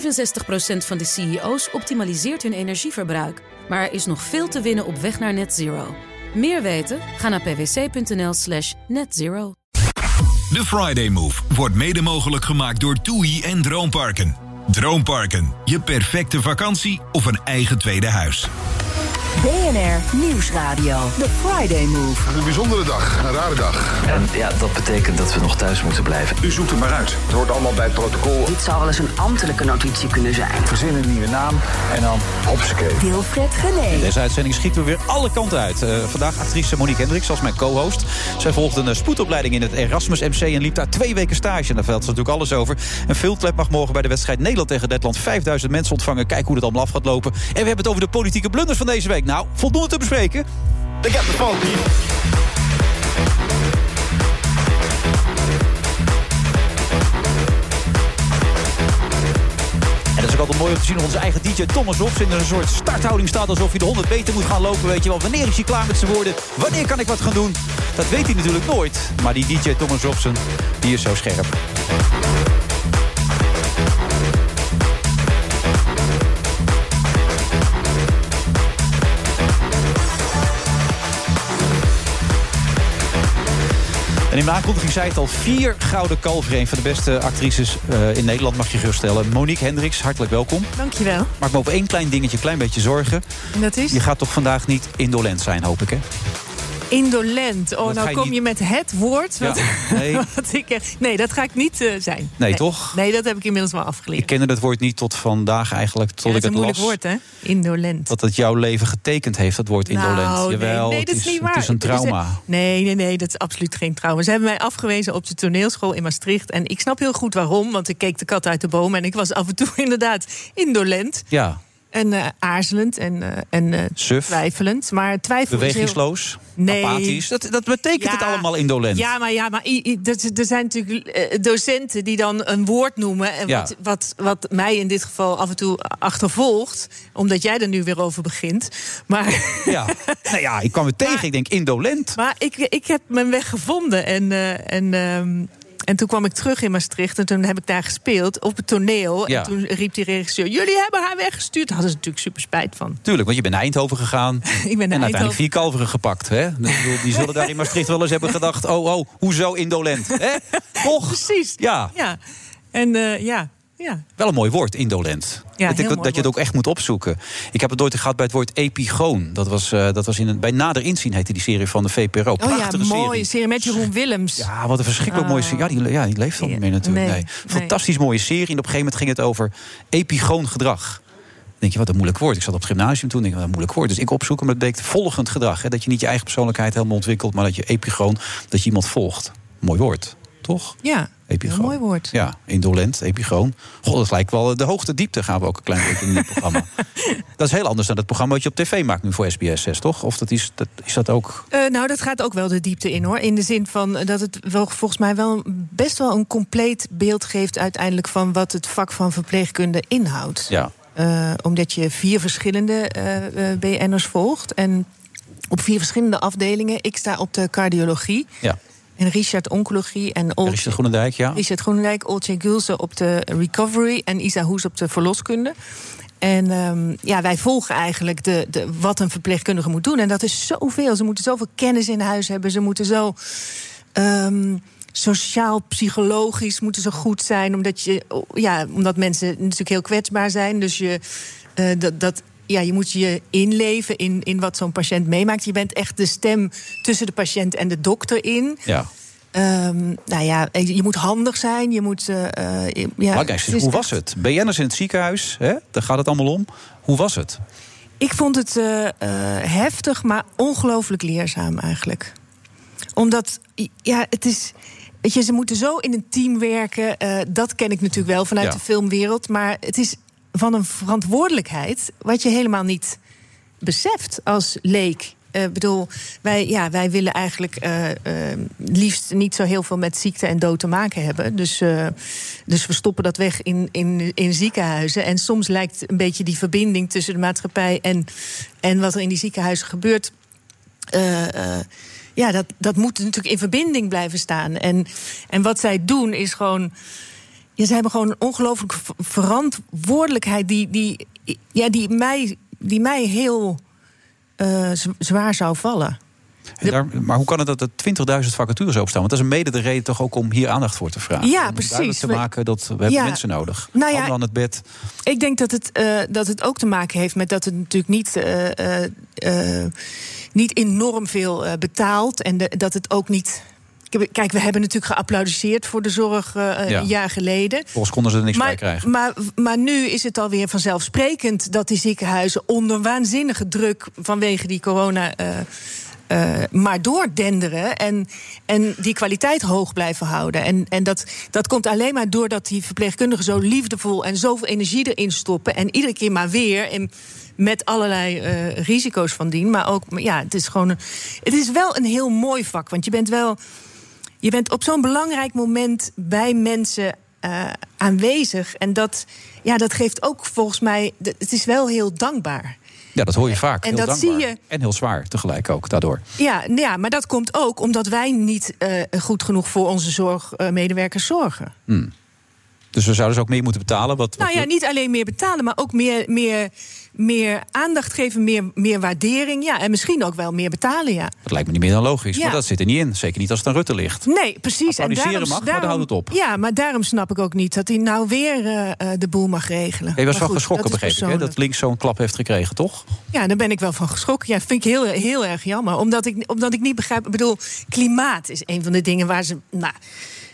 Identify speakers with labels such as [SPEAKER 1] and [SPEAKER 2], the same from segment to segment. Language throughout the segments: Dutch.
[SPEAKER 1] 65% van de CEO's optimaliseert hun energieverbruik. Maar er is nog veel te winnen op weg naar net zero. Meer weten? Ga naar pwc.nl slash netzero.
[SPEAKER 2] De Friday Move wordt mede mogelijk gemaakt door TUI en Droomparken. Droomparken, je perfecte vakantie of een eigen tweede huis.
[SPEAKER 3] BNR Nieuwsradio. The Friday Move.
[SPEAKER 4] Het is een bijzondere dag, een rare dag.
[SPEAKER 5] En ja, dat betekent dat we nog thuis moeten blijven.
[SPEAKER 6] U zoekt er maar uit.
[SPEAKER 4] Het hoort allemaal bij het protocol.
[SPEAKER 7] Dit zou wel eens een ambtelijke notitie kunnen zijn.
[SPEAKER 6] Verzin een nieuwe naam en dan hopsakee.
[SPEAKER 3] Wilfred Genee.
[SPEAKER 8] Deze uitzending schieten we weer alle kanten uit. Uh, vandaag actrice Monique Hendricks als mijn co-host. Zij volgde een eh, spoedopleiding in het Erasmus MC en liep daar twee weken stage. En daar velt ze natuurlijk alles over. En Veldklep mag morgen bij de wedstrijd Nederland tegen Letland 5000 mensen ontvangen. Kijk hoe dat allemaal af gaat lopen. En we hebben het over de politieke blunders van deze week. Nou, voldoende te bespreken.
[SPEAKER 4] Ik heb de fout hier.
[SPEAKER 8] altijd mooi om te zien. Onze eigen DJ Thomas Hobbs in een soort starthouding staat. Alsof je de 100 meter moet gaan lopen. Weet je wel, wanneer is hij klaar met zijn woorden? Wanneer kan ik wat gaan doen? Dat weet hij natuurlijk nooit. Maar die DJ Thomas Robson, die is zo scherp. En in de aankondiging zei het al, vier gouden kalveren. van de beste actrices uh, in Nederland, mag je geruststellen. Monique Hendricks, hartelijk welkom.
[SPEAKER 9] Dankjewel.
[SPEAKER 8] Maar ik me over één klein dingetje een klein beetje zorgen.
[SPEAKER 9] En dat is?
[SPEAKER 8] Je gaat toch vandaag niet indolent zijn, hoop ik, hè?
[SPEAKER 9] Indolent. Oh,
[SPEAKER 8] Dat
[SPEAKER 9] nou
[SPEAKER 8] ga je
[SPEAKER 9] kom
[SPEAKER 8] niet-
[SPEAKER 9] je met het woord.
[SPEAKER 8] Ja,
[SPEAKER 9] Wat,
[SPEAKER 8] nee.
[SPEAKER 9] wat ik, eh, nee, dat ga ik niet eh, zijn.
[SPEAKER 8] Nee, toch?
[SPEAKER 9] Nee, dat heb ik inmiddels wel
[SPEAKER 8] Ik
[SPEAKER 9] afgeleerd.
[SPEAKER 8] kende dat woord niet tot vandaag eigenlijk, tot
[SPEAKER 9] Ja,
[SPEAKER 8] ik
[SPEAKER 9] dat
[SPEAKER 8] het
[SPEAKER 9] is een moeilijk
[SPEAKER 8] las.
[SPEAKER 9] woord, hè? Indolent.
[SPEAKER 8] Dat het jouw leven getekend heeft, dat woord indolent.
[SPEAKER 9] Nou, nee,
[SPEAKER 8] Jawel,
[SPEAKER 9] nee, dat
[SPEAKER 8] het
[SPEAKER 9] is, niet waar.
[SPEAKER 8] Het is een
[SPEAKER 9] Er er-
[SPEAKER 8] trauma.
[SPEAKER 9] nee, nee, nee, dat is absoluut geen trauma. Ze hebben mij afgewezen op de toneelschool in Maastricht. En ik snap heel goed waarom, want ik keek de kat uit de boom... en ik was af en toe inderdaad indolent
[SPEAKER 8] Ja,
[SPEAKER 9] en eh, aarzelend en, eh, en eh,
[SPEAKER 8] Suf.
[SPEAKER 9] twijfelend. Maar twijfel is heel...
[SPEAKER 8] bewegingsloos,
[SPEAKER 9] Nee.
[SPEAKER 8] apathisch. Dat, dat betekent het
[SPEAKER 9] Ja.
[SPEAKER 8] allemaal indolent.
[SPEAKER 9] Ja, maar, ja, maar i- i- dat- er zijn natuurlijk eh, docenten die dan een woord noemen. En
[SPEAKER 8] Ja.
[SPEAKER 9] wat, wat, wat mij in dit geval af en toe achtervolgt. Omdat jij er nu weer over begint. Maar,
[SPEAKER 8] Ja. Nou ja, ik kwam het tegen. Ik denk indolent.
[SPEAKER 9] maar ik, ik heb mijn weg gevonden. En, eh, en, ehm, en toen kwam ik terug in Maastricht. En toen heb ik daar gespeeld op het toneel.
[SPEAKER 8] Ja.
[SPEAKER 9] En toen riep die regisseur: Jullie hebben haar weggestuurd. Daar hadden ze natuurlijk super spijt van.
[SPEAKER 8] Tuurlijk, want je bent naar Eindhoven gegaan.
[SPEAKER 9] naar
[SPEAKER 8] en uiteindelijk
[SPEAKER 9] Eindhoven.
[SPEAKER 8] vier kalveren gepakt. Hè? Ik bedoel, Die zullen daar in Maastricht wel eens hebben gedacht... oh, oh, hoezo indolent? Hè? Toch?
[SPEAKER 9] Precies.
[SPEAKER 8] Ja.
[SPEAKER 9] ja. En eh, ja. ja.
[SPEAKER 8] Wel een mooi woord, indolent.
[SPEAKER 9] heel
[SPEAKER 8] dat ik-
[SPEAKER 9] mooi
[SPEAKER 8] dat je het ook
[SPEAKER 9] woord.
[SPEAKER 8] echt moet opzoeken. Ik heb het nooit gehad bij het woord epigoon. Dat was, eh, dat was in een, bij Nader Inzien heette die serie van de VPRO.
[SPEAKER 9] Oh ja,
[SPEAKER 8] Prachtige
[SPEAKER 9] mooie
[SPEAKER 8] serie.
[SPEAKER 9] serie. met Jeroen Willems.
[SPEAKER 8] Ja, Ah, wat een verschrikkelijk mooie serie. Ja die, ja, die leeft al niet
[SPEAKER 9] Ah. Ja,
[SPEAKER 8] meer natuurlijk. Nee,
[SPEAKER 9] nee,
[SPEAKER 8] Fantastisch mooie serie. En op een gegeven moment ging het over epigoon gedrag. Dan denk je, wat een moeilijk woord. Ik zat op het gymnasium toen, denk ik, wat een moeilijk woord. Dus ik opzoeken, maar dat betekent volgend gedrag. Hè? Dat je niet je eigen persoonlijkheid helemaal ontwikkelt... maar dat je epigoon, dat je iemand volgt. Mooi woord, toch?
[SPEAKER 9] Ja,
[SPEAKER 8] Epigoon.
[SPEAKER 9] een mooi woord.
[SPEAKER 8] Ja, indolent, epigoon. God, dat lijkt wel eh, de hoogte diepte gaan we ook een klein beetje in dit programma. Dat is heel anders dan het programma wat je op tv maakt nu voor SBS 6, toch? Of dat is, dat, is dat ook...
[SPEAKER 9] Eh, nou, dat gaat ook wel de diepte in, hoor. In de zin van eh, dat het wel, volgens mij wel een- best wel een compleet beeld geeft... uiteindelijk van wat het vak van verpleegkunde inhoudt.
[SPEAKER 8] Ja,
[SPEAKER 9] Eh, omdat je vier verschillende eh, eh, BN'ers volgt. En op vier verschillende afdelingen. Ik sta op de cardiologie.
[SPEAKER 8] ja.
[SPEAKER 9] En Richard oncologie. En Old-
[SPEAKER 8] Richard Groenendijk, ja.
[SPEAKER 9] Richard Groenendijk, Olcay Gulsen op de recovery en Isa Hoes op de verloskunde. En ehm, ja, wij volgen eigenlijk de, de, wat een verpleegkundige moet doen. En dat is zoveel. Ze moeten zoveel kennis in huis hebben. Ze moeten zo ehm, sociaal, psychologisch moeten ze goed zijn. Omdat, je, oh, ja, omdat mensen natuurlijk heel kwetsbaar zijn. Dus je, eh, dat, dat, ja, je moet je inleven in, in wat zo'n patiënt meemaakt. Je bent echt de stem tussen de patiënt en de dokter in.
[SPEAKER 8] Ja.
[SPEAKER 9] Ehm, nou ja, je moet handig zijn. Je moet. eh, eh, je- ja,
[SPEAKER 8] Belangrijk is,
[SPEAKER 9] is
[SPEAKER 8] hoe
[SPEAKER 9] echt-
[SPEAKER 8] was het? BN'ers in het ziekenhuis, hè? daar gaat het allemaal om. Hoe was het?
[SPEAKER 9] Ik vond het eh, eh, heftig, maar ongelooflijk leerzaam eigenlijk. Omdat, ja, het is. Weet je, ze moeten zo in een team werken. eh, dat ken ik natuurlijk wel vanuit
[SPEAKER 8] Ja.
[SPEAKER 9] de filmwereld. Maar het is van een verantwoordelijkheid wat je helemaal niet beseft als leek. Eh, Ik bedoel, wij, ja, wij willen eigenlijk eh, eh, liefst niet zo heel veel met ziekte en dood te maken hebben. Dus, eh, dus we stoppen dat weg in, in, in ziekenhuizen. En soms lijkt een beetje die verbinding tussen de maatschappij en, en wat er in die ziekenhuizen gebeurt. eh, eh, ja, dat, dat moet natuurlijk in verbinding blijven staan. En, en wat zij doen is gewoon ja, ze hebben gewoon een ongelooflijke ver- verantwoordelijkheid die, die, ja, die, mij, die mij heel eh, z- zwaar zou vallen.
[SPEAKER 8] En daar- maar hoe kan het dat er 20.000 vacatures opstaan? Want dat is een mede de reden toch ook om hier aandacht voor te vragen.
[SPEAKER 9] Ja,
[SPEAKER 8] om
[SPEAKER 9] precies.
[SPEAKER 8] duidelijk te
[SPEAKER 9] We-
[SPEAKER 8] maken dat we hebben
[SPEAKER 9] Ja.
[SPEAKER 8] mensen nodig.
[SPEAKER 9] Nou ja,
[SPEAKER 8] Handen aan het bed.
[SPEAKER 9] Ik denk dat het, eh, dat het ook te maken heeft met dat het natuurlijk niet, eh, eh, eh, niet enorm veel eh, betaalt. En de- dat het ook niet. Kijk, we hebben natuurlijk geapplaudisseerd voor de zorg eh,
[SPEAKER 8] Ja.
[SPEAKER 9] een jaar geleden.
[SPEAKER 8] Volgens konden ze er niks bij
[SPEAKER 9] Maar,
[SPEAKER 8] krijgen.
[SPEAKER 9] maar, maar nu is het alweer vanzelfsprekend dat die ziekenhuizen onder waanzinnige druk vanwege die corona. eh, eh, maar doordenderen en, en die kwaliteit hoog blijven houden. En, en dat, dat komt alleen maar doordat die verpleegkundigen zo liefdevol en zoveel energie erin stoppen. En iedere keer maar weer. En met allerlei eh, risico's van dien. Maar ook, ja, het is gewoon. een- het is wel een heel mooi vak. Want je bent wel. Je bent op zo'n belangrijk moment bij mensen eh, aanwezig. En dat, ja, dat geeft ook volgens mij. d- Het is wel heel dankbaar.
[SPEAKER 8] Ja, dat hoor je vaak.
[SPEAKER 9] en
[SPEAKER 8] heel
[SPEAKER 9] dat
[SPEAKER 8] dankbaar.
[SPEAKER 9] zie je-
[SPEAKER 8] En heel zwaar tegelijk ook daardoor.
[SPEAKER 9] Ja, nou ja, maar dat komt ook omdat wij niet eh, goed genoeg voor onze zorgmedewerkers zorgen.
[SPEAKER 8] Dus we zouden ze ook meer moeten betalen. Wat, wat
[SPEAKER 9] Nou ja,
[SPEAKER 8] we-
[SPEAKER 9] niet alleen meer betalen, maar ook meer, meer, meer aandacht geven, meer, meer waardering. Ja, en misschien ook wel meer betalen, ja.
[SPEAKER 8] Dat lijkt me niet meer dan logisch.
[SPEAKER 9] Ja.
[SPEAKER 8] Maar dat zit er niet in. Zeker niet als het aan Rutte ligt.
[SPEAKER 9] Nee, precies.
[SPEAKER 8] Applaudisseren mag, maar daar houdt het op.
[SPEAKER 9] Ja, maar daarom snap ik ook niet dat hij nou weer eh, eh, de boel mag regelen.
[SPEAKER 8] Je was
[SPEAKER 9] Maar
[SPEAKER 8] wel
[SPEAKER 9] goed,
[SPEAKER 8] geschrokken,
[SPEAKER 9] dat is
[SPEAKER 8] begreep ik, hè?
[SPEAKER 9] persoonlijk.
[SPEAKER 8] dat links zo'n klap heeft gekregen, toch?
[SPEAKER 9] Ja, daar ben ik wel van geschrokken. Ja, vind ik heel, heel erg jammer. Omdat ik, omdat ik niet begrijp. Ik bedoel, klimaat is een van de dingen waar ze nou,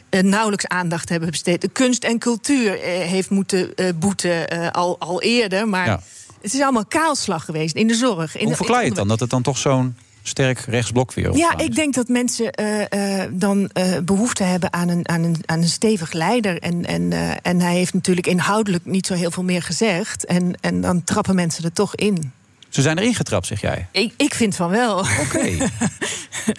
[SPEAKER 9] eh, nauwelijks aandacht hebben besteed. De kunst en cultuur eh, heeft moeten eh, boeten eh, al, al eerder. Maar
[SPEAKER 8] Ja.
[SPEAKER 9] het is allemaal kaalslag geweest in de zorg. In
[SPEAKER 8] Hoe
[SPEAKER 9] de-
[SPEAKER 8] verklaar je
[SPEAKER 9] in
[SPEAKER 8] het
[SPEAKER 9] het
[SPEAKER 8] dan? Dat het dan toch zo'n sterk rechtsblok weer
[SPEAKER 9] ja,
[SPEAKER 8] ontstaan
[SPEAKER 9] ik
[SPEAKER 8] is?
[SPEAKER 9] denk dat mensen eh, eh, dan eh, behoefte hebben aan een, aan, een, aan een stevig leider. En, en, eh, en hij heeft natuurlijk inhoudelijk niet zo heel veel meer gezegd. En, en dan trappen mensen er toch in.
[SPEAKER 8] Ze zijn erin getrapt, zeg jij.
[SPEAKER 9] Ik, ik vind van wel.
[SPEAKER 8] Oké.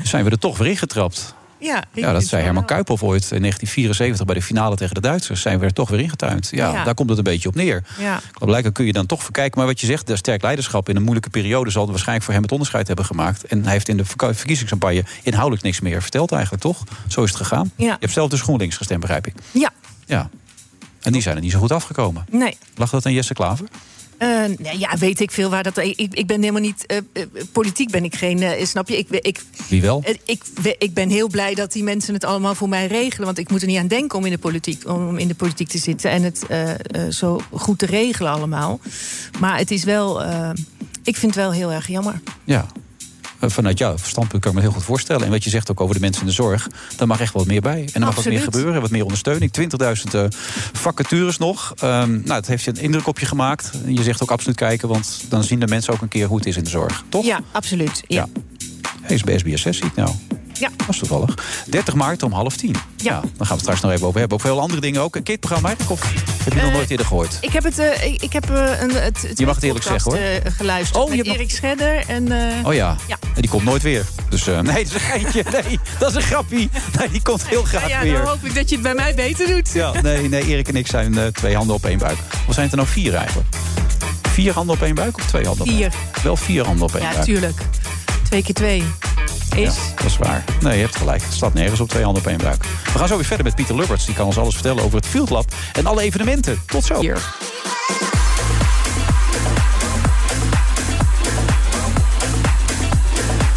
[SPEAKER 8] zijn we er toch weer ingetrapt?
[SPEAKER 9] Ja, ik
[SPEAKER 8] Ja, dat
[SPEAKER 9] vind
[SPEAKER 8] zei
[SPEAKER 9] van
[SPEAKER 8] Herman
[SPEAKER 9] wel.
[SPEAKER 8] Kuiphoff ooit in 1974 bij de finale tegen de Duitsers. Zijn we er toch weer ingetuind. Ja,
[SPEAKER 9] Ja.
[SPEAKER 8] daar komt het een beetje op neer.
[SPEAKER 9] Ja.
[SPEAKER 8] Blijkbaar kun je dan toch verkijken. Maar wat je zegt, de sterk leiderschap in een moeilijke periode... zal waarschijnlijk voor hem het onderscheid hebben gemaakt. En hij heeft in de verka- verkiezingscampagne inhoudelijk niks meer verteld eigenlijk, toch? Zo is het gegaan.
[SPEAKER 9] Ja.
[SPEAKER 8] Je hebt zelf dus GroenLinks gestemd, begrijp ik.
[SPEAKER 9] Ja,
[SPEAKER 8] Ja. En die zijn er niet zo goed afgekomen.
[SPEAKER 9] nee.
[SPEAKER 8] Lag dat aan Jesse Klaver?
[SPEAKER 9] Eh, nee, ja, weet ik veel waar dat. Ik, ik ben helemaal niet. eh, eh, politiek ben ik geen. eh, snap je? Ik, ik,
[SPEAKER 8] Wie wel?
[SPEAKER 9] eh, ik, we- ik ben heel blij dat die mensen het allemaal voor mij regelen. Want ik moet er niet aan denken om in de politiek, om in de politiek te zitten. En het eh, eh, zo goed te regelen allemaal. Maar het is wel. eh, ik vind het wel heel erg jammer.
[SPEAKER 8] Ja. Eh, Vanuit jouw standpunt kan ik me heel goed voorstellen. En wat je zegt ook over de mensen in de zorg, daar mag echt wat meer bij. En er mag wat
[SPEAKER 9] Absoluut.
[SPEAKER 8] meer gebeuren, wat meer ondersteuning. 20.000 eh, vacatures nog. Ehm, nou, het heeft je een indruk op je gemaakt. En Je zegt ook absoluut kijken, want dan zien de mensen ook een keer hoe het is in de zorg. Toch?
[SPEAKER 9] Ja, absoluut. Ja.
[SPEAKER 8] Ja. Hij is bij SBS 6, zie ik nou.
[SPEAKER 9] Ja.
[SPEAKER 8] Dat is toevallig. 30 maart om half tien.
[SPEAKER 9] Ja.
[SPEAKER 8] daar gaan we het straks nog even over hebben. Ook veel andere dingen ook. Een kitprogramma eigenlijk? Of heb je nog
[SPEAKER 9] Eh,
[SPEAKER 8] nooit eerder gehoord?
[SPEAKER 9] Ik heb het. eh, ik, ik heb eh, een. Het, het
[SPEAKER 8] Je mag het eerlijk
[SPEAKER 9] podcast,
[SPEAKER 8] zeggen, hoor.
[SPEAKER 9] eh, geluisterd.
[SPEAKER 8] Oh, je
[SPEAKER 9] met
[SPEAKER 8] hebt nog-
[SPEAKER 9] Erik Schredder en. eh,
[SPEAKER 8] Oh ja.
[SPEAKER 9] Ja.
[SPEAKER 8] En die komt nooit weer. Dus eh, nee, dat is een geintje. Nee, dat is een grappie. Nee, die komt heel graag
[SPEAKER 9] nou ja,
[SPEAKER 8] weer.
[SPEAKER 9] dan hoop ik dat je het bij mij beter doet.
[SPEAKER 8] Ja, nee, nee, Erik en ik zijn eh, twee handen op één buik. Of zijn het er nou vier eigenlijk? Vier handen op één buik of twee handen
[SPEAKER 9] Vier.
[SPEAKER 8] op één buik? Wel vier handen op één
[SPEAKER 9] Ja,
[SPEAKER 8] buik.
[SPEAKER 9] tuurlijk. Twee keer twee is.
[SPEAKER 8] Ja, dat is waar. Nee, je hebt gelijk. Het staat nergens op twee handen op één buik. We gaan zo weer verder met Pieter Lubberts. Die kan ons alles vertellen over het Field Lab en alle evenementen. Tot zo.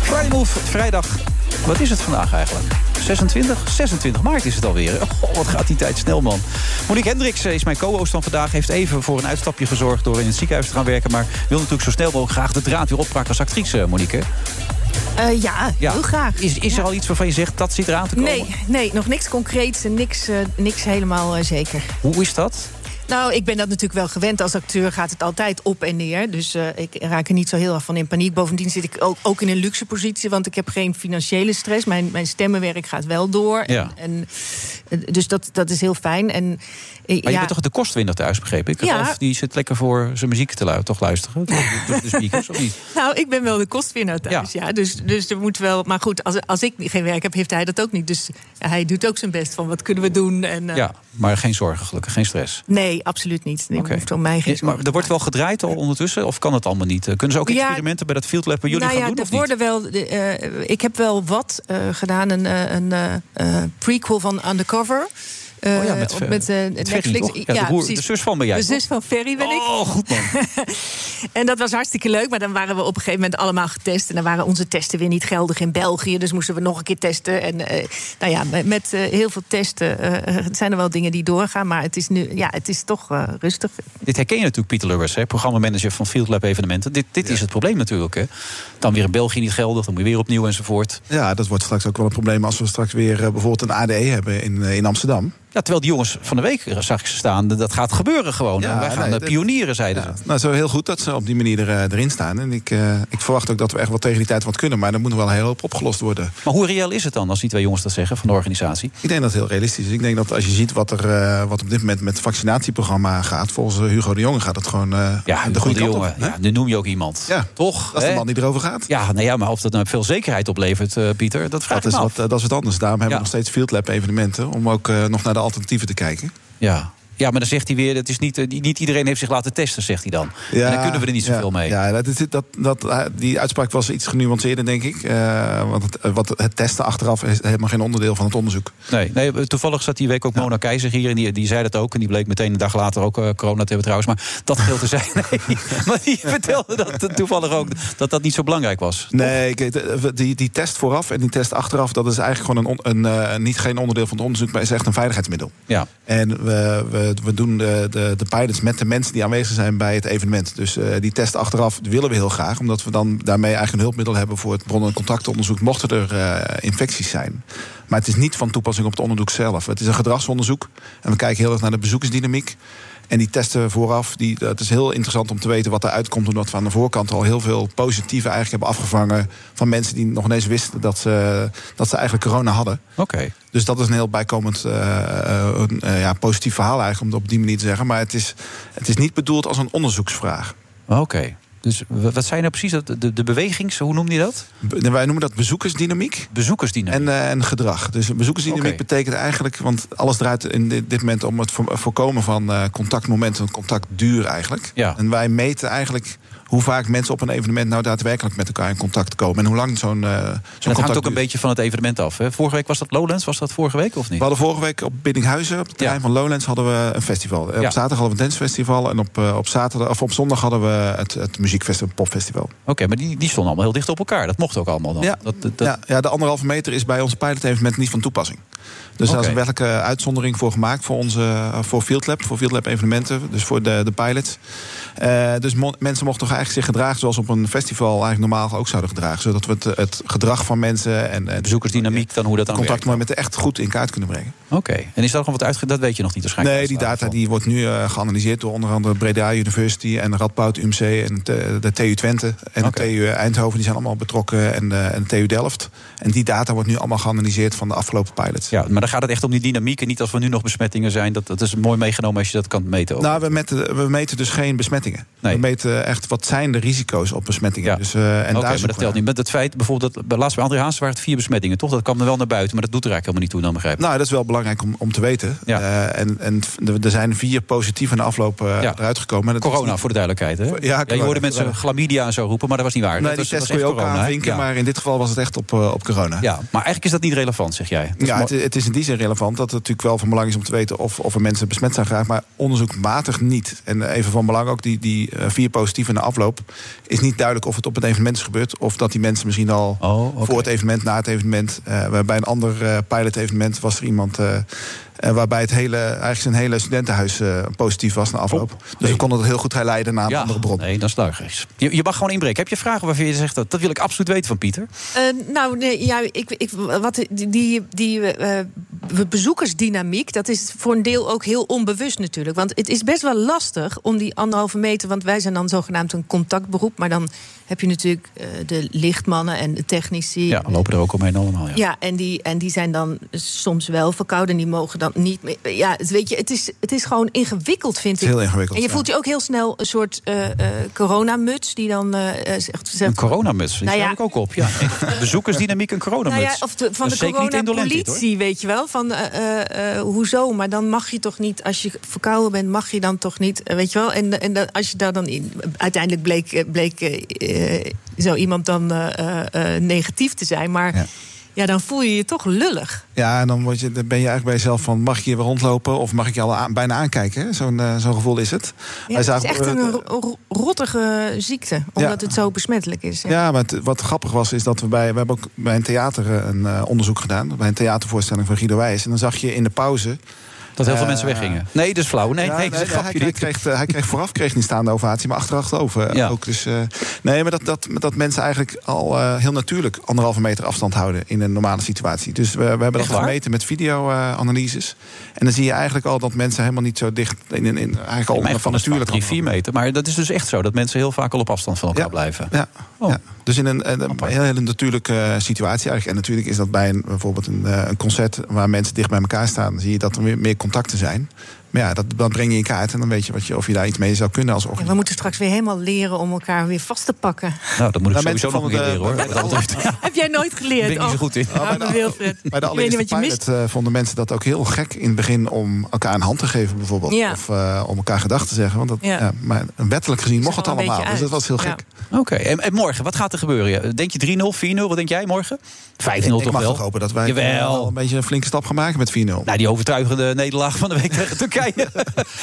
[SPEAKER 8] Friday Move, vrijdag. Wat is het vandaag eigenlijk? 26? 26 maart is het alweer. Oh, wat gaat die tijd snel, man. Monique Hendricks eh, is mijn co-host van vandaag. Heeft even voor een uitstapje gezorgd door in het ziekenhuis te gaan werken. Maar wil natuurlijk zo snel mogelijk graag de draad weer oppakken als actrice, eh, Monique. hè?
[SPEAKER 9] Eh, ja, heel graag.
[SPEAKER 8] Is, is er al iets waarvan je zegt dat zit eraan te komen?
[SPEAKER 9] Nee, nee, nog niks concreets en niks, eh, niks helemaal eh, zeker.
[SPEAKER 8] Hoe is dat?
[SPEAKER 9] Nou, ik ben dat natuurlijk wel gewend. Als acteur gaat het altijd op en neer. Dus eh, ik raak er niet zo heel erg van in paniek. Bovendien zit ik ook, ook in een luxe positie, want ik heb geen financiële stress. Mijn, mijn stemmenwerk gaat wel door.
[SPEAKER 8] Ja.
[SPEAKER 9] En, en, dus dat, dat is heel fijn. En, eh,
[SPEAKER 8] Maar
[SPEAKER 9] ja,
[SPEAKER 8] je bent toch de kostwinner thuis, begreep ik?
[SPEAKER 9] Ja.
[SPEAKER 8] Of die zit lekker voor zijn muziek te lu- toch luisteren? Door de speakers, of niet?
[SPEAKER 9] Nou, ik ben wel de kostwinnaar thuis. Ja. dus, dus er moet wel. Maar goed, als, als ik geen werk heb, heeft hij dat ook niet. Dus hij doet ook zijn best van wat kunnen we doen. En, eh,
[SPEAKER 8] Ja, maar geen zorgen gelukkig, geen stress.
[SPEAKER 9] Nee, absoluut niet. Nee,
[SPEAKER 8] Oké.
[SPEAKER 9] hoeft om mij geen
[SPEAKER 8] Eh, Maar
[SPEAKER 9] zorgen
[SPEAKER 8] er wordt
[SPEAKER 9] te
[SPEAKER 8] wel gedraaid al ondertussen, of kan het allemaal niet? Eh, Kunnen ze ook
[SPEAKER 9] Ja,
[SPEAKER 8] experimenten bij dat Field Lab bij jullie
[SPEAKER 9] nou
[SPEAKER 8] gaan
[SPEAKER 9] ja,
[SPEAKER 8] doen, of
[SPEAKER 9] er
[SPEAKER 8] niet?
[SPEAKER 9] worden wel. de, eh, ik heb wel wat eh, gedaan, een, eh, een eh, eh, prequel van Undercover. eh,
[SPEAKER 8] Oh ja, met,
[SPEAKER 9] op-
[SPEAKER 8] eh,
[SPEAKER 9] met, eh,
[SPEAKER 8] met Ferry,
[SPEAKER 9] Netflix.
[SPEAKER 8] toch? Ja, de broer-
[SPEAKER 9] precies.
[SPEAKER 8] de zus van ben jij,
[SPEAKER 9] De
[SPEAKER 8] toch?
[SPEAKER 9] zus van Ferry ben ik.
[SPEAKER 8] Oh, goed man.
[SPEAKER 9] En dat was hartstikke leuk, maar dan waren we op een gegeven moment allemaal getest. En dan waren onze testen weer niet geldig in België. Dus moesten we nog een keer testen. En eh, nou ja, met, met, eh, heel veel testen eh, eh, zijn er wel dingen die doorgaan. Maar het is nu, ja, het is toch eh, rustig.
[SPEAKER 8] Dit herken je natuurlijk, Pieter Lubbers, hè, programmamanager van Field Lab Evenementen. Dit, dit is het probleem natuurlijk. Hè. Dan weer in België niet geldig, dan moet je weer opnieuw enzovoort.
[SPEAKER 10] Ja, dat wordt straks ook wel een probleem als we straks weer eh, bijvoorbeeld een ADE hebben in, eh, in Amsterdam.
[SPEAKER 8] Ja, terwijl die jongens van de week eh, zag ik ze staan, dat gaat gebeuren gewoon.
[SPEAKER 10] Ja,
[SPEAKER 8] En wij gaan
[SPEAKER 10] nee,
[SPEAKER 8] eh,
[SPEAKER 10] dit-
[SPEAKER 8] pionieren, zeiden ze.
[SPEAKER 10] Nou, zo heel goed dat ze op die manier er, erin staan. En ik, eh, ik verwacht ook dat we echt wel tegen die tijd wat kunnen. Maar er moet nog wel een hele hoop opgelost worden.
[SPEAKER 8] Maar hoe reëel is het dan als die twee jongens dat zeggen van de organisatie?
[SPEAKER 10] Ik denk dat het heel realistisch is. Ik denk dat als je ziet wat er eh, wat op dit moment met het vaccinatieprogramma gaat... volgens eh, Hugo de Jonge gaat het gewoon eh,
[SPEAKER 8] Ja,
[SPEAKER 10] de goede kant op.
[SPEAKER 8] jongen.
[SPEAKER 10] hè?
[SPEAKER 8] Ja, nu noem je ook iemand.
[SPEAKER 10] Ja,
[SPEAKER 8] toch?
[SPEAKER 10] Dat is de
[SPEAKER 8] hè?
[SPEAKER 10] man die erover gaat.
[SPEAKER 8] Ja, nou ja, maar of dat nou veel zekerheid oplevert, eh, Pieter, dat vraag
[SPEAKER 10] Dat is,
[SPEAKER 8] ik me
[SPEAKER 10] wat,
[SPEAKER 8] af.
[SPEAKER 10] eh, dat is wat anders. Daarom hebben
[SPEAKER 8] Ja.
[SPEAKER 10] we nog steeds Field Lab evenementen... om ook eh, nog naar de alternatieven te kijken.
[SPEAKER 8] Ja. ja, maar dan zegt hij weer, dat is niet, eh, niet iedereen heeft zich laten testen, zegt hij dan.
[SPEAKER 10] Ja,
[SPEAKER 8] en dan kunnen we er niet
[SPEAKER 10] ja,
[SPEAKER 8] zoveel mee.
[SPEAKER 10] Ja, dat, is- dat, dat, eh, die uitspraak was iets genuanceerder, denk ik. Eh, want het, eh, wat het testen achteraf is helemaal geen onderdeel van het onderzoek.
[SPEAKER 8] Nee, nee, toevallig zat die week ook Mona Keizer hier. En die, die zei dat ook. En die bleek meteen een dag later ook eh, corona te hebben trouwens. Maar dat geldt te zijn. Nee, maar die vertelde dat toevallig ook. Dat dat niet zo belangrijk was.
[SPEAKER 10] Nee, ik- eh, die, die test vooraf en die test achteraf... dat is eigenlijk gewoon een, on- een, eh, niet geen onderdeel van het onderzoek... maar is echt een veiligheidsmiddel.
[SPEAKER 8] Ja.
[SPEAKER 10] En we, we, we doen de, de, de pilots met de mensen die aanwezig zijn bij het evenement. Dus eh, die test achteraf willen we heel graag. Omdat we dan daarmee eigenlijk een hulpmiddel hebben voor het bron- en contactonderzoek. Mochten er eh, infecties zijn. Maar het is niet van toepassing op het onderzoek zelf. Het is een gedragsonderzoek. En we kijken heel erg naar de bezoekersdynamiek. En die testen we vooraf, die, dat is heel interessant om te weten wat eruit komt. Omdat we aan de voorkant al heel veel positieve eigenlijk hebben afgevangen. Van mensen die nog ineens wisten dat ze, dat ze eigenlijk corona hadden.
[SPEAKER 8] Oké.
[SPEAKER 10] Dus dat is een heel bijkomend eh, eh, een, eh, ja, positief verhaal eigenlijk, om het op die manier te zeggen. Maar het is, het is niet bedoeld als een onderzoeksvraag.
[SPEAKER 8] Oké. Dus w- wat zijn nou precies? dat- De, de bewegings, hoe noemde je dat?
[SPEAKER 10] Be- wij noemen dat bezoekersdynamiek.
[SPEAKER 8] Bezoekersdynamiek.
[SPEAKER 10] En, eh, en gedrag. Dus bezoekersdynamiek
[SPEAKER 8] Oké.
[SPEAKER 10] betekent eigenlijk, want alles draait in dit, dit moment om het vo- voorkomen van eh, contactmomenten, contactduur eigenlijk.
[SPEAKER 8] Ja.
[SPEAKER 10] En wij meten eigenlijk hoe vaak mensen op een evenement nou daadwerkelijk met elkaar in contact komen. En hoe lang zo'n eh, zo'n
[SPEAKER 8] En dat
[SPEAKER 10] contact
[SPEAKER 8] hangt ook een
[SPEAKER 10] duurt.
[SPEAKER 8] beetje van het evenement af. Hè? Vorige week was dat Lowlands, was dat vorige week of niet?
[SPEAKER 10] We hadden vorige week op Biddinghuizen, op het terrein
[SPEAKER 8] Ja.
[SPEAKER 10] van Lowlands, hadden we een festival. Eh, Op
[SPEAKER 8] Ja.
[SPEAKER 10] zaterdag hadden we een dancefestival en op, eh, op, zaterdag, of op zondag hadden we het, het muziekfestival, het popfestival.
[SPEAKER 8] Oké, maar die, die stonden allemaal heel dicht op elkaar. Dat mocht ook allemaal dan. Dat, dat, dat-
[SPEAKER 10] ja, ja, de anderhalve meter is bij ons pilotevenement niet van toepassing. Dus daar is
[SPEAKER 8] Oké.
[SPEAKER 10] een werkelijke uitzondering voor gemaakt voor, onze, eh, voor Field Lab, voor Field Lab evenementen, dus voor de, de pilots. Eh, dus mo- mensen mochten toch eigenlijk zich gedragen zoals op een festival eigenlijk normaal ook zouden gedragen. Zodat we het, het gedrag van mensen en eh,
[SPEAKER 8] Bezoekersdynamiek, dan hoe dat dan
[SPEAKER 10] contact
[SPEAKER 8] werkt.
[SPEAKER 10] met het echt goed in kaart kunnen brengen.
[SPEAKER 8] Oké. En is daar nog wat uitge... Dat weet je nog niet waarschijnlijk.
[SPEAKER 10] Nee, die data die wordt nu eh, geanalyseerd door onder andere Breda University en Radboud UMC en de, de TU Twente en
[SPEAKER 8] Oké.
[SPEAKER 10] de TU Eindhoven. Die zijn allemaal betrokken en, eh, en de TU Delft. En die data wordt nu allemaal geanalyseerd van de afgelopen pilots.
[SPEAKER 8] Ja, maar dan gaat het echt om die dynamiek. En niet als we nu nog besmettingen zijn. Dat, dat is mooi meegenomen als je dat kan meten. Ook.
[SPEAKER 10] Nou, we meten, we meten dus geen besmettingen.
[SPEAKER 8] Nee.
[SPEAKER 10] We meten echt wat zijn de risico's op besmettingen.
[SPEAKER 8] Ja.
[SPEAKER 10] Dus, eh, en
[SPEAKER 8] Oké,
[SPEAKER 10] daar
[SPEAKER 8] maar dat
[SPEAKER 10] zoeken we
[SPEAKER 8] telt
[SPEAKER 10] naar.
[SPEAKER 8] niet. Met het feit bijvoorbeeld dat bij- laatst bij André Haas waren het vier besmettingen, toch? Dat kwam er wel naar buiten, maar dat doet er eigenlijk helemaal niet toe, dan begrijp ik.
[SPEAKER 10] Nou, dat is wel belangrijk om, om te weten.
[SPEAKER 8] Ja.
[SPEAKER 10] Eh, en en er- er zijn vier positieve na afloop eh,
[SPEAKER 8] Ja.
[SPEAKER 10] eruit gekomen. En dat is
[SPEAKER 8] corona,
[SPEAKER 10] niet-
[SPEAKER 8] voor de duidelijkheid. Hè?
[SPEAKER 10] Ja,
[SPEAKER 8] je
[SPEAKER 10] corona,
[SPEAKER 8] hoorde mensen
[SPEAKER 10] corona.
[SPEAKER 8] chlamydia en zo roepen, maar dat was niet waar.
[SPEAKER 10] Nee,
[SPEAKER 8] dat
[SPEAKER 10] die
[SPEAKER 8] was, dat
[SPEAKER 10] test
[SPEAKER 8] was
[SPEAKER 10] kun je
[SPEAKER 8] echt
[SPEAKER 10] ook
[SPEAKER 8] corona, hè?
[SPEAKER 10] aanvinken,
[SPEAKER 8] ja.
[SPEAKER 10] maar in dit geval was het echt op, eh, op corona.
[SPEAKER 8] Ja, maar eigenlijk is dat niet relevant, zeg jij. Dat is
[SPEAKER 10] Ja,
[SPEAKER 8] mooi.
[SPEAKER 10] het, het is in die zin relevant dat het natuurlijk wel van belang is om te weten of, of er mensen besmet zijn geraakt, maar onderzoekmatig niet. En even van belang ook, die, die eh, vier positieven in de afloop is niet duidelijk of het op het evenement is gebeurd of dat die mensen misschien al
[SPEAKER 8] Oh, oké.
[SPEAKER 10] voor het evenement, na het evenement. eh, waar bij een ander eh pilot-evenement was er iemand eh, eh, waarbij het hele, eigenlijk zijn hele studentenhuis eh, positief was na afloop. Dus we konden het heel goed herleiden naar een
[SPEAKER 8] Oh, ja,
[SPEAKER 10] andere bron.
[SPEAKER 8] nee, dan sluigers. Je, je mag gewoon inbreken. Heb je vragen waarvan je zegt dat, dat wil ik absoluut weten van Pieter?
[SPEAKER 9] Eh, nou, nee, ja, ik, ik, wat, die, die, eh, bezoekersdynamiek, dat is voor een deel ook heel onbewust natuurlijk. Want het is best wel lastig om die anderhalve meter, want wij zijn dan zogenaamd een contactberoep. Maar dan heb je natuurlijk eh, de lichtmannen en de technici.
[SPEAKER 8] Ja, lopen er ook omheen
[SPEAKER 10] Oh
[SPEAKER 8] allemaal. Ja.
[SPEAKER 9] Ja, en die, en die zijn dan soms wel verkouden. En die mogen dan niet meer. Ja, het- weet je, het is, het is gewoon ingewikkeld, vind
[SPEAKER 10] is
[SPEAKER 9] ik.
[SPEAKER 10] heel ingewikkeld,
[SPEAKER 9] En je
[SPEAKER 10] ja.
[SPEAKER 9] voelt je ook heel snel een soort eh, eh, coronamuts die dan eh, eh, zegt.
[SPEAKER 8] Een
[SPEAKER 9] zegt
[SPEAKER 8] coronamuts, die
[SPEAKER 9] Nou ja.
[SPEAKER 8] stel ik ook op. Ja. Bezoekersdynamiek, een coronamuts.
[SPEAKER 9] nou ja, of de- van
[SPEAKER 8] Dat
[SPEAKER 9] de
[SPEAKER 8] is Oh, zeker niet indolent dit, hoor.
[SPEAKER 9] coronapolitie, weet je wel. Van, eh, eh, eh, hoezo, maar dan mag je toch niet... als je verkouden bent, mag je dan toch niet, eh, weet je wel. En, en dan- als je daar dan in... Uiteindelijk bleek, eh, bleek eh, eh, zo iemand dan eh, eh, eh, negatief te zijn, maar...
[SPEAKER 10] Ja.
[SPEAKER 9] Ja. Ja, dan voel je je toch lullig.
[SPEAKER 10] Ja, en dan, word je, dan ben je eigenlijk bij jezelf van... mag ik hier weer rondlopen of mag ik je al aan- bijna aankijken? hè? Zo'n eh, zo'n gevoel is het.
[SPEAKER 9] Ja,
[SPEAKER 10] Hij
[SPEAKER 9] het
[SPEAKER 10] zei
[SPEAKER 9] is echt
[SPEAKER 10] ook,
[SPEAKER 9] een
[SPEAKER 10] eh,
[SPEAKER 9] ro- ro- rottige ziekte, omdat het zo besmettelijk is. Ja.
[SPEAKER 10] Ja, maar het- wat grappig was, is dat we bij... We hebben ook bij een theater eh, een eh, onderzoek gedaan. Bij een theatervoorstelling van Guido Wijs. En dan zag je in de pauze...
[SPEAKER 8] Dat heel veel
[SPEAKER 10] Eh,
[SPEAKER 8] mensen weggingen. Nee, dat is flauw. Nee,
[SPEAKER 10] Ja,
[SPEAKER 8] nee, dat is een
[SPEAKER 10] nee, hij,
[SPEAKER 8] grapje.
[SPEAKER 10] kreeg,
[SPEAKER 8] Dit-
[SPEAKER 10] kreeg, eh, hij kreeg vooraf kreeg niet staande ovatie, maar achteraf ook. eh,
[SPEAKER 8] Ja.
[SPEAKER 10] ook dus, eh, nee, maar dat, dat, dat mensen eigenlijk al eh, heel natuurlijk anderhalve meter afstand houden in een normale situatie. Dus we, we hebben dat
[SPEAKER 8] Echt waar?
[SPEAKER 10] gemeten met videoanalyses. en dan zie je eigenlijk al dat mensen helemaal niet zo dicht in, in, in eigenlijk al
[SPEAKER 8] Mij
[SPEAKER 10] onder van
[SPEAKER 8] van een
[SPEAKER 10] natuurlijk
[SPEAKER 8] drie, vier
[SPEAKER 10] afstand.
[SPEAKER 8] meter. Maar dat is dus echt zo, dat mensen heel vaak al op afstand van elkaar
[SPEAKER 10] Ja.
[SPEAKER 8] blijven.
[SPEAKER 10] Ja,
[SPEAKER 8] Oh.
[SPEAKER 10] ja. dus in een, een, een heel, heel natuurlijke eh, situatie eigenlijk. En natuurlijk is dat bij een, bijvoorbeeld een, eh, een concert waar mensen dicht bij elkaar staan, zie je dat er weer meer contacten zijn. Maar ja, dat, dat breng je in kaart en dan weet je wat je, of je daar iets mee zou kunnen als
[SPEAKER 9] Ja,
[SPEAKER 10] organisatie.
[SPEAKER 9] we moeten straks weer helemaal leren om elkaar weer vast te pakken.
[SPEAKER 8] Nou, dat moet ik
[SPEAKER 10] Nou, mensen
[SPEAKER 8] sowieso nog een keer
[SPEAKER 10] vonden eh,
[SPEAKER 8] leren
[SPEAKER 10] de-
[SPEAKER 8] hoor. Wat dat betreft
[SPEAKER 9] Heb jij nooit
[SPEAKER 8] ben
[SPEAKER 9] geleerd? Oh. Ah,
[SPEAKER 8] ik niet zo goed in.
[SPEAKER 9] arme Wilfred.
[SPEAKER 10] Bij de
[SPEAKER 9] ik weet niet
[SPEAKER 10] allereerste
[SPEAKER 9] wat je mist.
[SPEAKER 10] pilot eh, vonden mensen dat ook heel gek in het begin om elkaar een hand te geven bijvoorbeeld.
[SPEAKER 9] Ja.
[SPEAKER 10] Of eh, om elkaar gedag te zeggen. Want dat,
[SPEAKER 9] Ja.
[SPEAKER 10] ja. maar wettelijk gezien mocht het
[SPEAKER 9] zag wel een
[SPEAKER 10] allemaal.
[SPEAKER 9] beetje
[SPEAKER 10] Dus dat
[SPEAKER 9] uit.
[SPEAKER 10] was heel
[SPEAKER 9] Ja.
[SPEAKER 10] gek.
[SPEAKER 8] Oké, en, en morgen, wat gaat er gebeuren? Denk je 3-0, 4-0? Wat denk jij morgen? 5-0
[SPEAKER 10] ik
[SPEAKER 8] toch
[SPEAKER 10] mag
[SPEAKER 8] wel?
[SPEAKER 10] toch hopen dat wij eh, wel
[SPEAKER 8] Jawel.
[SPEAKER 10] een beetje een flinke stap gaan maken met 4-0.
[SPEAKER 8] Nou, die overtuigende nederlaag van de week tegen Turkije.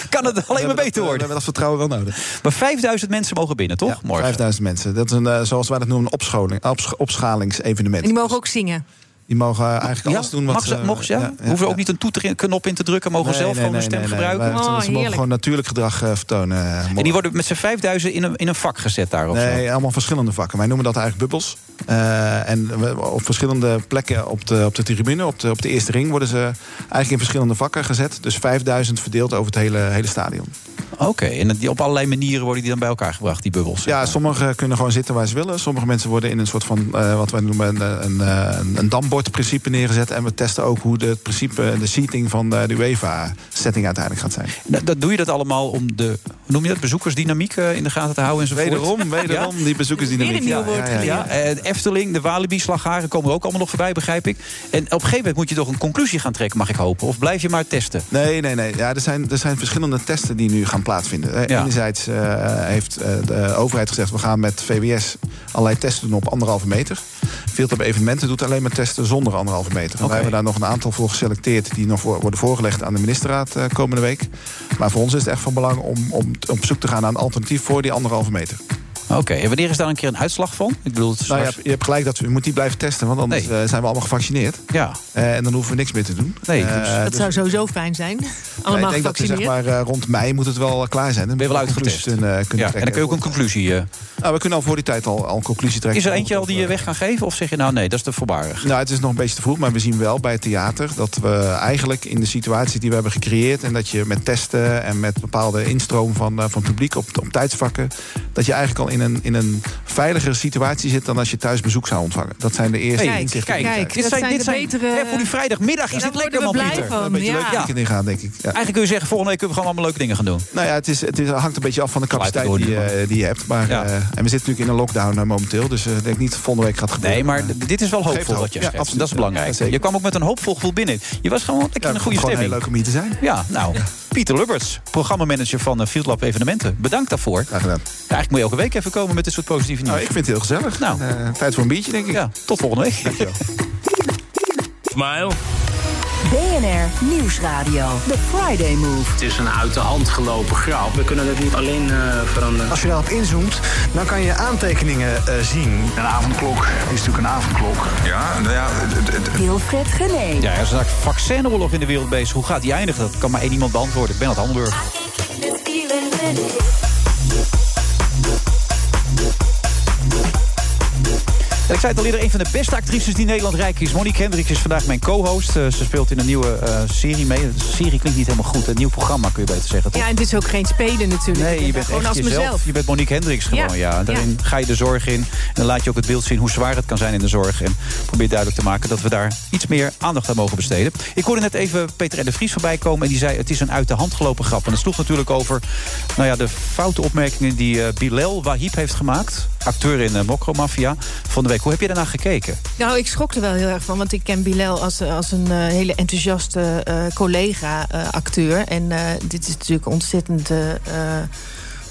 [SPEAKER 8] kan het alleen maar beter
[SPEAKER 10] We
[SPEAKER 8] worden.
[SPEAKER 10] hebben dat vertrouwen wel nodig.
[SPEAKER 8] Maar 5000 mensen mogen binnen, toch?
[SPEAKER 10] Ja,
[SPEAKER 8] morgen.
[SPEAKER 10] 5000 mensen. Dat is een, eh, zoals wij dat noemen, een opscholing, opsch- opschalingsevenement.
[SPEAKER 9] En die mogen ook zingen.
[SPEAKER 10] Die mogen eh, eigenlijk
[SPEAKER 8] Ja,
[SPEAKER 10] alles doen wat
[SPEAKER 8] mag ze,
[SPEAKER 10] eh,
[SPEAKER 8] mogen ze, ja? Hoeven ze ook niet een toeterknop in te drukken? Mogen ze
[SPEAKER 10] Nee,
[SPEAKER 8] zelf
[SPEAKER 10] nee,
[SPEAKER 8] gewoon hun
[SPEAKER 10] nee,
[SPEAKER 8] stem
[SPEAKER 10] nee, nee.
[SPEAKER 8] gebruiken?
[SPEAKER 10] Wij-
[SPEAKER 9] Oh,
[SPEAKER 10] ze mogen
[SPEAKER 9] heerlijk.
[SPEAKER 10] gewoon natuurlijk gedrag eh, vertonen. eh,
[SPEAKER 8] En
[SPEAKER 10] morgen.
[SPEAKER 8] die worden met z'n 5000 in een, in een vak gezet daar of zo?
[SPEAKER 10] Nee, allemaal verschillende vakken. Wij noemen dat eigenlijk bubbels. Eh, en we- op verschillende plekken op de, op de tribune, op de, op de eerste ring, worden ze eigenlijk in verschillende vakken gezet. Dus 5000 verdeeld over het hele, hele stadion.
[SPEAKER 8] Oké, en die, op allerlei manieren worden die dan bij elkaar gebracht, die bubbels?
[SPEAKER 10] Ja, sommigen kunnen gewoon zitten waar ze willen. Sommige mensen worden in een soort van, eh, wat wij noemen, een, een, eh, een, een dambordprincipe neergezet. En we testen ook hoe de, het principe, de seating van eh, de, de UEFA-setting uiteindelijk gaat zijn.
[SPEAKER 8] Nou, dat doe je dat allemaal om de, hoe noem je dat, bezoekersdynamiek eh, in de gaten te houden enzovoort?
[SPEAKER 10] Wederom, wederom die bezoekersdynamiek.
[SPEAKER 9] Weer een nieuw woord
[SPEAKER 8] Ja, ja, eh, de Efteling, de Walibi, Slagharen komen er ook allemaal nog voorbij, begrijp ik. En op een gegeven moment moet je toch een conclusie gaan trekken, mag ik hopen? Of blijf je maar testen?
[SPEAKER 10] Nee, nee, nee. Ja, er, zijn, er zijn verschillende testen die nu gaan plaatsvinden. Eh,
[SPEAKER 8] Ja.
[SPEAKER 10] Enerzijds eh, heeft eh, de overheid gezegd... we gaan met VWS allerlei testen doen op anderhalve meter. Filter bij evenementen doet alleen maar testen zonder anderhalve meter. En
[SPEAKER 8] Oké.
[SPEAKER 10] Wij hebben daar nog een aantal voor geselecteerd... die nog voor, worden voorgelegd aan de ministerraad eh, komende week. Maar voor ons is het echt van belang om, om t- op zoek te gaan... naar een alternatief voor die anderhalve meter.
[SPEAKER 8] Oké, en wanneer is daar een keer een uitslag van? Ik bedoel, het is
[SPEAKER 10] Nou, je,
[SPEAKER 8] hard-
[SPEAKER 10] hebt, je hebt gelijk dat we, je moet die blijven testen... want anders
[SPEAKER 8] Nee.
[SPEAKER 10] eh, zijn we allemaal gevaccineerd.
[SPEAKER 8] ja.
[SPEAKER 10] Eh, en dan hoeven we niks meer te doen.
[SPEAKER 8] Nee,
[SPEAKER 10] Eh,
[SPEAKER 8] dus- Dat
[SPEAKER 9] Dat
[SPEAKER 10] dus-
[SPEAKER 9] zou sowieso fijn zijn.
[SPEAKER 10] Ja,
[SPEAKER 9] Allemaal
[SPEAKER 10] ik denk dat ze
[SPEAKER 9] gevaccineerd.
[SPEAKER 10] zeg maar eh, rond mei moet het wel eh, klaar zijn. Dan
[SPEAKER 8] Ben je wel
[SPEAKER 10] moeten we
[SPEAKER 8] uitgetest?
[SPEAKER 10] conclusies kunnen, eh, kunnen
[SPEAKER 8] ja. En
[SPEAKER 10] trekken.
[SPEAKER 8] dan kun je ook een conclusie... eh,
[SPEAKER 10] Nou, we kunnen al voor die tijd al, al een conclusie trekken.
[SPEAKER 8] is er eentje al die je
[SPEAKER 10] Of, eh,
[SPEAKER 8] weg gaan geven? Of zeg je, nou nee, dat is te voorbarig?
[SPEAKER 10] Nou, het is nog een beetje te vroeg, maar we zien wel bij het theater... dat we eigenlijk in de situatie die we hebben gecreëerd... en dat je met testen en met bepaalde instroom van, eh, van publiek op, op tijdsvakken... dat je eigenlijk al in een, in een veiligere situatie zit... dan als je thuis bezoek zou ontvangen. Dat zijn de eerste
[SPEAKER 9] Kijk,
[SPEAKER 10] inzichten.
[SPEAKER 9] kijk,
[SPEAKER 8] dit
[SPEAKER 9] dat
[SPEAKER 8] zijn,
[SPEAKER 9] zijn
[SPEAKER 8] dit
[SPEAKER 9] de
[SPEAKER 8] zijn
[SPEAKER 9] betere-
[SPEAKER 8] hè, voor die vrijdagmiddag is
[SPEAKER 9] Daar
[SPEAKER 8] dit lekker, man,
[SPEAKER 9] worden we blij
[SPEAKER 8] Pieter.
[SPEAKER 9] van.
[SPEAKER 10] Een beetje
[SPEAKER 9] ja.
[SPEAKER 10] leuk weekend ingaan, denk ik. Ja.
[SPEAKER 8] Eigenlijk kun je zeggen, volgende week kunnen we gewoon allemaal leuke dingen gaan doen.
[SPEAKER 10] Nou ja, het, is, het is, hangt een beetje af van de
[SPEAKER 8] Glijdt
[SPEAKER 10] capaciteit
[SPEAKER 8] door
[SPEAKER 10] die,
[SPEAKER 8] nu,
[SPEAKER 10] eh, die je hebt. Maar,
[SPEAKER 8] Ja.
[SPEAKER 10] eh, en we zitten natuurlijk in een lockdown eh, momenteel. Dus eh, ik denk niet dat volgende week gaat gebeuren.
[SPEAKER 8] Nee, maar d- dit is wel
[SPEAKER 10] Geeft
[SPEAKER 8] hoopvol
[SPEAKER 10] hoop.
[SPEAKER 8] wat je
[SPEAKER 10] Ja,
[SPEAKER 8] schrijft.
[SPEAKER 10] absoluut.
[SPEAKER 8] dat is
[SPEAKER 10] Ja,
[SPEAKER 8] belangrijk.
[SPEAKER 10] zeker.
[SPEAKER 8] je kwam ook met een hoopvol gevoel binnen. Je was gewoon lekker
[SPEAKER 10] Ja,
[SPEAKER 8] in een goede
[SPEAKER 10] gewoon
[SPEAKER 8] stemming.
[SPEAKER 10] heel leuk om hier te zijn.
[SPEAKER 8] Ja, nou, Pieter Lubberts, programmamanager van eh, Field Lab Evenementen. Bedankt daarvoor.
[SPEAKER 10] Graag gedaan.
[SPEAKER 8] Ja, eigenlijk moet je elke week even komen met dit soort positieve nieuws.
[SPEAKER 10] Nou, ik vind het heel gezellig.
[SPEAKER 8] Nou.
[SPEAKER 10] Eh, tijd voor een biertje, denk ik.
[SPEAKER 8] Ja, tot volgende week.
[SPEAKER 11] Smile.
[SPEAKER 3] BNR Nieuwsradio. The Friday Move.
[SPEAKER 11] Het is een uit de hand gelopen grap. We kunnen dat niet alleen eh, veranderen.
[SPEAKER 12] Als je daarop inzoomt, dan kan je aantekeningen eh, zien.
[SPEAKER 6] Een avondklok is natuurlijk een avondklok.
[SPEAKER 4] Ja, nou ja, het- het-
[SPEAKER 3] Wilfred Genee.
[SPEAKER 8] Ja, er is een vaccinoorlog in de wereld bezig. Hoe gaat die eindigen? Dat kan maar één iemand beantwoorden. Ik ben uit Hamburg. En ik zei het al eerder, een van de beste actrices die Nederland rijk is. Monique Hendricks is vandaag mijn co-host. Eh, ze speelt in een nieuwe eh, serie mee. De serie klinkt niet helemaal goed. Een nieuw programma kun je beter zeggen, toch?
[SPEAKER 9] Ja, en het is ook geen spelen natuurlijk.
[SPEAKER 8] Nee, je
[SPEAKER 9] Ik ben
[SPEAKER 8] bent
[SPEAKER 9] gewoon
[SPEAKER 8] echt
[SPEAKER 9] als
[SPEAKER 8] jezelf.
[SPEAKER 9] mezelf.
[SPEAKER 8] Je bent Monique Hendricks gewoon, ja.
[SPEAKER 9] Ja,
[SPEAKER 8] En daarin ga je de zorg in. En dan laat je ook het beeld zien hoe zwaar het kan zijn in de zorg. En probeer duidelijk te maken dat we daar iets meer aandacht aan mogen besteden. Ik hoorde net even Peter R. de Vries voorbij komen. En die zei, het is een uit de hand gelopen grap. En dat sloeg natuurlijk over nou ja, de foute opmerkingen die eh, Bilal Wahib heeft gemaakt. Acteur in eh, Mokro Mafia van de week. Hoe heb je daarna gekeken?
[SPEAKER 9] Nou, ik schrok er wel heel erg van. Want ik ken Bilal als, als een eh, hele enthousiaste collega-acteur. en eh, dit is natuurlijk ontzettend... eh, eh,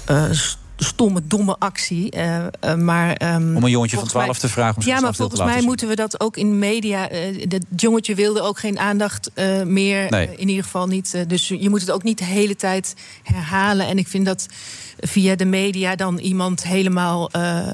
[SPEAKER 9] eh, s- stomme, domme actie. Uh, uh, maar,
[SPEAKER 8] um, om een jongetje van 12 mij, te vragen om
[SPEAKER 9] Ja, maar volgens mij moeten we dat ook in media. Uh, dat jongetje wilde ook geen aandacht eh, meer. Nee. in ieder geval niet. dus je moet het ook niet de hele tijd herhalen. En ik vind dat via de media dan iemand helemaal eh,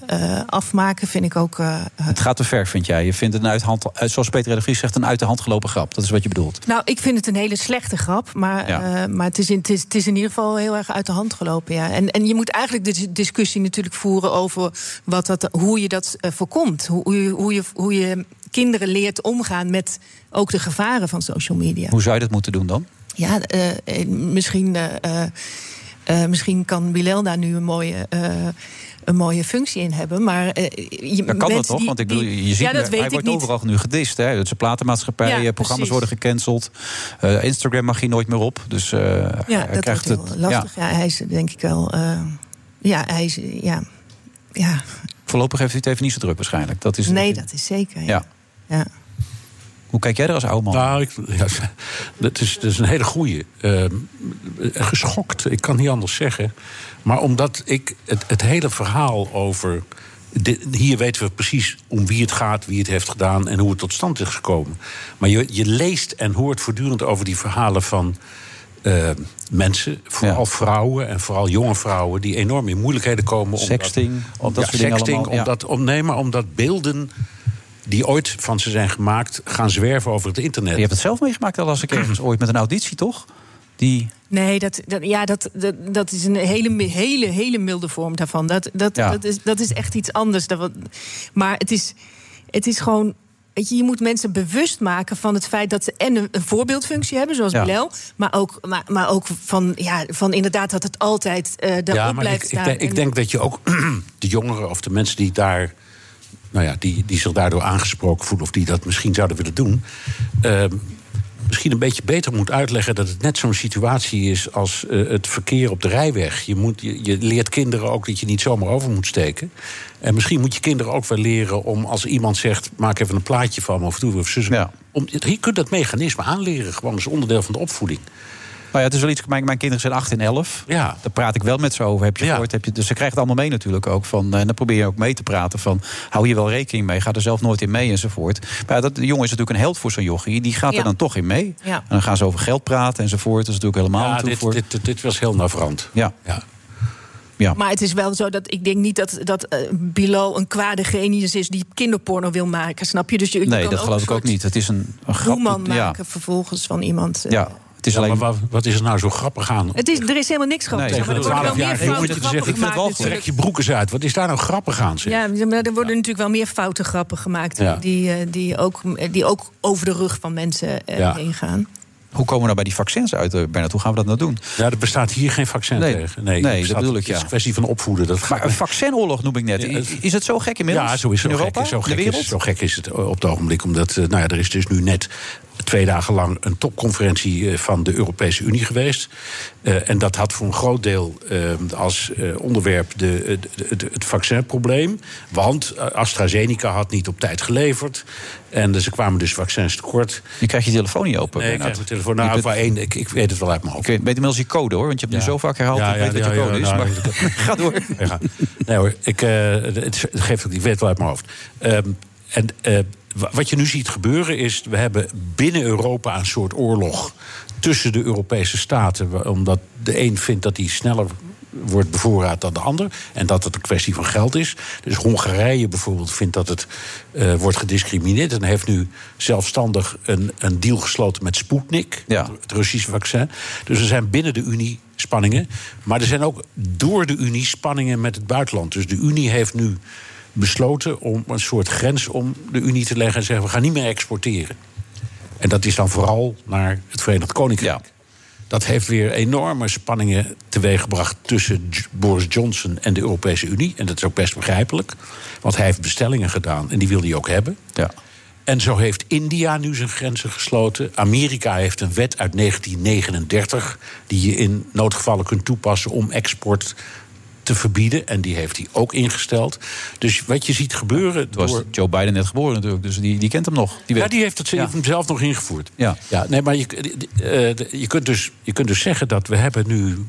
[SPEAKER 9] afmaken, vind ik ook. eh,
[SPEAKER 8] het gaat te ver, vind jij. Je vindt een uit de hand, eh, zoals Peter de Vries zegt, een uit de hand gelopen grap. Dat is wat je bedoelt.
[SPEAKER 9] Nou, ik vind het een hele slechte grap. Maar, ja. maar het, is in, het, is, het is in ieder geval heel erg uit de hand gelopen. Ja. En, en je moet eigenlijk de discussie natuurlijk voeren over wat dat, hoe je dat eh, voorkomt. Hoe, je, hoe, je, hoe je kinderen leert omgaan met ook de gevaren van social media.
[SPEAKER 8] Hoe zou je dat moeten doen dan?
[SPEAKER 9] Ja, uh, misschien, uh, uh, misschien kan Bilel daar nu een mooie eh, een mooie functie in hebben. Maar uh,
[SPEAKER 8] je, dat kan dat toch? Die, want ik bedoel, je ziet, ja, dat hij wordt niet. overal nu gedist. Hè? Dat zijn platenmaatschappijen, ja, programma's precies. worden gecanceld. Uh, Instagram mag hier nooit meer op. Dus uh,
[SPEAKER 9] ja,
[SPEAKER 8] hij krijgt
[SPEAKER 9] het lastig. Ja. ja. hij is denk ik wel. eh, ja, hij is. Ja. Ja.
[SPEAKER 8] Voorlopig heeft hij het even niet zo druk waarschijnlijk. Dat is
[SPEAKER 9] nee, dat is zeker. ja. ja.
[SPEAKER 8] Hoe kijk jij er als oude man?
[SPEAKER 13] Nou, ik, ja, dat, is, dat is een hele goeie. Uh, geschokt, ik kan niet anders zeggen. Maar omdat ik het, het hele verhaal over. Dit, hier weten we precies om wie het gaat, wie het heeft gedaan en hoe het tot stand is gekomen. Maar je, je leest en hoort voortdurend over die verhalen van. Uh, mensen, vooral ja. vrouwen en vooral jonge vrouwen, die enorm in moeilijkheden komen.
[SPEAKER 8] Sexting,
[SPEAKER 13] omdat, om dat ja, sexting, allemaal, omdat, om, nee, maar omdat beelden die ooit van ze zijn gemaakt, gaan zwerven over het internet.
[SPEAKER 8] Je hebt het zelf meegemaakt al als ik ergens ooit met een auditie, toch? Die...
[SPEAKER 9] Nee, dat, dat ja, dat, dat, dat, is een hele, hele, hele milde vorm daarvan. Dat, dat, ja. dat, is, dat is echt iets anders. Dat, maar het is, het is gewoon Weet je, je, moet mensen bewust maken van het feit dat ze en een, voorbeeldfunctie hebben, zoals ja. Bilel, maar ook, maar, maar ook van, ja, van inderdaad dat het altijd uh, daarop ja, blijft
[SPEAKER 13] ik,
[SPEAKER 9] staan.
[SPEAKER 13] Ik denk, en... ik denk dat je ook de jongeren of de mensen die daar nou ja, die, die zich daardoor aangesproken voelen of die dat misschien zouden willen doen. Uh, misschien een beetje beter moet uitleggen dat het net zo'n situatie is als uh, het verkeer op de rijweg. Je, moet, je, je, leert kinderen ook dat je niet zomaar over moet steken. En misschien moet je kinderen ook wel leren om als iemand zegt: maak even een plaatje van me of doe of zus. Ja. Om, je kunt dat mechanisme aanleren, gewoon als onderdeel van de opvoeding.
[SPEAKER 8] Nou ja, het is wel iets. Mijn, mijn kinderen zijn 8 en 11. Ja. Daar praat ik wel met ze over. Heb je gehoord? Ja. Heb je, dus ze krijgen het allemaal mee natuurlijk ook. Van, eh, en dan probeer je ook mee te praten van. Hou je wel rekening mee. Ga er zelf nooit in mee enzovoort. Maar dat, de jongen is natuurlijk een held voor zo'n jochie. Die gaat ja. er dan toch in mee. Ja. En dan gaan ze over geld praten enzovoort. Dat is natuurlijk helemaal
[SPEAKER 13] ja, dit,
[SPEAKER 8] voor.
[SPEAKER 13] Dit, dit, dit, was heel navrant.
[SPEAKER 8] Ja. ja. Ja.
[SPEAKER 9] Maar het is wel zo dat ik denk niet dat, dat uh, Bilo een kwade genius is die kinderporno wil maken, snap je? Dus je, je
[SPEAKER 8] nee,
[SPEAKER 9] kan
[SPEAKER 8] dat
[SPEAKER 9] ook
[SPEAKER 8] geloof ik ook niet. Het is een, een grap.
[SPEAKER 9] maken vervolgens van iemand.
[SPEAKER 8] Uh, ja, het is
[SPEAKER 13] ja, alleen... maar wat, is er nou zo grappig aan?
[SPEAKER 9] Het is, er is helemaal niks grappig nee,
[SPEAKER 13] Tegen de 12 jaar jongetje te zeggen, ik vind wel trek je broek eens uit. Wat is daar nou grappig aan? Zeg?
[SPEAKER 9] Ja, maar er worden ja. natuurlijk wel meer foute grappen gemaakt... Ja. Die, eh, die, ook, die ook over de rug van mensen ja. heen gaan.
[SPEAKER 8] Hoe komen we nou bij die vaccins uit, Bernard? Hoe gaan we dat nou doen?
[SPEAKER 13] Ja, er bestaat hier geen vaccin
[SPEAKER 8] nee.
[SPEAKER 13] tegen.
[SPEAKER 8] Nee, nee dat bedoel ik,
[SPEAKER 13] Het is een kwestie van opvoeden. Dat
[SPEAKER 8] maar een vaccinoorlog noem ik net. Is het zo gek inmiddels?
[SPEAKER 13] Ja, zo is het.
[SPEAKER 8] In
[SPEAKER 13] zo
[SPEAKER 8] Europa?
[SPEAKER 13] Gek, zo,
[SPEAKER 8] gek
[SPEAKER 13] is, zo gek is het eh, op het ogenblik. Omdat, nou ja, er is dus nu net twee dagen lang een topconferentie eh, van de Europese Unie geweest. Uh, en dat had voor een groot deel uh, als uh, onderwerp de, de, de, het vaccinprobleem. Want eh, AstraZeneca had niet op tijd geleverd. En ze kwamen dus vaccins tekort.
[SPEAKER 8] Je krijgt je telefoon niet open.
[SPEAKER 13] Nee, ik krijg mijn telefoon. Nou, bent... één, ik, ik, weet het wel uit mijn hoofd.
[SPEAKER 8] Ik weet, weet inmiddels je code hoor, want je hebt ja. nu zo vaak herhaald. Ja, ja, ik weet wat je code is. maar... Nou, ga door.
[SPEAKER 13] Nee hoor, ik, eh, het geeft, ik weet het wel uit mijn hoofd. Um, en wat je nu ziet gebeuren is, we hebben binnen Europa een soort oorlog tussen de Europese staten. Omdat de een vindt dat die sneller wordt bevoorraad dan de ander. En dat het een kwestie van geld is. Dus Hongarije bijvoorbeeld vindt dat het uh, wordt gediscrimineerd. En heeft nu zelfstandig een, een deal gesloten met Sputnik, ja. het Russische vaccin. Dus er zijn binnen de Unie spanningen. Maar er zijn ook door de Unie spanningen met het buitenland. Dus de Unie heeft nu besloten om een soort grens om de Unie te leggen en zeggen: we gaan niet meer exporteren. En dat is dan vooral naar het Verenigd Koninkrijk. Ja. Dat heeft weer enorme spanningen teweeggebracht tussen Boris Johnson en de Europese Unie. En dat is ook best begrijpelijk, want hij heeft bestellingen gedaan en die wil hij ook hebben.
[SPEAKER 8] Ja.
[SPEAKER 13] En zo heeft India nu zijn grenzen gesloten. Amerika heeft een wet uit 1939 die je in noodgevallen kunt toepassen om export te verbieden. En die heeft hij ook ingesteld. Dus wat je ziet gebeuren.
[SPEAKER 8] Het was door... Joe Biden net geboren natuurlijk, dus die, die kent hem nog.
[SPEAKER 13] Die ja, die heeft het ja. zelf nog ingevoerd.
[SPEAKER 8] Ja.
[SPEAKER 13] ja nee, maar je, eh, je, kunt dus, je kunt dus zeggen dat we hebben nu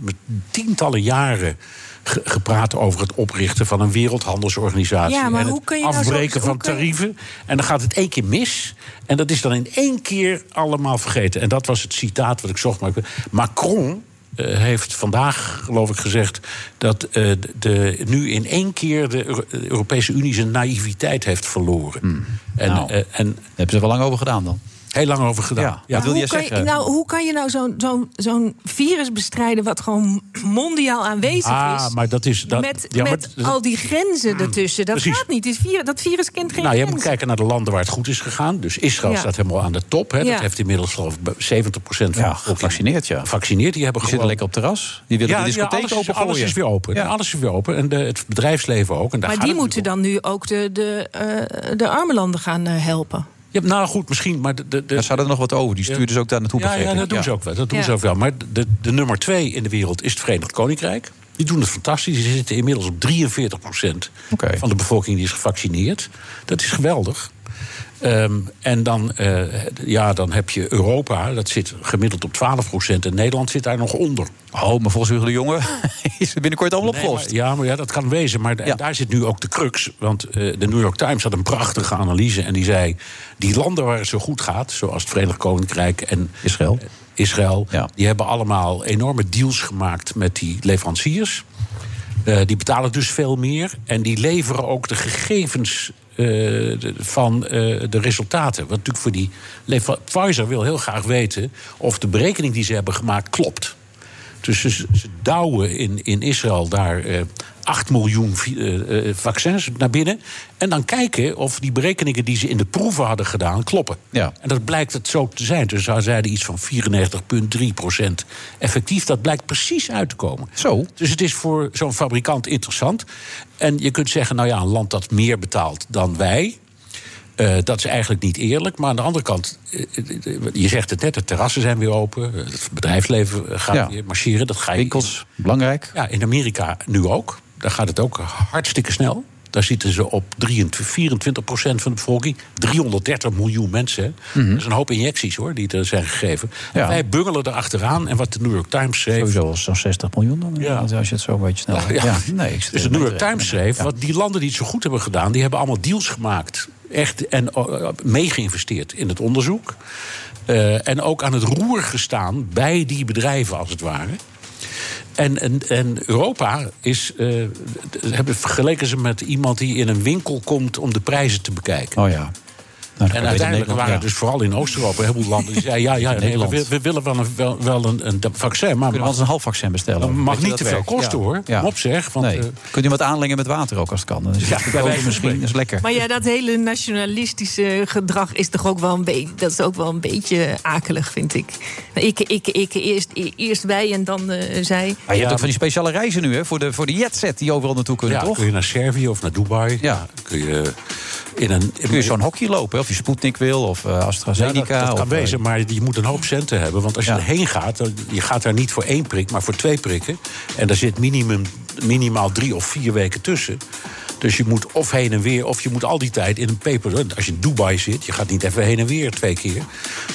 [SPEAKER 13] tientallen jaren ge- gepraat over het oprichten van een wereldhandelsorganisatie.
[SPEAKER 9] Ja, maar
[SPEAKER 13] en
[SPEAKER 9] hoe
[SPEAKER 13] het
[SPEAKER 9] kun je nou
[SPEAKER 13] afbreken
[SPEAKER 9] zo- hoe
[SPEAKER 13] van
[SPEAKER 9] kun je-
[SPEAKER 13] tarieven. En dan gaat het één keer mis. En dat is dan in één keer allemaal vergeten. En dat was het citaat wat ik zocht. Maar ik- Macron. eh, heeft vandaag, geloof ik, gezegd dat eh, de, de- nu in één keer de, Euro- de Europese Unie zijn naïviteit heeft verloren. En, eh, en, hebben ze wel lang over gedaan dan? Heel lang over gedaan. Ja,
[SPEAKER 9] Maar hoe, kan je, nou, hoe kan je nou zo'n zo'n zo'n virus bestrijden wat gewoon mondiaal aanwezig
[SPEAKER 13] Ah,
[SPEAKER 9] is?
[SPEAKER 13] maar dat is. Dat,
[SPEAKER 9] met
[SPEAKER 13] ja, maar
[SPEAKER 9] met
[SPEAKER 13] dat-
[SPEAKER 9] al die grenzen ertussen. Dat
[SPEAKER 13] Precies.
[SPEAKER 9] gaat niet. Dit virus, dat virus kent geen
[SPEAKER 13] Nou, je moet
[SPEAKER 9] grenzen.
[SPEAKER 13] kijken naar de landen waar het goed is gegaan. Dus Israël
[SPEAKER 9] Ja.
[SPEAKER 13] staat helemaal aan de top. Hè.
[SPEAKER 9] Ja.
[SPEAKER 13] Dat heeft inmiddels geloof ik 70 van ja, gevaccineerd. Ja. Gevaccineerd, die hebben
[SPEAKER 8] Die zitten
[SPEAKER 13] gewoon...
[SPEAKER 8] lekker op het terras. Die willen
[SPEAKER 13] ja,
[SPEAKER 8] de discotheek
[SPEAKER 13] ja, alles, is-
[SPEAKER 8] opengooien.
[SPEAKER 13] alles is weer open.
[SPEAKER 8] Ja.
[SPEAKER 13] Alles is weer open. En de, het bedrijfsleven ook. En daar
[SPEAKER 9] maar
[SPEAKER 13] gaat
[SPEAKER 9] die
[SPEAKER 13] het
[SPEAKER 9] moeten dan nu ook de, de, eh, de arme landen gaan eh, helpen.
[SPEAKER 13] Ja, nou goed, misschien, maar... De, de,
[SPEAKER 8] ze hadden er nog wat over. Die stuurden ze ook daar naartoe,
[SPEAKER 13] Ja,
[SPEAKER 8] begreep
[SPEAKER 13] ja
[SPEAKER 8] ik.
[SPEAKER 13] dat doen
[SPEAKER 8] Ja.
[SPEAKER 13] ze ook wel. Dat doen
[SPEAKER 9] Ja.
[SPEAKER 13] ze ook wel. Maar de, de nummer twee in de wereld is het Verenigd Koninkrijk. Die doen het fantastisch. Die zitten inmiddels op 43 van de bevolking die is gevaccineerd. Dat is geweldig. Ehm, en dan, eh, ja, dan heb je Europa, dat zit gemiddeld op 12 En Nederland zit daar nog onder. Oh, maar volgens de Jonge is het binnenkort allemaal
[SPEAKER 8] opgelost.
[SPEAKER 13] ja, maar ja, dat kan wezen. Maar en daar zit nu ook de crux. Want eh, de New York Times had een prachtige analyse. En die zei, die landen waar het zo goed gaat... zoals het Verenigd Koninkrijk en Israël... Israël Die hebben allemaal enorme deals gemaakt met die leveranciers. Eh, die betalen dus veel meer. En die leveren ook de gegevens eh, de- van eh, de resultaten. Wat natuurlijk voor die. lever- Pfizer wil heel graag weten of de berekening die ze hebben gemaakt klopt. Dus ze, ze douwen in, in Israël daar eh 8 miljoen vi- eh, eh, vaccins naar binnen. En dan kijken of die berekeningen die ze in de proeven hadden gedaan kloppen.
[SPEAKER 8] Ja.
[SPEAKER 13] En dat blijkt het zo te zijn. Dus zij zeiden iets van 94,3% effectief. Dat blijkt precies uit te komen. Zo. Dus het is voor zo'n fabrikant interessant. En je kunt zeggen, nou ja, een land dat meer betaalt dan wij... eh, dat is eigenlijk niet eerlijk. Maar aan de andere kant, eh, eh, je zegt het net, de terrassen zijn weer open. Het bedrijfsleven gaat
[SPEAKER 8] Ja.
[SPEAKER 13] weer marcheren. Dat ga je Winkels,
[SPEAKER 8] belangrijk.
[SPEAKER 13] Ja, in Amerika nu ook. Daar gaat het ook hartstikke snel. Daar zitten ze op 23, 24 procent van de bevolking. 330 miljoen mensen. hè.
[SPEAKER 8] Mhm.
[SPEAKER 13] Dat is een hoop injecties hoor, die er zijn gegeven. En wij bungelen erachteraan. En wat de New York Times schreef...
[SPEAKER 8] Sowieso al zo'n 60 miljoen dan. Als je het zo een beetje snel...
[SPEAKER 13] Ja.
[SPEAKER 8] nee, ik zit
[SPEAKER 13] dus de
[SPEAKER 8] er eh,
[SPEAKER 13] New
[SPEAKER 8] mee
[SPEAKER 13] York
[SPEAKER 8] te
[SPEAKER 13] Times schreef, wat die landen die het zo goed hebben gedaan, die hebben allemaal deals gemaakt. Echt en eh, mee geïnvesteerd in het onderzoek. Eh, en ook aan het roer gestaan bij die bedrijven, als het ware. En, en, en Europa is. eh, d- hebben vergeleken ze met iemand die in een winkel komt om de prijzen te bekijken.
[SPEAKER 8] Oh ja.
[SPEAKER 13] en uiteindelijk
[SPEAKER 8] Nederland,
[SPEAKER 13] waren
[SPEAKER 8] ja.
[SPEAKER 13] dus vooral in Oost-Europa een heleboel landen die zeiden: ja, ja,
[SPEAKER 8] Nederland.
[SPEAKER 13] we, we willen wel een, wel, wel een, een vaccin. Maar
[SPEAKER 8] Kunnen we
[SPEAKER 13] mag-
[SPEAKER 8] anders een half vaccin
[SPEAKER 13] dat
[SPEAKER 8] bestellen?
[SPEAKER 13] mag
[SPEAKER 8] Weet je
[SPEAKER 13] niet te
[SPEAKER 8] dat
[SPEAKER 13] veel
[SPEAKER 8] werkt?
[SPEAKER 13] kosten
[SPEAKER 8] Ja.
[SPEAKER 13] hoor.
[SPEAKER 8] Ja.
[SPEAKER 13] Kom op zeg. Want,
[SPEAKER 8] nee.
[SPEAKER 13] eh,
[SPEAKER 8] Kun je wat aanlengen met water ook als het kan? Dan is het
[SPEAKER 13] bij wijze
[SPEAKER 8] goedkoper
[SPEAKER 13] van
[SPEAKER 8] misschien. Dat is lekker.
[SPEAKER 9] Maar ja, dat hele nationalistische gedrag is toch ook wel een beetje. Dat is ook wel een beetje akelig, vind ik. Ik, ik, ik, eerst, eerst wij en dan eh, zij.
[SPEAKER 8] Maar je hebt ook van die speciale reizen nu, hè? Voor de, voor de jetset die overal naartoe kunnen,
[SPEAKER 13] ja,
[SPEAKER 8] toch?
[SPEAKER 13] kun je naar Servië of naar Dubai. Ja. Kun je in een...
[SPEAKER 8] Kun je zo'n hokje lopen, hè? of je Sputnik wil, of eh,
[SPEAKER 13] Ja,
[SPEAKER 8] AstraZeneca.
[SPEAKER 13] dat, dat
[SPEAKER 8] of,
[SPEAKER 13] kan
[SPEAKER 8] eh,
[SPEAKER 13] wezen, maar je moet een hoop centen hebben. Want als je erheen gaat, dan, je gaat daar niet voor één prik, maar voor twee prikken. En daar zit minimum, minimaal drie of vier weken tussen. Dus je moet of heen en weer, of je moet al die tijd in een peper... Als je in Dubai zit, je gaat niet even heen en weer twee keer.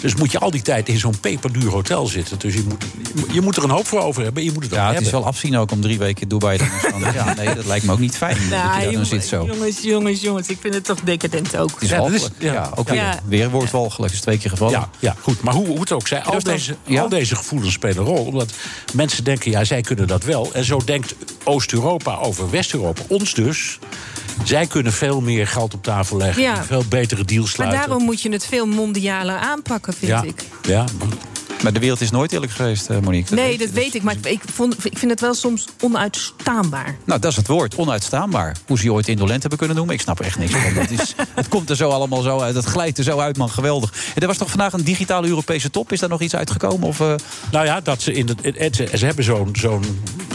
[SPEAKER 13] Dus moet je al die tijd in zo'n peperduur hotel zitten. Dus je moet, je moet er een hoop voor over hebben. en Je moet het ook
[SPEAKER 8] ja, het is
[SPEAKER 13] hebben.
[SPEAKER 8] wel afzien ook om drie weken in Dubai te gaan. ja, nee, dat lijkt me ook niet fijn. dat Nou, je daar dan
[SPEAKER 9] jongens,
[SPEAKER 8] zit zo.
[SPEAKER 9] Nou, jongens, jongens, jongens. Ik vind het toch decadent ook.
[SPEAKER 8] Het is walgelijk. ja, ook weer.
[SPEAKER 9] Ja.
[SPEAKER 8] Weer wordt walgelijk. Is twee keer gevallen.
[SPEAKER 13] Ja, ja, goed. Maar hoe, hoe het ook zij, al
[SPEAKER 8] dat dan?
[SPEAKER 13] deze,
[SPEAKER 8] Ja?
[SPEAKER 13] al deze gevoelens spelen een rol. Omdat mensen denken, ja, zij kunnen dat wel. En zo denkt Oost-Europa over West-Europa. Ons dus. Zij kunnen veel meer geld op tafel leggen.
[SPEAKER 9] Ja.
[SPEAKER 13] en Veel betere deals
[SPEAKER 9] Maar
[SPEAKER 13] sluiten.
[SPEAKER 9] daarom moet je het veel mondialer aanpakken, vind
[SPEAKER 8] Ja.
[SPEAKER 9] ik.
[SPEAKER 13] Ja.
[SPEAKER 8] Maar de wereld is nooit eerlijk geweest, eh, Monique.
[SPEAKER 9] Nee, dat weet ik. Maar ik- ik, vond, ik vind het wel soms onuitstaanbaar.
[SPEAKER 8] Nou, dat is het woord. Onuitstaanbaar. Hoe ze je ooit indolent hebben kunnen noemen, ik snap er echt niks van. Dat is, het komt er zo allemaal zo uit. Het glijdt er zo uit, man. Geweldig. En er was toch vandaag een digitale Europese top? Is daar nog iets uitgekomen? Of, eh,
[SPEAKER 13] Nou ja, dat ze, in de, het- ze- ze hebben zo'n zo'n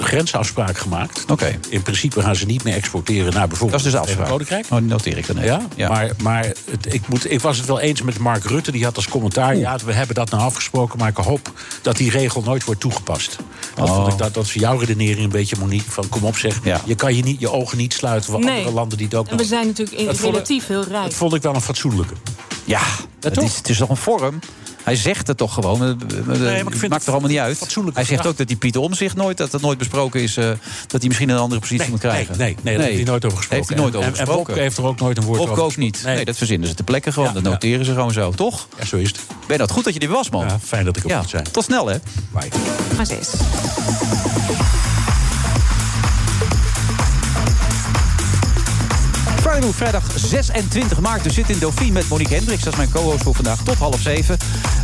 [SPEAKER 13] grensafspraak gemaakt. In principe gaan ze niet meer exporteren naar bijvoorbeeld
[SPEAKER 8] Dat is dus de
[SPEAKER 13] het Verenigd
[SPEAKER 8] afspraak.
[SPEAKER 13] Koninkrijk.
[SPEAKER 8] Oh, die noteer ik dan even.
[SPEAKER 13] Ja, maar, maar het- ik, moet, ik was het wel eens met Mark Rutte. Die had als commentaar, ja, we hebben dat nou afgesproken... maar ik hoop dat die regel nooit wordt toegepast. Dat,
[SPEAKER 8] Oh.
[SPEAKER 13] vond ik, dat, dat is jouw redenering een beetje, Monique. Van kom op zeg, je kan je, niet, je ogen niet sluiten... voor
[SPEAKER 9] Nee.
[SPEAKER 13] andere landen die het ook
[SPEAKER 9] En we
[SPEAKER 13] nog-
[SPEAKER 9] zijn natuurlijk in-
[SPEAKER 13] Dat vond ik-
[SPEAKER 9] relatief heel rijk.
[SPEAKER 13] Dat vond ik wel een fatsoenlijke.
[SPEAKER 8] Ja, het is, het is toch een vorm. Hij zegt het toch gewoon. Het maakt er allemaal niet uit. Hij zegt ook dat die Pieter Omzicht nooit, dat dat nooit besproken is, eh, dat hij misschien een andere positie moet krijgen.
[SPEAKER 13] Nee, nee, nee, daar heeft hij nooit over gesproken.
[SPEAKER 8] Heeft hij nooit
[SPEAKER 13] En-
[SPEAKER 8] over
[SPEAKER 13] en- en Wopke
[SPEAKER 8] gesproken.
[SPEAKER 13] heeft er ook nooit een woord
[SPEAKER 8] Wopke
[SPEAKER 13] over
[SPEAKER 8] ook niet. Nee. dat verzinnen ze ter plekke gewoon. dat noteren ze gewoon zo, toch?
[SPEAKER 13] Ja, zo is het.
[SPEAKER 8] Ben dat goed dat je er was, man.
[SPEAKER 13] fijn dat ik er
[SPEAKER 8] ja.
[SPEAKER 13] zijn.
[SPEAKER 8] Tot snel, hè?
[SPEAKER 1] Maar ze is.
[SPEAKER 8] Friday Move, vrijdag 26 maart. Dus zit in Dauphine met Monique Hendricks. Dat is mijn co-host voor vandaag tot half zeven.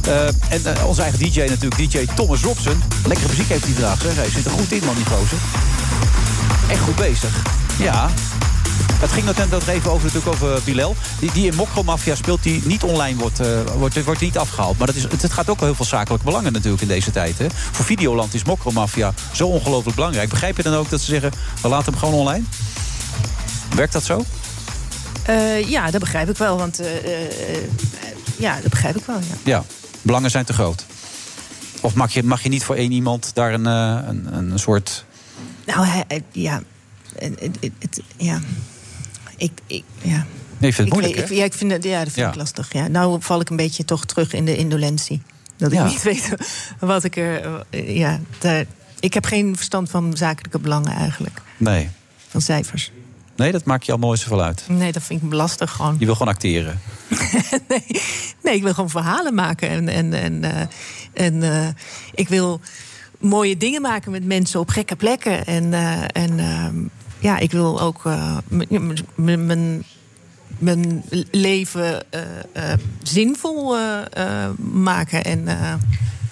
[SPEAKER 8] Eh, en eh, onze eigen DJ natuurlijk, DJ Thomas Robson. Lekkere muziek heeft hij vandaag, zeg. Hij zit er goed in, man, die gozer. Echt goed bezig. Ja. Het ging net dat even over, natuurlijk over Bilal. Die, die in Mokro Mafia speelt, die niet online wordt, eh, wordt, wordt niet afgehaald. Maar dat is, het, het gaat ook heel veel zakelijke belangen natuurlijk in deze tijd. Hè. Voor Videoland is Mokro Mafia zo ongelooflijk belangrijk. Begrijp je dan ook dat ze zeggen, we laten hem gewoon online? Werkt dat zo?
[SPEAKER 9] Eh, ja, dat begrijp ik wel. Want eh, eh, eh, ja, dat begrijp ik wel. Ja.
[SPEAKER 8] Ja, belangen zijn te groot. Of mag je, mag je niet voor één iemand daar een, eh, een, een soort...
[SPEAKER 9] Nou, hij, hij- ja. Het, het- het- het- ja. Ik, ik, ja.
[SPEAKER 8] Nee, ik vind het
[SPEAKER 9] Ik
[SPEAKER 8] moeilijk,
[SPEAKER 9] weet-
[SPEAKER 8] hè?
[SPEAKER 9] ik- ja, ik vind het, ja, dat vind
[SPEAKER 8] Ja.
[SPEAKER 9] ik lastig. Ja. Nou val ik een beetje toch terug in de indolentie. Dat
[SPEAKER 8] Ja.
[SPEAKER 9] ik niet weet wat ik er... eh, Ja, daar- ik heb geen verstand van zakelijke belangen eigenlijk.
[SPEAKER 8] Nee.
[SPEAKER 9] Van cijfers.
[SPEAKER 8] nee, dat maakt je al mooi zoveel uit.
[SPEAKER 9] Nee, dat vind ik lastig gewoon.
[SPEAKER 8] Je wil gewoon acteren.
[SPEAKER 9] Nee, ik wil gewoon verhalen maken. En, en, en, eh, en eh, ik wil mooie dingen maken met mensen op gekke plekken. En, eh, en ehm, ja, ik wil ook eh, m- m- m- mijn- mijn leven eh, eh, zinvol eh, eh, maken. En, eh,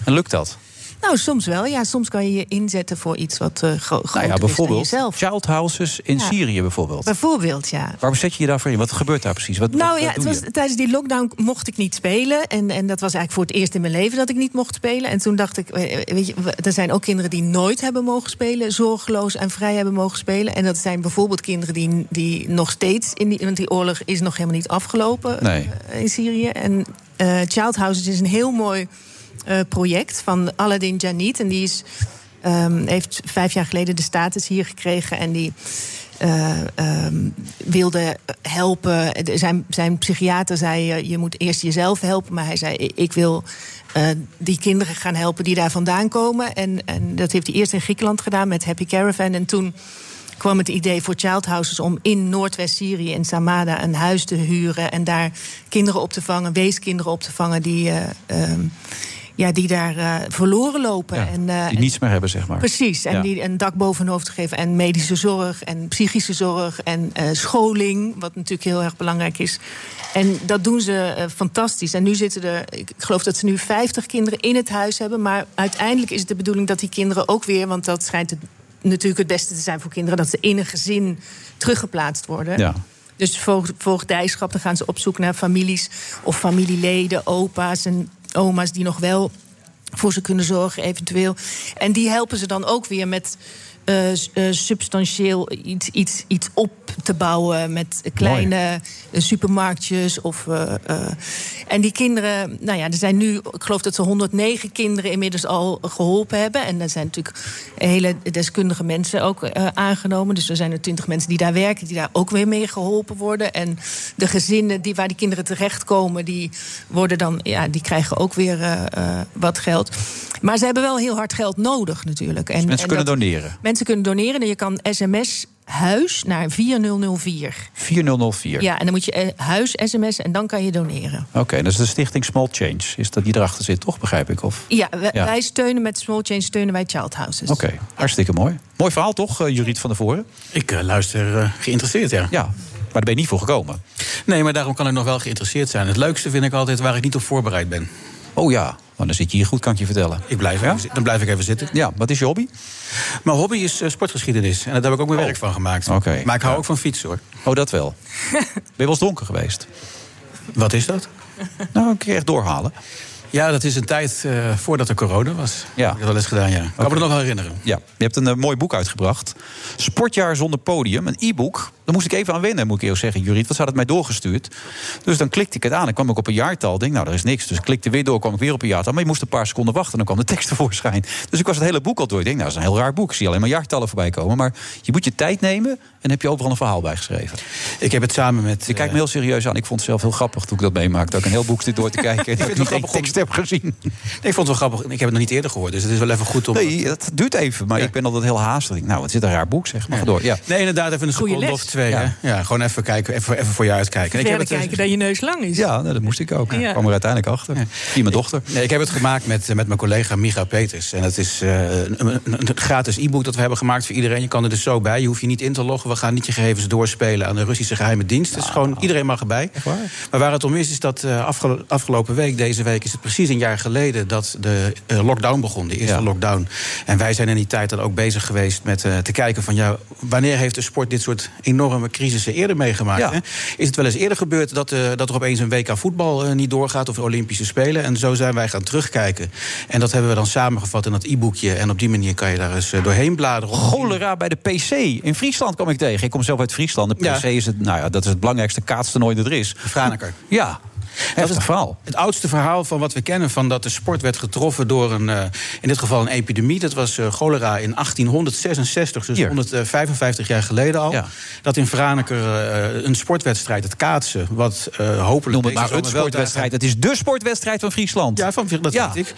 [SPEAKER 8] En lukt dat?
[SPEAKER 9] nou, soms wel. Ja, soms kan je je inzetten voor iets wat eh gro groter
[SPEAKER 8] Nou ja,
[SPEAKER 9] is dan
[SPEAKER 8] bijvoorbeeld
[SPEAKER 9] jezelf.
[SPEAKER 8] child houses in
[SPEAKER 9] Ja.
[SPEAKER 8] Syrië bijvoorbeeld.
[SPEAKER 9] Bijvoorbeeld, ja.
[SPEAKER 8] Waarom zet je je daarvoor in? Wat gebeurt daar precies? Wat,
[SPEAKER 9] nou
[SPEAKER 8] wat-
[SPEAKER 9] ja,
[SPEAKER 8] wat
[SPEAKER 9] het
[SPEAKER 8] doe
[SPEAKER 9] was,
[SPEAKER 8] je?
[SPEAKER 9] tijdens die lockdown mocht ik niet spelen. En, en dat was eigenlijk voor het eerst in mijn leven dat ik niet mocht spelen. En toen dacht ik, eh, weet je, we- er zijn ook kinderen die nooit hebben mogen spelen. Zorgeloos en vrij hebben mogen spelen. En dat zijn bijvoorbeeld kinderen die, die nog steeds in die... Want die oorlog is nog helemaal niet afgelopen
[SPEAKER 8] Nee.
[SPEAKER 9] eh, in Syrië. En eh Child Houses is een heel mooi eh, project van Aladdin Janit. En die is, ehm, heeft vijf jaar geleden de status hier gekregen. En die eh, ehm, wilde helpen. De- Zijn, zijn psychiater zei, eh, je moet eerst jezelf helpen. Maar hij zei, "I- ik wil eh, die kinderen gaan helpen die daar vandaan komen. En, en dat heeft hij eerst in Griekenland gedaan met Happy Caravan. En toen kwam het idee voor Child Houses om in Noordwest-Syrië, in Samada, een huis te huren. En daar kinderen op te vangen, weeskinderen op te vangen die, eh, ehm, ja, die daar eh, verloren lopen. en, eh,
[SPEAKER 8] Die niets meer hebben, zeg maar.
[SPEAKER 9] Precies, en
[SPEAKER 8] Ja.
[SPEAKER 9] die een dak boven hun hoofd te geven. En medische zorg en psychische zorg en eh, scholing, wat natuurlijk heel erg belangrijk is. En dat doen ze eh, fantastisch. En nu zitten er, ik geloof dat ze nu 50 kinderen in het huis hebben. Maar uiteindelijk is het de bedoeling dat die kinderen ook weer, want dat schijnt het, natuurlijk het beste te zijn voor kinderen, dat ze in een gezin teruggeplaatst worden.
[SPEAKER 8] Ja.
[SPEAKER 9] Dus voogd, voogdijschap, dan gaan ze op zoek naar families of familieleden, opa's en oma's die nog wel voor ze kunnen zorgen, eventueel. En die helpen ze dan ook weer met eh, s- eh, substantieel iets, iets, iets op te bouwen. Met kleine eh, supermarktjes. Of, eh, eh. En die kinderen, nou ja, er zijn nu, ik geloof dat ze 109 kinderen inmiddels al geholpen hebben. En er zijn natuurlijk hele deskundige mensen ook eh, aangenomen. Dus er zijn er 20 mensen die daar werken, die daar ook weer mee geholpen worden. En de gezinnen die, waar die kinderen terechtkomen, die worden dan, ja, die krijgen ook weer eh, eh, wat geld. Maar ze hebben wel heel hard geld nodig, natuurlijk. En,
[SPEAKER 8] Dus Mensen
[SPEAKER 9] en
[SPEAKER 8] kunnen
[SPEAKER 9] dat-
[SPEAKER 8] doneren.
[SPEAKER 9] Mensen kunnen doneren en je kan sms huis naar 4004.
[SPEAKER 8] 4004.
[SPEAKER 9] Ja, en dan moet je eh, huis sms en dan kan je doneren.
[SPEAKER 8] Oké, dat is de stichting Small Change. Is dat die erachter zit, toch? Begrijp ik? Of...
[SPEAKER 9] Ja, dus- we-
[SPEAKER 8] Ja.
[SPEAKER 9] wij steunen met Small Change steunen wij Child Houses.
[SPEAKER 8] Oké, hartstikke mooi. Mooi verhaal toch, eh, Juriet van der Voren?
[SPEAKER 11] Ik eh, luister geïnteresseerd, ja.
[SPEAKER 8] Ja, maar daar ben je niet voor gekomen.
[SPEAKER 11] Nee, maar daarom kan ik nog wel geïnteresseerd zijn. Het leukste vind ik altijd waar ik niet op voorbereid ben.
[SPEAKER 8] Oh ja, maar dan zit je hier goed, kan ik je vertellen.
[SPEAKER 11] Ik blijf even zi- dan blijf ik even zitten.
[SPEAKER 8] Ja, wat is je hobby? Oh.
[SPEAKER 11] Mijn hobby is eh, sportgeschiedenis. En daar heb ik ook mijn werk van gemaakt.
[SPEAKER 8] Oké.
[SPEAKER 11] Maar ik hou ook van fietsen, hoor.
[SPEAKER 8] Oh, dat wel. Ben je wel eens donker geweest?
[SPEAKER 11] Wat is dat?
[SPEAKER 8] Nou, een keer echt doorhalen.
[SPEAKER 11] Ja, dat is een tijd eh, voordat er corona was. Ja. Heb ik dat wel eens gedaan, ja. Ik kan me dat nog wel herinneren.
[SPEAKER 8] eh, Ja, je hebt een eh, mooi boek uitgebracht. Sportjaar zonder podium, een e-book. Daar moest ik even aan wennen, moet ik eerlijk zeggen. Juriet, wat had het mij doorgestuurd? Dus dan klikte ik het aan en kwam ik op een jaartal. Denk, nou, er is niks. Dus ik klikte weer door, kwam ik weer op een jaartal. Maar je moest een paar seconden wachten en dan kwam de tekst tevoorschijn. Dus ik was het hele boek al door. Ik denk, nou, dat is een heel raar boek. Ik zie alleen maar jaartallen voorbij komen. Maar je moet je tijd nemen en heb je overal een verhaal bij geschreven.
[SPEAKER 11] Ik heb het samen met... eh,
[SPEAKER 8] Ik kijk me heel serieus aan. Ik vond het zelf heel grappig toen ik dat meemaakte. Ook een heel boek zit door te kijken. en dat ik niet één tekst heb gezien.
[SPEAKER 11] Nee, ik vond het wel grappig. Ik heb het nog niet eerder gehoord, dus het is wel even goed om...
[SPEAKER 8] Nee, dat duurt even. Maar ik ben altijd heel haastig. Ik denk, Nou, het zit een raar boek, zeg maar. Ga Door. Ja.
[SPEAKER 11] Nee, inderdaad, even een
[SPEAKER 9] Goeie
[SPEAKER 11] seconde
[SPEAKER 9] les.
[SPEAKER 11] of twee. hè.
[SPEAKER 8] Ja.
[SPEAKER 11] Ja. gewoon even kijken, even, even voor je uitkijken.
[SPEAKER 9] Verder
[SPEAKER 11] het, eh,
[SPEAKER 9] kijken dat je neus lang is.
[SPEAKER 8] Ja, nou, dat moest ik ook.
[SPEAKER 9] Ja.
[SPEAKER 8] Ik kwam er uiteindelijk achter. Via mijn dochter.
[SPEAKER 11] Nee, ik heb het gemaakt met, eh, met mijn collega Micha Peters. En dat is eh, een, een- een gratis e-book dat we hebben gemaakt voor iedereen. Je kan er dus zo bij. Je hoeft je niet in te loggen. We gaan niet je gegevens doorspelen aan de Russische geheime dienst.
[SPEAKER 8] Ah.
[SPEAKER 11] Dus gewoon iedereen mag erbij. Maar waar het om is, is dat eh, afgelo- afgelopen week, deze week, is het precies een jaar geleden dat de eh, lockdown begon. De eerste lockdown. En wij zijn in die tijd dan ook bezig geweest met eh, te kijken van ja, wanneer heeft de sport dit soort enorme crisissen eerder meegemaakt?
[SPEAKER 8] Ja.
[SPEAKER 11] hè? Is het wel eens eerder gebeurd dat, eh, dat er opeens een WK voetbal eh, niet doorgaat of de Olympische Spelen? En zo zijn wij gaan terugkijken. En dat hebben we dan samengevat in dat e-boekje. En op die manier kan je daar eens eh, doorheen bladeren.
[SPEAKER 8] Cholera bij de PC. In Friesland kwam ik tegen. Ik kom zelf uit Friesland. De PC is het, nou ja, dat is het belangrijkste kaatstoernooi dat er is.
[SPEAKER 11] Franeker.
[SPEAKER 8] Ja,
[SPEAKER 11] Dat
[SPEAKER 8] is het verhaal.
[SPEAKER 11] Het oudste verhaal van wat we kennen, van dat de sport werd getroffen door een, eh, in dit geval een epidemie. Dat was eh, cholera in 1866, dus 155 jaar geleden al. Dat in Franeker eh, een sportwedstrijd, het kaatsen, wat eh, hopelijk.
[SPEAKER 8] Noem
[SPEAKER 11] deze
[SPEAKER 8] het maar een
[SPEAKER 11] zomer wel
[SPEAKER 8] sportwedstrijd. Het is dé sportwedstrijd van Friesland.
[SPEAKER 11] Ja, van, dat weet ik.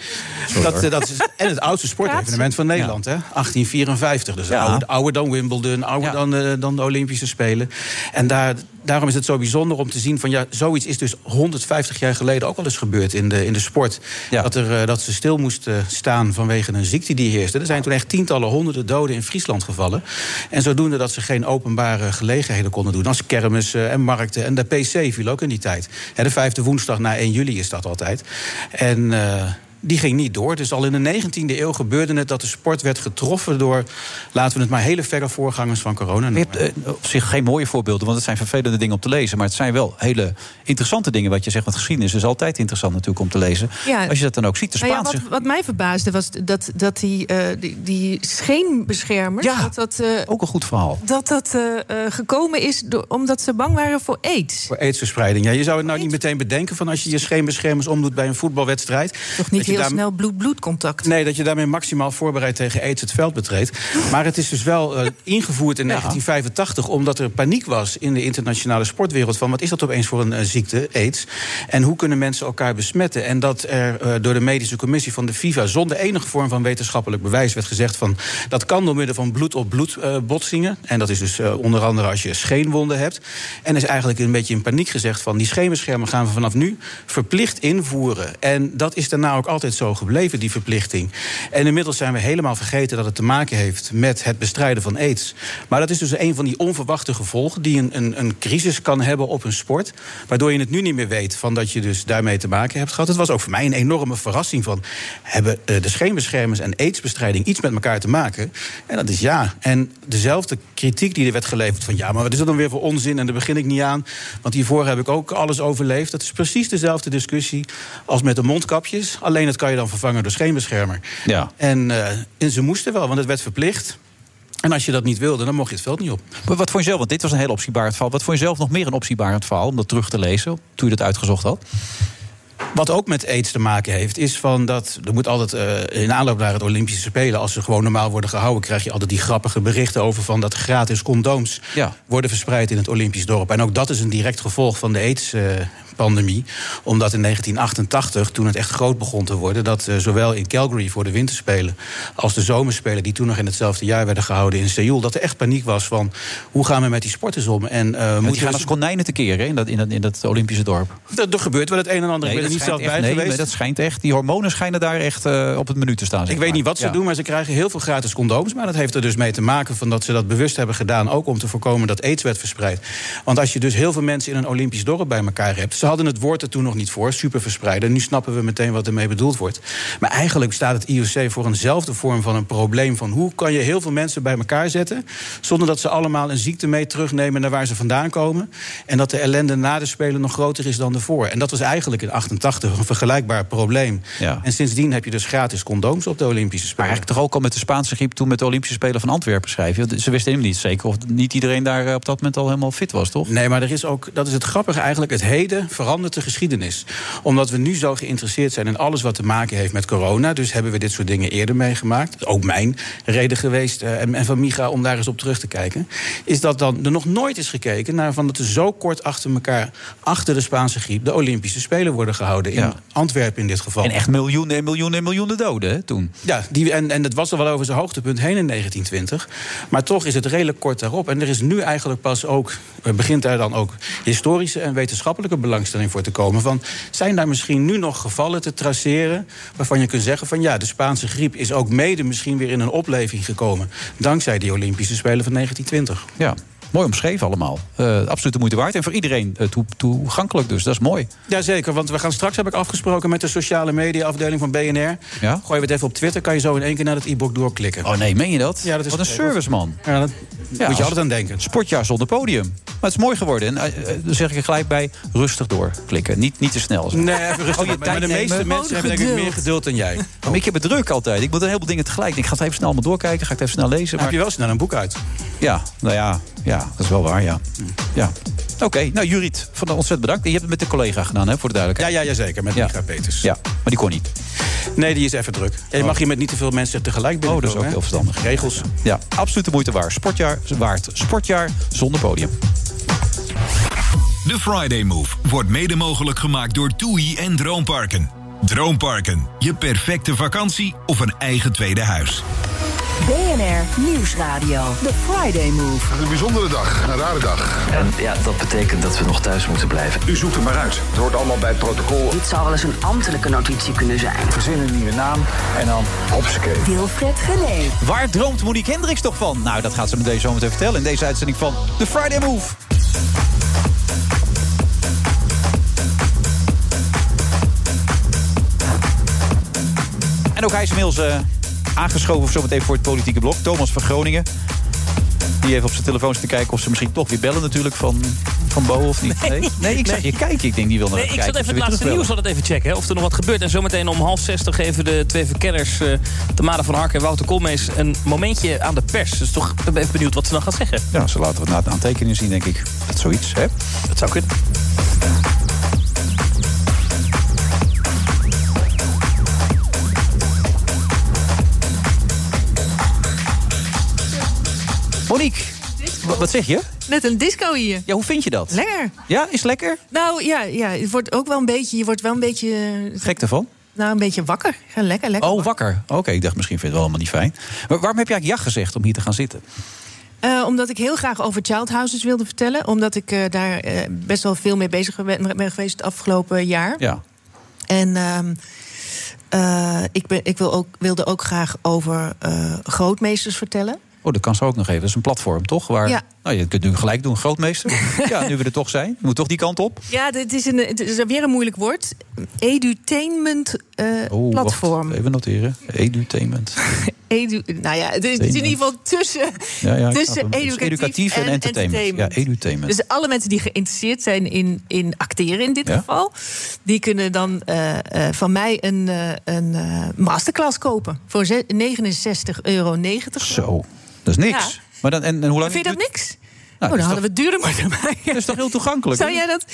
[SPEAKER 11] Dat, eh, dat is, en het oudste sportevenement van Nederland, hè? 1854. Dus ouder, ouder dan Wimbledon, ouder dan, eh, dan de Olympische Spelen. En daar, daarom is het zo bijzonder om te zien van... ja, zoiets is dus 150 jaar geleden ook al eens gebeurd in de, in de sport. Dat, er, eh, dat ze stil moesten staan vanwege een ziekte die heerste. Er zijn toen echt tientallen, honderden doden in Friesland gevallen. En zodoende dat ze geen openbare gelegenheden konden doen... als kermissen en markten. En de PC viel ook in die tijd. Hè, De vijfde woensdag na 1 juli is dat altijd. En... eh, die ging niet door. Dus al in de 19e eeuw gebeurde het dat de sport werd getroffen door, laten we het maar hele verre voorgangers van corona noemen.
[SPEAKER 8] eh, op zich geen mooie voorbeelden, want het zijn vervelende dingen om te lezen. Maar het zijn wel hele interessante dingen wat je zegt. Want geschiedenis is altijd interessant natuurlijk om te lezen.
[SPEAKER 9] Ja.
[SPEAKER 8] Als je dat dan ook ziet, de
[SPEAKER 9] Nou ja,
[SPEAKER 8] Spaanse...
[SPEAKER 9] wat, wat mij verbaasde was dat, dat die, eh die, die scheenbeschermers...
[SPEAKER 8] Ja,
[SPEAKER 9] dat dat, eh,
[SPEAKER 8] Ook een goed verhaal.
[SPEAKER 9] dat, dat eh, eh, gekomen is door, omdat ze bang waren voor aids.
[SPEAKER 11] Voor aidsverspreiding. Ja, je zou het nou niet meteen bedenken van als je je scheenbeschermers omdoet bij een voetbalwedstrijd.
[SPEAKER 9] Toch
[SPEAKER 11] dat
[SPEAKER 9] niet
[SPEAKER 11] je
[SPEAKER 9] heel
[SPEAKER 11] daar-
[SPEAKER 9] snel bloed-bloedcontact.
[SPEAKER 11] Nee, dat je daarmee maximaal voorbereid tegen aids het veld betreedt. Maar het is dus wel eh, ingevoerd in 1985 omdat er paniek was in de internationale sportwereld van wat is dat opeens voor een eh, ziekte, aids? En hoe kunnen mensen elkaar besmetten? En dat er eh, door de medische commissie van de FIFA zonder enige vorm van wetenschappelijk bewijs werd gezegd van dat kan door middel van bloed op bloed eh, botsingen. En dat is dus eh, onder andere als je scheenwonden hebt. En is eigenlijk een beetje in paniek gezegd van die scheenbeschermen gaan we vanaf nu verplicht invoeren. En dat is daarna ook altijd zo gebleven, die verplichting. En inmiddels zijn we helemaal vergeten dat het te maken heeft met het bestrijden van aids. Maar dat is dus een van die onverwachte gevolgen die een, een, een crisis kan hebben op een sport. Waardoor je het nu niet meer weet van dat je dus daarmee te maken hebt gehad. Het was ook voor mij een enorme verrassing van hebben eh, de scheenbeschermers en aidsbestrijding iets met elkaar te maken? En dat is ja. En dezelfde kritiek die er werd geleverd van ja, maar wat is dat dan weer voor onzin en daar begin ik niet aan. Want hiervoor heb ik ook alles overleefd. Dat is precies dezelfde discussie als met de mondkapjes. Alleen dat kan je dan vervangen door scheenbeschermer.
[SPEAKER 8] Ja.
[SPEAKER 11] En, eh, en ze moesten wel, want het werd verplicht. En als je dat niet wilde, dan mocht je het veld niet op.
[SPEAKER 8] Maar wat vond je zelf, want dit was een heel optiebarend verhaal... wat vond je zelf nog meer een optiebarend verhaal om dat terug te lezen... toen je dat uitgezocht had?
[SPEAKER 11] Wat ook met aids te maken heeft, is van dat er moet altijd eh, in aanloop naar het Olympische Spelen, als ze gewoon normaal worden gehouden, krijg je altijd die grappige berichten over van dat gratis condooms worden verspreid in het Olympisch dorp. En ook dat is een direct gevolg van de aids-pandemie, omdat in 1988, toen het echt groot begon te worden, dat eh, zowel in Calgary voor de Winterspelen als de Zomerspelen, die toen nog in hetzelfde jaar werden gehouden in Seoul, dat er echt paniek was van hoe gaan we met die sporters om? En eh,
[SPEAKER 8] Moet
[SPEAKER 11] moeten
[SPEAKER 8] je
[SPEAKER 11] we
[SPEAKER 8] gaan als konijnen te keren hè, in dat, in, dat, in dat Olympische dorp.
[SPEAKER 11] dat, er gebeurt wel het een en ander. ik ben er
[SPEAKER 8] dat
[SPEAKER 11] niet zelf
[SPEAKER 8] schijnt
[SPEAKER 11] bij
[SPEAKER 8] echt- nee,
[SPEAKER 11] geweest.
[SPEAKER 8] maar dat schijnt echt. Die hormonen schijnen daar echt eh, op het menu te staan. zeg
[SPEAKER 11] Ik weet
[SPEAKER 8] maar.
[SPEAKER 11] niet wat ze
[SPEAKER 8] Ja.
[SPEAKER 11] doen, maar ze krijgen heel veel gratis condooms. Maar dat heeft er dus mee te maken van dat ze dat bewust hebben gedaan. Ook om te voorkomen dat aids werd verspreid. Want als je dus heel veel mensen in een Olympisch dorp bij elkaar hebt. Ze hadden het woord er toen nog niet voor, superverspreider. Nu snappen we meteen wat ermee bedoeld wordt. Maar eigenlijk staat het IOC voor eenzelfde vorm van een probleem... van hoe kan je heel veel mensen bij elkaar zetten... zonder dat ze allemaal een ziekte mee terugnemen naar waar ze vandaan komen... en dat de ellende na de Spelen nog groter is dan ervoor. En dat was eigenlijk in 88 een vergelijkbaar probleem.
[SPEAKER 8] Ja.
[SPEAKER 11] En sindsdien heb je dus gratis condooms op de Olympische Spelen.
[SPEAKER 8] Maar eigenlijk toch ook al met de Spaanse griep toen met de Olympische Spelen van Antwerpen schrijf je. Ze wisten helemaal niet zeker of niet iedereen daar eh, op dat moment al helemaal fit was, toch?
[SPEAKER 11] Nee, maar er is ook, dat is het grappige eigenlijk, het heden verandert de geschiedenis. Omdat we nu zo geïnteresseerd zijn in alles wat te maken heeft met corona. Dus hebben we dit soort dingen eerder meegemaakt. Ook mijn reden geweest, eh, en, en van Micha, om daar eens op terug te kijken. Is dat dan er nog nooit is gekeken naar van dat er zo kort achter elkaar, achter de Spaanse griep, de Olympische Spelen worden gehouden. In
[SPEAKER 8] Ja.
[SPEAKER 11] Antwerpen in dit geval.
[SPEAKER 8] En echt miljoenen en miljoenen en miljoenen doden hè, toen.
[SPEAKER 11] Ja, die, en, en het was al wel over zijn hoogtepunt heen in 1920. Maar toch is het redelijk kort daarop. En er is nu eigenlijk pas ook, er begint daar dan ook historische en wetenschappelijke belangstelling voor te komen. Van, zijn daar misschien nu nog gevallen te traceren waarvan je kunt zeggen van ja, de Spaanse griep is ook mede misschien weer in een opleving gekomen. Dankzij die Olympische Spelen van 1920.
[SPEAKER 8] Ja, mooi omschreven allemaal. Eh absoluut de moeite waard. En voor iedereen eh, toe- toegankelijk dus, dat is mooi.
[SPEAKER 11] Jazeker, want we gaan straks, heb ik afgesproken met de sociale mediaafdeling van BNR.
[SPEAKER 8] Ja?
[SPEAKER 11] Gooi we het even op Twitter, kan je zo in één keer naar het e-book doorklikken.
[SPEAKER 8] Oh nee, meen je dat?
[SPEAKER 11] Ja, dat is
[SPEAKER 8] Wat een service, man.
[SPEAKER 11] Ja, dat moet je altijd aan denken.
[SPEAKER 8] Sportjaar zonder podium. Maar het is mooi geworden. En eh, eh, dan zeg ik er gelijk bij, rustig doorklikken. Niet, niet te snel. zijn.
[SPEAKER 11] Nee, even rustig.
[SPEAKER 8] Oh, je
[SPEAKER 11] maar
[SPEAKER 8] tijd
[SPEAKER 11] de
[SPEAKER 8] nemen.
[SPEAKER 11] meeste mensen hebben denk ik meer geduld dan jij.
[SPEAKER 8] Maar ik heb het druk altijd. Ik moet een heleboel dingen tegelijk. Ik ga het even snel allemaal doorkijken. Ga ik het even snel lezen. Maar...
[SPEAKER 11] Heb je wel snel een boek uit?
[SPEAKER 8] Ja, nou ja, ja dat is wel waar, ja. ja. Oké, nou Juriet, van ontzettend bedankt. Je hebt het met een collega gedaan, hè, voor de duidelijkheid.
[SPEAKER 11] Ja, ja zeker, met Micha Peters.
[SPEAKER 8] Ja, maar die kon niet.
[SPEAKER 11] Nee, die is even druk. En je mag hier met niet te veel mensen tegelijk binnen.
[SPEAKER 8] Oh, dat is ook heel verstandig.
[SPEAKER 11] Regels.
[SPEAKER 8] Ja, absoluut de moeite waard. Sportjaar waard. Sportjaar zonder podium.
[SPEAKER 2] De Friday Move wordt mede mogelijk gemaakt door TUI en Droomparken. Droomparken, je perfecte vakantie of een eigen tweede huis.
[SPEAKER 3] BNR Nieuwsradio. The Friday Move.
[SPEAKER 5] Een bijzondere dag, een rare dag. En ja, dat betekent dat we nog thuis moeten blijven.
[SPEAKER 4] U zoekt er maar uit. Het hoort allemaal bij het protocol.
[SPEAKER 7] Dit zou wel eens een ambtelijke notitie kunnen zijn.
[SPEAKER 4] Verzin een nieuwe naam en dan hopsakee.
[SPEAKER 3] Wilfred Genee.
[SPEAKER 8] Waar droomt Monique Hendricks toch van? Nou, dat gaat ze me deze zometeen vertellen in deze uitzending van The Friday Move. En ook hij is inmiddels eh, aangeschoven voor zometeen voor het politieke blok. Thomas van Groningen. Die even op zijn telefoon zit te kijken of ze misschien toch weer bellen natuurlijk van, van Bo of niet. Nee, nee, ik zag je kijken. Ik denk die wil nog
[SPEAKER 14] Nee, ik
[SPEAKER 8] kijken.
[SPEAKER 14] zat even het
[SPEAKER 8] of ze weer
[SPEAKER 14] laatste
[SPEAKER 8] terugbellen.
[SPEAKER 14] nieuws altijd even checken. Hè, of er nog wat gebeurt. En zometeen om half zestig geven de twee verkenners... eh Tamara van Hark en Wouter Koolmees een momentje aan de pers. Dus toch ik ben even benieuwd wat ze dan gaan zeggen.
[SPEAKER 8] Ja, ze laten wat na het aantekeningen zien, denk ik. Dat is zoiets, hè?
[SPEAKER 14] Dat zou kunnen.
[SPEAKER 8] Monique, wa- wat zeg je?
[SPEAKER 9] Net een disco hier.
[SPEAKER 8] Ja, hoe vind je dat?
[SPEAKER 9] Lekker.
[SPEAKER 8] Ja, is lekker?
[SPEAKER 9] Nou ja, ja het wordt ook wel een beetje, je wordt wel een beetje, eh,
[SPEAKER 8] Gek ervan?
[SPEAKER 9] nou, een beetje wakker. Ja, Lekker, lekker.
[SPEAKER 8] Oh, wakker. Oké, ik dacht misschien vind je het wel helemaal niet fijn. Maar waarom heb je eigenlijk ja gezegd om hier te gaan zitten?
[SPEAKER 9] Eh, omdat ik heel graag over child houses wilde vertellen. Omdat ik eh, daar eh, best wel veel mee bezig ben, ben geweest het afgelopen jaar.
[SPEAKER 8] Ja.
[SPEAKER 9] En ehm, eh, ik, ben, ik wil ook, wilde ook graag over eh, grootmeesters vertellen.
[SPEAKER 8] Oh, dat kan ze ook nog even. Dat is een platform, toch? Waar,
[SPEAKER 9] Ja.
[SPEAKER 8] Nou, je kunt nu gelijk doen, grootmeester. ja, nu we er toch zijn. Je moet toch die kant op?
[SPEAKER 9] Ja, dit is, een, het is weer een moeilijk woord. Edutainment eh,
[SPEAKER 8] Oh, wacht.
[SPEAKER 9] platform.
[SPEAKER 8] Even noteren. Edutainment.
[SPEAKER 9] Edu, nou ja, het is, het is in ieder geval tussen,
[SPEAKER 8] Ja, ja, ik snap
[SPEAKER 9] tussen
[SPEAKER 8] hem. Het is
[SPEAKER 9] educatief,
[SPEAKER 8] educatief en entertainment. Ja, edutainment.
[SPEAKER 9] Dus alle mensen die geïnteresseerd zijn in, in acteren in dit
[SPEAKER 8] Ja.
[SPEAKER 9] geval... die kunnen dan eh, eh, van mij een, eh, een eh, masterclass kopen. Voor ze- 69,90 euro.
[SPEAKER 8] Zo, dat is niks.
[SPEAKER 9] Ja.
[SPEAKER 8] Maar dan, en, en hoe lang
[SPEAKER 9] Vind je dat niks?
[SPEAKER 8] dat
[SPEAKER 9] oh,
[SPEAKER 8] is
[SPEAKER 9] dan
[SPEAKER 8] toch-
[SPEAKER 9] hadden we het duurder moeten maken.
[SPEAKER 8] Dat is toch heel toegankelijk?
[SPEAKER 9] Zou jij dat...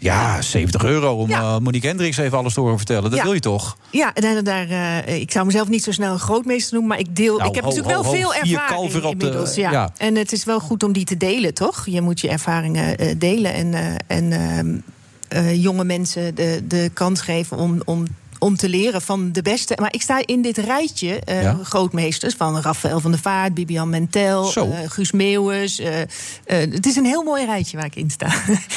[SPEAKER 8] Ja, 70 euro om eh, Monique Hendricks even alles te horen vertellen. Dat
[SPEAKER 9] Ja.
[SPEAKER 8] wil je toch?
[SPEAKER 9] Ja, en dan daar, eh, ik zou mezelf niet zo snel een grootmeester noemen... maar ik deel,
[SPEAKER 8] Nou,
[SPEAKER 9] ik heb
[SPEAKER 8] ho,
[SPEAKER 9] natuurlijk
[SPEAKER 8] ho,
[SPEAKER 9] wel
[SPEAKER 8] ho,
[SPEAKER 9] veel
[SPEAKER 8] vier
[SPEAKER 9] ervaring
[SPEAKER 8] kalveren op de-
[SPEAKER 9] inmiddels. ja.
[SPEAKER 8] ja.
[SPEAKER 9] En het is wel goed om die te delen, toch? Je moet je ervaringen eh, delen en, eh, en eh, eh, jonge mensen de, de kans geven om... om om te leren van de beste. Maar ik sta in dit rijtje eh,
[SPEAKER 8] Ja.
[SPEAKER 9] grootmeesters van Rafael van der Vaart, Bibian Mentel,
[SPEAKER 8] Zo.
[SPEAKER 9] eh, Guus Meeuwens. eh, eh, het is een heel mooi rijtje waar ik in sta.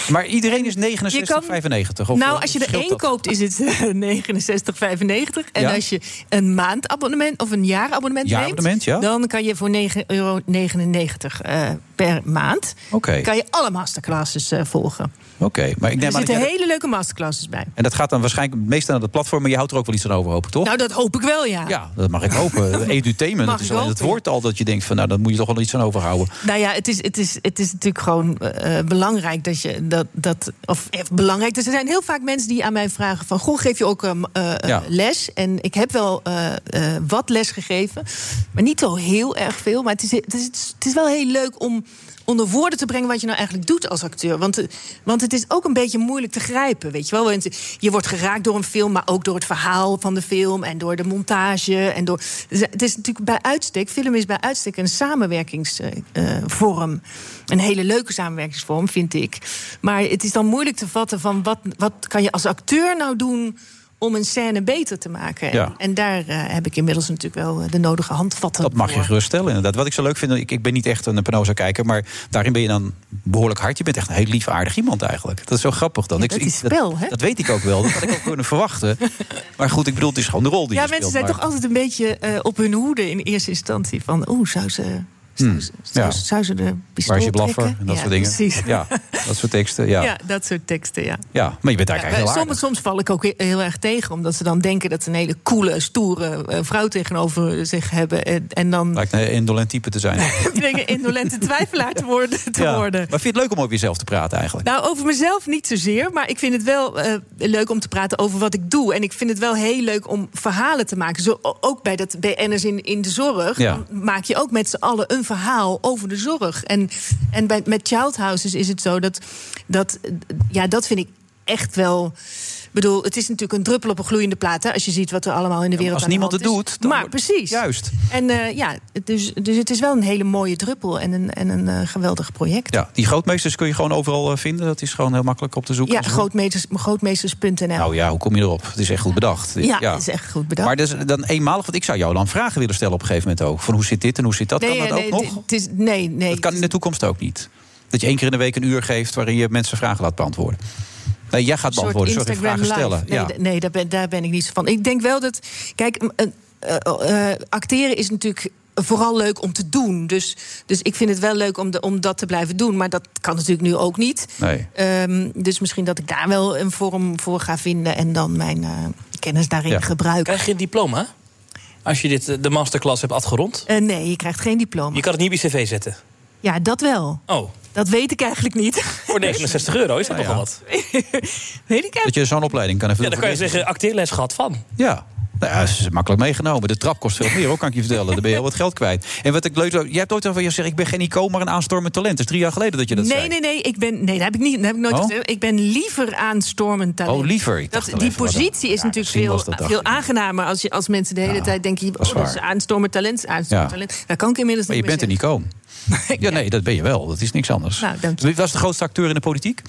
[SPEAKER 8] Maar iedereen is 69,95.
[SPEAKER 9] Je kan-
[SPEAKER 8] of,
[SPEAKER 9] nou,
[SPEAKER 8] eh,
[SPEAKER 9] als je er
[SPEAKER 8] scheelt
[SPEAKER 9] één
[SPEAKER 8] dat?
[SPEAKER 9] koopt, is het eh, 69,95. En
[SPEAKER 8] Ja.
[SPEAKER 9] als je een maandabonnement of een jaarabonnement
[SPEAKER 8] Jaarabonnement,
[SPEAKER 9] neemt,
[SPEAKER 8] ja.
[SPEAKER 9] dan kan je voor 9,99 euro eh, per maand.
[SPEAKER 8] Oké.
[SPEAKER 9] Kan je alle masterclasses eh, volgen.
[SPEAKER 8] Oké, maar ik neem aan dat
[SPEAKER 9] er zitten
[SPEAKER 8] jij-
[SPEAKER 9] hele leuke masterclasses bij.
[SPEAKER 8] En dat gaat dan waarschijnlijk meestal naar het platform, maar je houdt er ook wel iets aan over, hoop ik, toch?
[SPEAKER 9] Nou, dat hoop ik wel, ja.
[SPEAKER 8] Ja, dat mag ik hopen. Edutainment,
[SPEAKER 9] Mag
[SPEAKER 8] dat is
[SPEAKER 9] ik
[SPEAKER 8] al in het
[SPEAKER 9] hopen.
[SPEAKER 8] woord al dat je denkt van... nou, daar moet je toch wel iets aan overhouden.
[SPEAKER 9] Nou ja, het is, het is, het is natuurlijk gewoon eh, eh, belangrijk dat je dat. dat of eh, belangrijk. Dus er zijn heel vaak mensen die aan mij vragen: van goh, geef je ook eh, m- eh, eh,
[SPEAKER 15] Ja.
[SPEAKER 9] les? En ik heb wel eh, eh, wat les gegeven, maar niet zo heel erg veel. Maar het is, het, is, het is wel heel leuk om onder woorden te brengen wat je nou eigenlijk doet als acteur. Want, eh, want het is ook een beetje moeilijk te grijpen, weet je wel. Want Je wordt geraakt door een film, maar ook door het verhaal van de film... en door de montage. En door... Dus Het is natuurlijk bij uitstek, film is bij uitstek een eh, samenwerkingsvorm. een hele leuke samenwerkingsvorm, vind ik. Maar het is dan moeilijk te vatten van... wat, wat kan je als acteur nou doen om een scène beter te maken? En-
[SPEAKER 8] Ja.
[SPEAKER 9] En, daar eh, heb ik inmiddels natuurlijk wel eh, de nodige handvatten
[SPEAKER 8] Dat mag je gerust stellen, inderdaad. Wat ik zo leuk vind, ik, ik ben niet echt een Penosa-kijker... maar daarin ben je dan behoorlijk hard. Je bent echt een heel lief, aardig iemand eigenlijk. Dat is zo grappig dan.
[SPEAKER 9] Ja,
[SPEAKER 8] Ik-
[SPEAKER 9] dat
[SPEAKER 8] ik-
[SPEAKER 9] is spel, hè?
[SPEAKER 8] Dat, weet ik ook wel, dat had ik ook kunnen verwachten. Maar goed, ik bedoel, het is gewoon de rol die
[SPEAKER 9] Ja,
[SPEAKER 8] je
[SPEAKER 9] mensen
[SPEAKER 8] speelt.
[SPEAKER 9] zijn
[SPEAKER 8] maar-
[SPEAKER 9] toch altijd een beetje eh, op hun hoede in eerste instantie. Van, oeh, zou ze,
[SPEAKER 8] Hmm,
[SPEAKER 9] zou,
[SPEAKER 8] ja.
[SPEAKER 9] ze- zou ze de pistool
[SPEAKER 8] Waar is je blaffer
[SPEAKER 9] trekken?
[SPEAKER 8] en dat
[SPEAKER 9] Ja,
[SPEAKER 8] soort dingen.
[SPEAKER 9] Precies.
[SPEAKER 8] Ja, dat soort teksten, ja.
[SPEAKER 9] Ja,
[SPEAKER 8] ja.
[SPEAKER 9] dat soort teksten, ja.
[SPEAKER 8] maar je bent eigenlijk
[SPEAKER 9] Ja, eh,
[SPEAKER 8] heel aardig.
[SPEAKER 9] soms, soms val ik ook he- heel erg tegen, omdat ze dan denken dat ze een hele coole, stoere eh, vrouw tegenover zich hebben. En, en dan
[SPEAKER 8] Lijkt een indolent type te zijn.
[SPEAKER 9] denken indolente twijfelaar te worden. Te
[SPEAKER 8] Ja.
[SPEAKER 9] worden.
[SPEAKER 8] Maar vind je het leuk om over jezelf te praten eigenlijk?
[SPEAKER 9] Nou, over mezelf niet zozeer. Maar ik vind het wel eh, leuk om te praten over wat ik doe. En ik vind het wel heel leuk om verhalen te maken. Zo, o- ook bij dat BN'ers in, in de zorg.
[SPEAKER 16] Ja.
[SPEAKER 9] dan Maak je ook met z'n allen een verhaal over de zorg. En, en bij, met Child Houses is het zo dat... dat eh, ja, dat vind ik echt wel... Ik bedoel, het is natuurlijk een druppel op een gloeiende plaat... Hè, als je ziet wat er allemaal in de wereld
[SPEAKER 8] als
[SPEAKER 9] aan de
[SPEAKER 8] niemand
[SPEAKER 9] hand
[SPEAKER 8] het
[SPEAKER 9] is.
[SPEAKER 8] doet, dan
[SPEAKER 9] maar
[SPEAKER 8] wordt-
[SPEAKER 9] precies.
[SPEAKER 8] Juist.
[SPEAKER 9] En eh, ja, dus, dus het is wel een hele mooie druppel en een, en een eh, geweldig project.
[SPEAKER 8] Ja, die grootmeesters kun je gewoon overal eh, vinden. Dat is gewoon heel makkelijk op te zoeken.
[SPEAKER 9] Ja, grootmeesters, grootmeesters.nl.
[SPEAKER 8] Nou ja, hoe kom je erop? Het is echt goed bedacht.
[SPEAKER 9] ja, dat is echt goed bedacht.
[SPEAKER 8] Maar dat is dan eenmalig, want ik zou jou dan vragen willen stellen op een gegeven moment ook. Van hoe zit dit en hoe zit dat?
[SPEAKER 9] nee,
[SPEAKER 8] kan dat
[SPEAKER 9] nee,
[SPEAKER 8] ook
[SPEAKER 9] het-
[SPEAKER 8] nog?
[SPEAKER 9] het is, nee, nee.
[SPEAKER 8] Dat kan in de toekomst ook niet. Dat je één keer in de week een uur geeft waarin je mensen vragen laat beantwoorden. Nee, jij gaat
[SPEAKER 9] Een soort
[SPEAKER 8] beantwoorden, sorry,
[SPEAKER 9] Instagram
[SPEAKER 8] vragen stellen.
[SPEAKER 9] live.
[SPEAKER 8] ja.
[SPEAKER 9] Nee, d- nee daar, ben, daar ben ik niet zo van. Ik denk wel dat... Kijk, m- eh, eh, eh, acteren is natuurlijk vooral leuk om te doen. Dus, dus ik vind het wel leuk om, de, om dat te blijven doen. Maar dat kan natuurlijk nu ook niet.
[SPEAKER 8] Nee.
[SPEAKER 9] Ehm, dus misschien dat ik daar wel een vorm voor ga vinden... en dan mijn eh, kennis daarin gebruiken.
[SPEAKER 14] Krijg je een diploma? Als je dit, eh, de masterclass hebt afgerond.
[SPEAKER 9] Eh, nee, je krijgt geen diploma.
[SPEAKER 14] Je kan het niet bij je cv zetten.
[SPEAKER 9] Ja, dat wel.
[SPEAKER 14] Oh,
[SPEAKER 9] Dat weet ik eigenlijk niet.
[SPEAKER 14] voor 69 euro is dat
[SPEAKER 8] Nou
[SPEAKER 14] nogal
[SPEAKER 8] ja.
[SPEAKER 14] wat.
[SPEAKER 9] Weet ik
[SPEAKER 8] Dat je zo'n opleiding kan even
[SPEAKER 14] Ja, dan kan je zeggen, acteerles gehad van.
[SPEAKER 8] Ja. Nou ja, dat is makkelijk meegenomen. De trap kost veel meer, ook kan ik je vertellen. Daar ben je al wat geld kwijt. En wat ik leuk jij hebt ooit al van je gezegd... ik ben geen icoon, maar een aanstormend talent. Dat is drie jaar geleden dat je dat
[SPEAKER 9] nee,
[SPEAKER 8] zei.
[SPEAKER 9] nee, nee, ik ben, nee, dat heb ik, niet, dat heb ik nooit
[SPEAKER 8] Oh?
[SPEAKER 9] gezegd. Ik ben liever aanstormend talent.
[SPEAKER 8] Oh, liever. Ik dacht
[SPEAKER 9] Dat,
[SPEAKER 8] al
[SPEAKER 9] die
[SPEAKER 8] even, wat
[SPEAKER 9] positie
[SPEAKER 8] dan-
[SPEAKER 9] is
[SPEAKER 8] Ja,
[SPEAKER 9] natuurlijk
[SPEAKER 8] misschien was
[SPEAKER 9] veel,
[SPEAKER 8] dat dag
[SPEAKER 9] veel
[SPEAKER 8] niet.
[SPEAKER 9] aangenamer als, je, als mensen de hele tijd denken... oh, dat is
[SPEAKER 8] waar.
[SPEAKER 9] aanstormend talent, aanstormend
[SPEAKER 8] Ja.
[SPEAKER 9] talent. Dat kan ik inmiddels
[SPEAKER 8] Maar je
[SPEAKER 9] niet
[SPEAKER 8] bent
[SPEAKER 9] meer
[SPEAKER 8] een icoon. Ja, nee, dat ben je wel. Dat is niks anders.
[SPEAKER 9] Nou, dank
[SPEAKER 8] Wie was de grootste acteur in de politiek?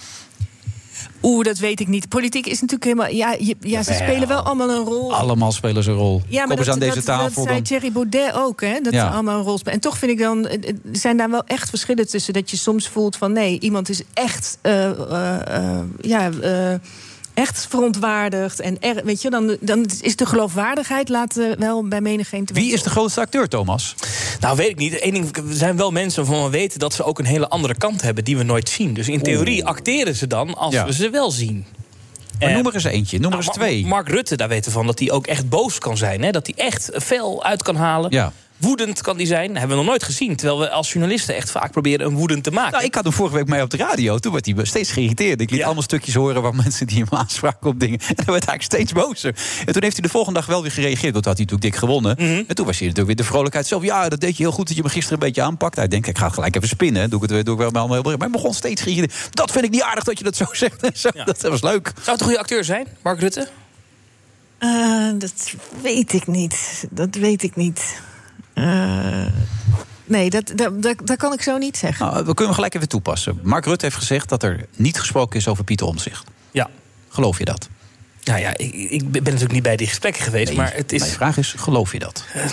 [SPEAKER 9] zeggen. Oeh, dat weet ik niet. Politiek is natuurlijk helemaal... Ja, je- ja ze
[SPEAKER 8] Jawel.
[SPEAKER 9] spelen wel allemaal een rol.
[SPEAKER 8] Allemaal spelen ze een rol.
[SPEAKER 9] Oh. Ja, maar
[SPEAKER 8] Kom
[SPEAKER 9] dat,
[SPEAKER 8] eens aan deze
[SPEAKER 9] dat,
[SPEAKER 8] tafel.
[SPEAKER 9] dat zei
[SPEAKER 8] dan.
[SPEAKER 9] Thierry Baudet ook, hè? Dat
[SPEAKER 8] Ja.
[SPEAKER 9] ze allemaal een rol spelen. En toch vind ik dan, eh, eh, zijn daar wel echt verschillen tussen. Dat je soms voelt van nee, iemand is echt, eh, eh, eh, ja, eh, echt verontwaardigd. En er, weet je, dan, dan is de geloofwaardigheid laat eh, wel bij menigeen te
[SPEAKER 8] Wie is de grootste acteur, Thomas?
[SPEAKER 14] Nou, weet ik niet. Eén ding, er zijn wel mensen van we weten dat ze ook een hele andere kant hebben die we nooit zien. Dus in theorie acteren ze dan als
[SPEAKER 8] Ja.
[SPEAKER 14] we ze wel zien.
[SPEAKER 8] Maar
[SPEAKER 14] Eh,
[SPEAKER 8] noem er eens eentje, noem er
[SPEAKER 14] nou,
[SPEAKER 8] eens
[SPEAKER 14] Ma-
[SPEAKER 8] twee.
[SPEAKER 14] Mark Rutte, daar weten we van dat hij ook echt boos kan zijn. Hè? Dat hij echt fel uit kan halen.
[SPEAKER 8] Ja.
[SPEAKER 14] Woedend kan hij zijn. Dat hebben we nog nooit gezien. Terwijl we als journalisten echt vaak proberen een woedend te maken.
[SPEAKER 8] Nou, ik had hem vorige week mee op de radio. Toen werd hij steeds geïrriteerd. Ik liet allemaal stukjes horen waar mensen die hem aanspraken op dingen. En dan werd hij eigenlijk steeds bozer. En toen heeft hij de volgende dag wel weer gereageerd. Want toen had hij natuurlijk dik gewonnen.
[SPEAKER 14] Mhm.
[SPEAKER 8] En toen was hij natuurlijk weer de vrolijkheid zelf. Ja, dat deed je heel goed dat je me gisteren een beetje aanpakt. Hij denkt, ik ga gelijk even spinnen. Doe ik het weer, doe ik wel maar allemaal heel Maar hij begon steeds geïrriteerd. Dat vind ik niet aardig dat je dat zo zegt. En zo. Dat, dat was leuk.
[SPEAKER 14] Zou het een goede acteur zijn, Mark Rutte?
[SPEAKER 9] Eh, dat weet ik niet. Dat weet ik niet. Eh, nee, dat, dat, dat, dat kan ik zo niet zeggen.
[SPEAKER 8] Nou, we kunnen hem gelijk even toepassen. Mark Rutte heeft gezegd dat er niet gesproken is over Pieter Omtzigt.
[SPEAKER 14] Ja.
[SPEAKER 8] Geloof je dat?
[SPEAKER 14] Nou ja, ik, ik ben natuurlijk niet bij die gesprekken geweest. maar het is,
[SPEAKER 8] Mijn vraag is, geloof je dat?
[SPEAKER 15] Eh.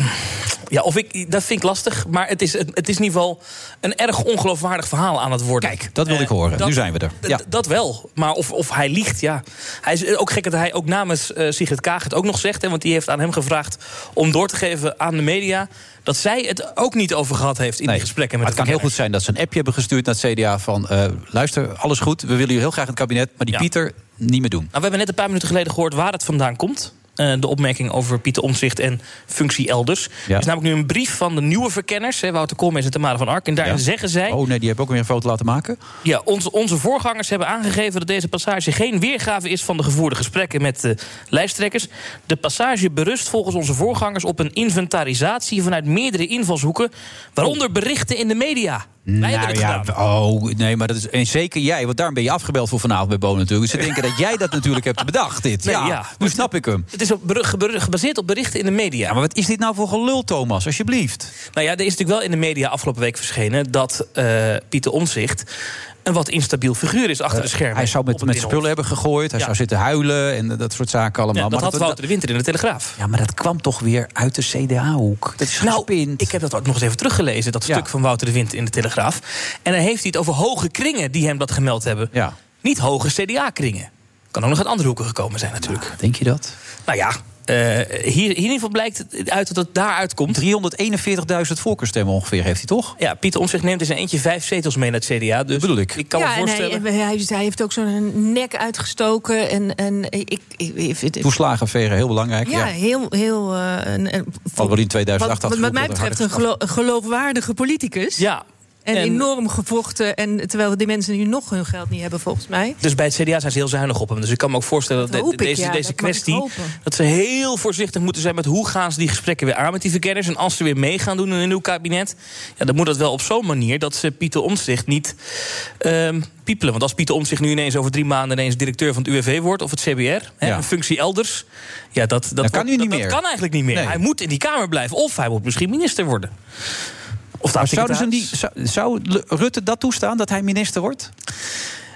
[SPEAKER 14] Ja, of ik, dat vind ik lastig. Maar het is, het is in ieder geval een erg ongeloofwaardig verhaal aan het worden. Kijk,
[SPEAKER 8] dat wilde ik horen. Nu zijn we er. Ja.
[SPEAKER 14] Dat wel. Maar of, of hij liegt, ja. Hij is ook eh, gek dat hij ook namens eh Sigrid Kaag het ook nog zegt. Hè, want die heeft aan hem gevraagd om door te geven aan de media... dat zij het ook niet over gehad heeft in die gesprekken met
[SPEAKER 8] Maar het kan heel goed zijn dat ze een appje hebben gestuurd naar het CDA van... eh, luister, alles goed, we willen u heel graag in het kabinet... maar die Pieter niet meer doen.
[SPEAKER 14] Nou, we hebben net een paar minuten geleden gehoord waar het vandaan komt. Eh, de opmerking over Pieter Omtzigt en functie elders.
[SPEAKER 8] Ja.
[SPEAKER 14] Er is namelijk nu een brief van de nieuwe verkenners, hè, Wouter Koolmees en Tamara van Ark. En daarin
[SPEAKER 8] Ja.
[SPEAKER 14] zeggen zij.
[SPEAKER 8] Oh nee, die hebben ook weer een foto laten maken.
[SPEAKER 14] Ja, onze, onze voorgangers hebben aangegeven dat deze passage geen weergave is van de gevoerde gesprekken met de lijsttrekkers. De passage berust volgens onze voorgangers op een inventarisatie vanuit meerdere invalshoeken,
[SPEAKER 8] Oh.
[SPEAKER 14] waaronder berichten in de media. Wij hebben het
[SPEAKER 8] Nou ja, oh, nee, maar dat is. En zeker jij, want daarom ben je afgebeld voor vanavond bij Bo natuurlijk. Ze denken dat jij dat natuurlijk hebt bedacht. Dit.
[SPEAKER 14] Nee,
[SPEAKER 8] ja,
[SPEAKER 14] ja.
[SPEAKER 8] nu snap ik hem.
[SPEAKER 14] Het is op beru- geberu- gebaseerd op berichten in de media. maar
[SPEAKER 8] wat is dit nou voor gelul, Thomas? Alsjeblieft.
[SPEAKER 14] Nou ja, er is natuurlijk wel in de media afgelopen week verschenen... dat eh, Pieter Omzicht een wat instabiel figuur is achter de schermen.
[SPEAKER 8] Eh, Hij zou met, met spullen hebben gegooid, hij
[SPEAKER 14] Ja.
[SPEAKER 8] zou zitten huilen en eh, dat soort zaken allemaal.
[SPEAKER 14] Ja, dat
[SPEAKER 8] Maar
[SPEAKER 14] had Wouter de Winter in de Telegraaf.
[SPEAKER 8] Ja, maar dat kwam toch weer uit de CDA-hoek. Dat is
[SPEAKER 14] Nou, ik heb dat ook nog eens even teruggelezen, dat stuk van Wouter de Winter in de Telegraaf. En dan heeft hij het over hoge kringen die hem dat gemeld hebben. Niet hoge CDA-kringen. Kan ook nog uit andere hoeken gekomen zijn natuurlijk.
[SPEAKER 8] Denk je dat?
[SPEAKER 14] Nou ja, eh, hier, hier in ieder geval blijkt uit dat het daaruit komt.
[SPEAKER 8] 341.000 voorkeurstemmen ongeveer heeft hij toch?
[SPEAKER 14] Ja, Pieter Omtzigt neemt in zijn eentje vijf zetels mee naar het CDA. Dus bedoel ik. Ik kan me
[SPEAKER 9] ja, en
[SPEAKER 14] voorstellen...
[SPEAKER 9] hij, hij, hij heeft ook zo'n nek uitgestoken. En, en ik, ik, ik vind het-
[SPEAKER 8] Toeslagenveren, heel belangrijk.
[SPEAKER 9] ja,
[SPEAKER 8] Ja,
[SPEAKER 9] heel. heel eh, een- een-
[SPEAKER 8] Wat we in 2008
[SPEAKER 9] wat, wat
[SPEAKER 8] hadden
[SPEAKER 9] mij
[SPEAKER 8] geroepen,
[SPEAKER 9] betreft een
[SPEAKER 8] harde
[SPEAKER 9] gelo- geloofwaardige politicus.
[SPEAKER 14] Ja.
[SPEAKER 9] En,
[SPEAKER 14] En-
[SPEAKER 9] enorm gevochten. En terwijl die mensen nu nog hun geld niet hebben, volgens mij.
[SPEAKER 14] Dus bij het CDA zijn ze heel zuinig op hem. Dus ik kan me ook voorstellen dat,
[SPEAKER 9] Dat hoop
[SPEAKER 14] de-
[SPEAKER 9] ik,
[SPEAKER 14] deze,
[SPEAKER 9] ja,
[SPEAKER 14] deze
[SPEAKER 9] dat mag ik
[SPEAKER 14] kwestie.
[SPEAKER 9] hopen.
[SPEAKER 14] Dat ze heel voorzichtig moeten zijn met hoe gaan ze die gesprekken weer aan met die verkenners. En als ze weer mee gaan doen in een nieuw kabinet. Ja, dan moet dat wel op zo'n manier dat ze Pieter Omtzigt niet ehm, piepelen. Want als Pieter Omtzigt nu ineens over drie maanden ineens directeur van het UWV wordt of het CBR, hè,
[SPEAKER 8] Ja.
[SPEAKER 14] een functie elders. Ja, dat, dat,
[SPEAKER 8] kan
[SPEAKER 14] wordt-
[SPEAKER 8] nu niet
[SPEAKER 14] dat-
[SPEAKER 8] meer.
[SPEAKER 14] Dat kan eigenlijk niet meer.
[SPEAKER 8] Nee.
[SPEAKER 14] Hij moet in die Kamer blijven. Of hij moet misschien minister worden. Of daar
[SPEAKER 8] Zouden ze die, zou, zou L- Rutte dat toestaan, dat hij minister wordt?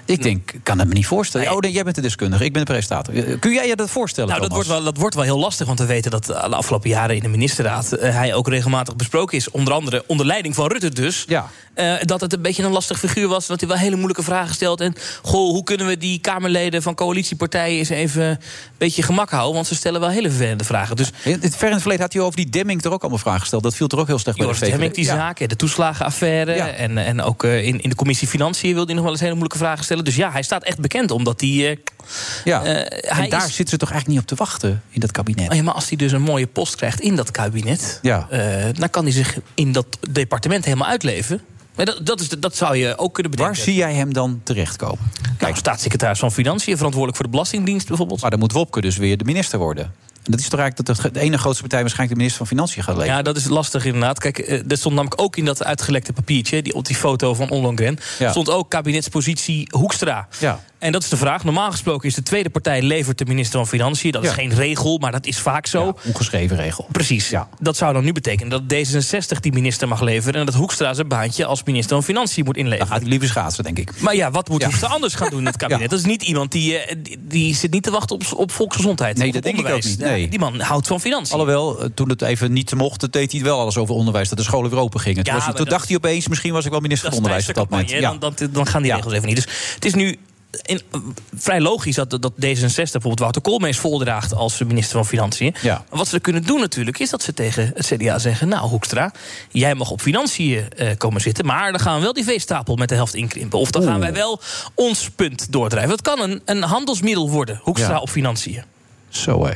[SPEAKER 8] Ik denk, ik kan het me niet voorstellen. Oh, Hm. nee, jij bent de deskundige, ik ben de presentator. Eh, Kun jij je dat voorstellen,
[SPEAKER 14] Nou, dat
[SPEAKER 8] Thomas?
[SPEAKER 14] wordt, wel, dat wordt wel heel lastig, want we weten dat eh, de afgelopen jaren in de ministerraad eh, hij ook regelmatig besproken is. Onder andere onder leiding van Rutte dus.
[SPEAKER 8] Ja.
[SPEAKER 14] Eh, dat het een beetje een lastig figuur was. Dat hij wel hele moeilijke vragen stelt. En goh, hoe kunnen we die Kamerleden van coalitiepartijen eens even een beetje gemak houden? Want ze stellen wel hele vervelende vragen. Dus
[SPEAKER 8] In het ver in het verleden had hij over die Demming er ook allemaal vragen gesteld. Dat viel er ook heel slecht
[SPEAKER 14] Joris
[SPEAKER 8] bij de VVD.
[SPEAKER 14] Demming, die
[SPEAKER 8] Ja.
[SPEAKER 14] zaak, eh, de toeslagenaffaire. En, eh, en ook eh, in, in de commissie Financiën wilde hij nog wel eens hele moeilijke vragen stellen. Dus ja, hij staat echt bekend omdat hij. eh,
[SPEAKER 8] Ja.
[SPEAKER 14] eh,
[SPEAKER 8] en
[SPEAKER 14] hij
[SPEAKER 8] daar
[SPEAKER 14] is-
[SPEAKER 8] zitten ze toch eigenlijk niet op te wachten, in dat kabinet?
[SPEAKER 14] Oh ja, maar als hij dus een mooie post krijgt in dat kabinet,
[SPEAKER 8] Ja.
[SPEAKER 14] eh, dan kan hij zich in dat departement helemaal uitleven. Maar dat, dat, is, de- dat zou je ook kunnen bedenken.
[SPEAKER 8] Waar zie jij hem dan terechtkomen?
[SPEAKER 14] Kijk, Nou, staatssecretaris van Financiën, verantwoordelijk voor de Belastingdienst bijvoorbeeld.
[SPEAKER 8] Maar dan moet Wopke dus weer de minister worden. En dat is toch eigenlijk dat de- de ene grootste partij waarschijnlijk de minister van Financiën gaat leveren.
[SPEAKER 14] Ja, dat is lastig inderdaad. Kijk, eh, dat stond namelijk ook in dat uitgelekte papiertje, die, op die foto van Ollongren,
[SPEAKER 8] Ja.
[SPEAKER 14] stond ook kabinetspositie Hoekstra.
[SPEAKER 8] Ja.
[SPEAKER 14] En dat is de vraag. Normaal gesproken is de tweede partij levert de minister van Financiën. Dat is
[SPEAKER 8] Ja.
[SPEAKER 14] geen regel, maar dat is vaak zo.
[SPEAKER 8] Ongeschreven regel.
[SPEAKER 14] Precies. Dat zou dan nu betekenen dat D66 die minister mag leveren... en dat Hoekstra zijn baantje als minister van Financiën moet inleveren.
[SPEAKER 8] Gaat hij liever schaatsen, denk ik.
[SPEAKER 14] Maar ja, wat moet Hoekstra anders gaan doen in het kabinet? Dat is niet iemand die, eh, die, die zit niet te wachten op, op volksgezondheid.
[SPEAKER 8] Nee,
[SPEAKER 14] of
[SPEAKER 8] dat
[SPEAKER 14] op
[SPEAKER 8] denk ik ook
[SPEAKER 14] onderwijs.
[SPEAKER 8] niet.
[SPEAKER 14] Ja,
[SPEAKER 8] Nee.
[SPEAKER 14] Die man houdt van financiën.
[SPEAKER 8] Alhoewel, eh, toen het even niet mocht, dat deed hij wel alles over onderwijs. Dat de scholen weer open gingen.
[SPEAKER 14] Ja,
[SPEAKER 8] Toen, was hij-
[SPEAKER 14] maar
[SPEAKER 8] toen
[SPEAKER 14] dat-
[SPEAKER 8] dacht hij opeens, misschien was ik wel minister van Onderwijs op dat moment.
[SPEAKER 14] hè? Dan, dan, dan gaan die regels even niet. Dus het is nu in, eh, vrij logisch dat, dat D66 bijvoorbeeld Wouter Koolmees voldraagt als minister van Financiën.
[SPEAKER 8] Ja.
[SPEAKER 14] Maar Wat ze kunnen doen natuurlijk is dat ze tegen het CDA zeggen... nou Hoekstra, jij mag op financiën eh, komen zitten... maar dan gaan we wel die veestapel met de helft inkrimpen. Of dan gaan wij wel ons punt doordrijven. Dat kan een, een handelsmiddel worden, Hoekstra
[SPEAKER 8] Ja.
[SPEAKER 14] op financiën.
[SPEAKER 8] Zo hé.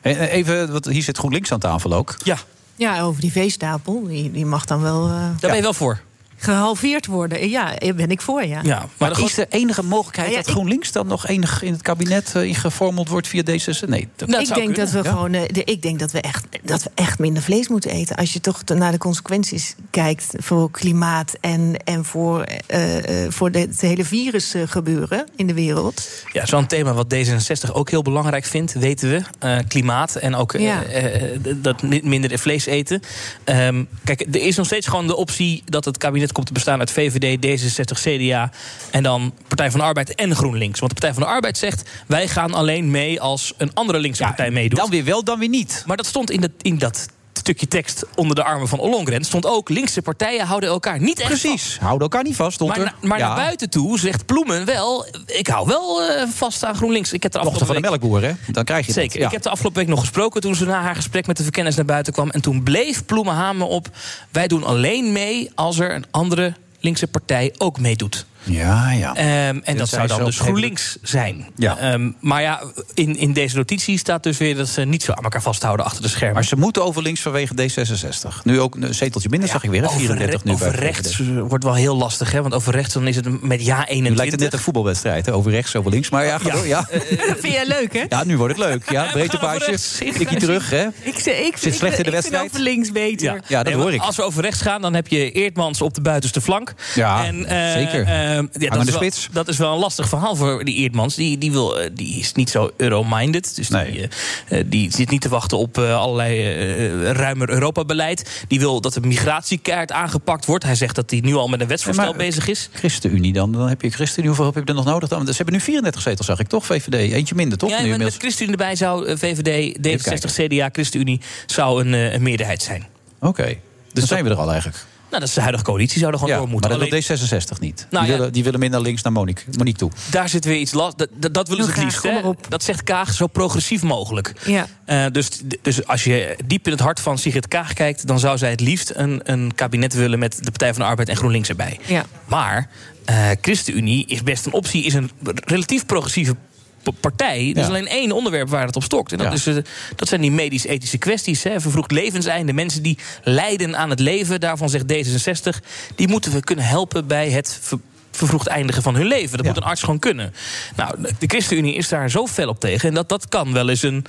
[SPEAKER 8] En, eh, Even, want hier zit GroenLinks aan tafel ook.
[SPEAKER 14] Ja.
[SPEAKER 9] Ja, over die veestapel. Die, die mag dan wel eh,
[SPEAKER 14] Daar ben je wel voor.
[SPEAKER 9] gehalveerd worden. Ja, daar ben ik voor, ja.
[SPEAKER 14] Ja, maar de
[SPEAKER 8] Maar is
[SPEAKER 14] groot-
[SPEAKER 8] de enige mogelijkheid
[SPEAKER 9] Nou ja,
[SPEAKER 8] dat GroenLinks dan nog enig in het kabinet eh, ingevormeld wordt via D66? Nee.
[SPEAKER 9] ik denk dat we gewoon. eh, de- ik denk dat we, echt, dat we echt minder vlees moeten eten. Als je toch te- naar de consequenties kijkt voor klimaat en, en voor, eh, eh, voor de, het hele virus eh, gebeuren in de wereld.
[SPEAKER 14] Ja, zo'n thema wat D66 ook heel belangrijk vindt, weten we. Eh, klimaat en ook eh,
[SPEAKER 9] Ja.
[SPEAKER 14] eh, eh, dat mi- minder vlees eten. Ehm, kijk, er is nog steeds gewoon de optie dat het kabinet komt te bestaan uit VVD, D66, CDA en dan Partij van de Arbeid en GroenLinks. Want de Partij van de Arbeid zegt: wij gaan alleen mee als een andere linkse partij meedoet.
[SPEAKER 8] Dan weer wel, dan weer niet.
[SPEAKER 14] Maar dat stond in dat, in dat stukje tekst onder de armen van Ollongren stond ook... linkse partijen houden elkaar niet echt
[SPEAKER 8] Precies,
[SPEAKER 14] vast.
[SPEAKER 8] houden elkaar niet vast. stond
[SPEAKER 14] Maar,
[SPEAKER 8] er.
[SPEAKER 14] na- maar
[SPEAKER 8] Ja.
[SPEAKER 14] naar buiten toe zegt Ploemen wel... ik hou wel eh, vast aan GroenLinks. Ik heb er
[SPEAKER 8] Dochter
[SPEAKER 14] afgelopen
[SPEAKER 8] van de
[SPEAKER 14] week-
[SPEAKER 8] melkboer, hè? Dan krijg je dat.
[SPEAKER 14] Zeker.
[SPEAKER 8] Ja.
[SPEAKER 14] Ik heb de afgelopen week nog gesproken toen ze na haar gesprek met de verkenners naar buiten kwam. En toen bleef Ploemen hamen op: wij doen alleen mee als er een andere linkse partij ook meedoet.
[SPEAKER 8] Ja, ja.
[SPEAKER 14] Ehm, en dat zou
[SPEAKER 8] zij
[SPEAKER 14] dan
[SPEAKER 8] zelf
[SPEAKER 14] dus
[SPEAKER 8] geen-
[SPEAKER 14] GroenLinks zijn.
[SPEAKER 8] Ja.
[SPEAKER 14] Ehm, maar ja, in, in deze notitie staat dus weer dat ze niet zo aan elkaar vasthouden achter de schermen.
[SPEAKER 8] Maar ze moeten over links vanwege D66. Nu ook een zeteltje minder, zag ik weer. hè?
[SPEAKER 14] over
[SPEAKER 8] 34
[SPEAKER 14] re-
[SPEAKER 8] nu bij
[SPEAKER 14] over
[SPEAKER 8] VVD.
[SPEAKER 14] rechts eh, wordt wel heel lastig, hè? Want over rechts dan is het met ja 21.
[SPEAKER 8] Nu lijkt het net een voetbalwedstrijd. Hè? Over rechts, over links. Maar ja, ga door, ja.
[SPEAKER 9] Dat vind jij leuk, hè?
[SPEAKER 8] ja, nu wordt het leuk. Ja, breedte paasje. Tikkie terug, hè?
[SPEAKER 9] Ik, ze- ik,
[SPEAKER 8] Zit
[SPEAKER 9] ik-
[SPEAKER 8] slecht in de
[SPEAKER 9] ik vind
[SPEAKER 8] wedstrijd?
[SPEAKER 9] over links beter.
[SPEAKER 8] Ja, dat hoor
[SPEAKER 14] maar
[SPEAKER 8] ik.
[SPEAKER 14] Als we over rechts gaan, dan heb je Eertmans op de buitenste flank.
[SPEAKER 8] Ja,
[SPEAKER 14] eh,
[SPEAKER 8] zeker.
[SPEAKER 14] eh, ja,
[SPEAKER 8] aan
[SPEAKER 14] dat,
[SPEAKER 8] de
[SPEAKER 14] is wel,
[SPEAKER 8] spits.
[SPEAKER 14] dat is wel een lastig verhaal voor die Eertmans. Die, die, wil, eh, die is niet zo euro-minded. Dus die, eh, eh, die zit niet te wachten op eh, allerlei eh, ruimer Europa-beleid. Die wil dat de migratiekaart aangepakt wordt. Hij zegt dat hij nu al met een wetsvoorstel
[SPEAKER 8] Maar, eh,
[SPEAKER 14] bezig is.
[SPEAKER 8] ChristenUnie dan. Dan heb je ChristenUnie. Hoeveel heb je er nog nodig? Dan? Ze hebben nu 34 zetels, zag ik toch? VVD. Eentje minder, toch?
[SPEAKER 14] Ja,
[SPEAKER 8] nu
[SPEAKER 14] en met
[SPEAKER 8] inmiddels.
[SPEAKER 14] ChristenUnie erbij zou eh, VVD, D66, CDA, ChristenUnie zou een, eh, een meerderheid zijn.
[SPEAKER 8] Oké. Dus dan zijn we er al eigenlijk.
[SPEAKER 14] Nou, dat is de huidige coalitie, zou er gewoon door moeten.
[SPEAKER 8] Maar dat
[SPEAKER 14] Alleen-
[SPEAKER 8] wil D66 niet.
[SPEAKER 14] Nou
[SPEAKER 8] die,
[SPEAKER 14] ja.
[SPEAKER 8] willen, die willen minder links naar Monique, Monique toe.
[SPEAKER 14] daar zit weer iets last. Dat, dat, dat willen ze het liefst. Hè? Dat zegt Kaag zo progressief mogelijk.
[SPEAKER 9] Ja.
[SPEAKER 14] Eh, dus, dus als je diep in het hart van Sigrid Kaag kijkt, dan zou zij het liefst een, een kabinet willen met de Partij van de Arbeid en GroenLinks erbij.
[SPEAKER 9] Ja.
[SPEAKER 14] Maar eh ChristenUnie is best een optie, is een relatief progressieve p- partij. Er is
[SPEAKER 8] Ja.
[SPEAKER 14] alleen één onderwerp waar het op stokt. En dat,
[SPEAKER 8] Ja.
[SPEAKER 14] is, eh, dat zijn die medisch-ethische kwesties. Hè. Vervroegd levenseinde, mensen die lijden aan het leven. Daarvan zegt D66, die moeten we kunnen helpen bij het ver- vervroegd eindigen van hun leven. Dat moet een arts gewoon kunnen. Nou, de ChristenUnie is daar zo fel op tegen. En dat, dat kan wel eens een,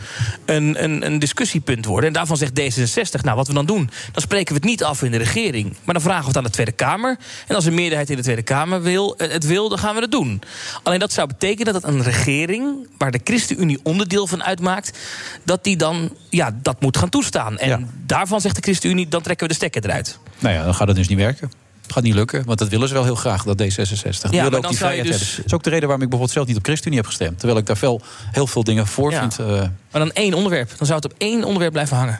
[SPEAKER 14] een, een, een discussiepunt worden. En daarvan zegt D66, nou, wat we dan doen... dan spreken we het niet af in de regering. Maar dan vragen we het aan de Tweede Kamer. En als een meerderheid in de Tweede Kamer wil, eh, het wil, dan gaan we dat doen. Alleen dat zou betekenen dat een regering... waar de ChristenUnie onderdeel van uitmaakt... dat die dan ja, dat moet gaan toestaan. En daarvan zegt de ChristenUnie, dan trekken we de stekker eruit.
[SPEAKER 8] Nou ja, dan gaat het dus niet werken. Het gaat niet lukken, want dat willen ze wel heel graag, dat D66. Ja,
[SPEAKER 14] maar
[SPEAKER 8] willen ook
[SPEAKER 14] dan
[SPEAKER 8] die
[SPEAKER 14] zou je
[SPEAKER 8] vrijheid
[SPEAKER 14] dus-
[SPEAKER 8] hebben. Dat is ook de reden waarom ik bijvoorbeeld zelf niet op ChristenUnie heb gestemd. Terwijl ik daar wel heel veel dingen voor
[SPEAKER 14] Ja.
[SPEAKER 8] vind. eh,
[SPEAKER 14] Maar dan één onderwerp. Dan zou het op één onderwerp blijven hangen.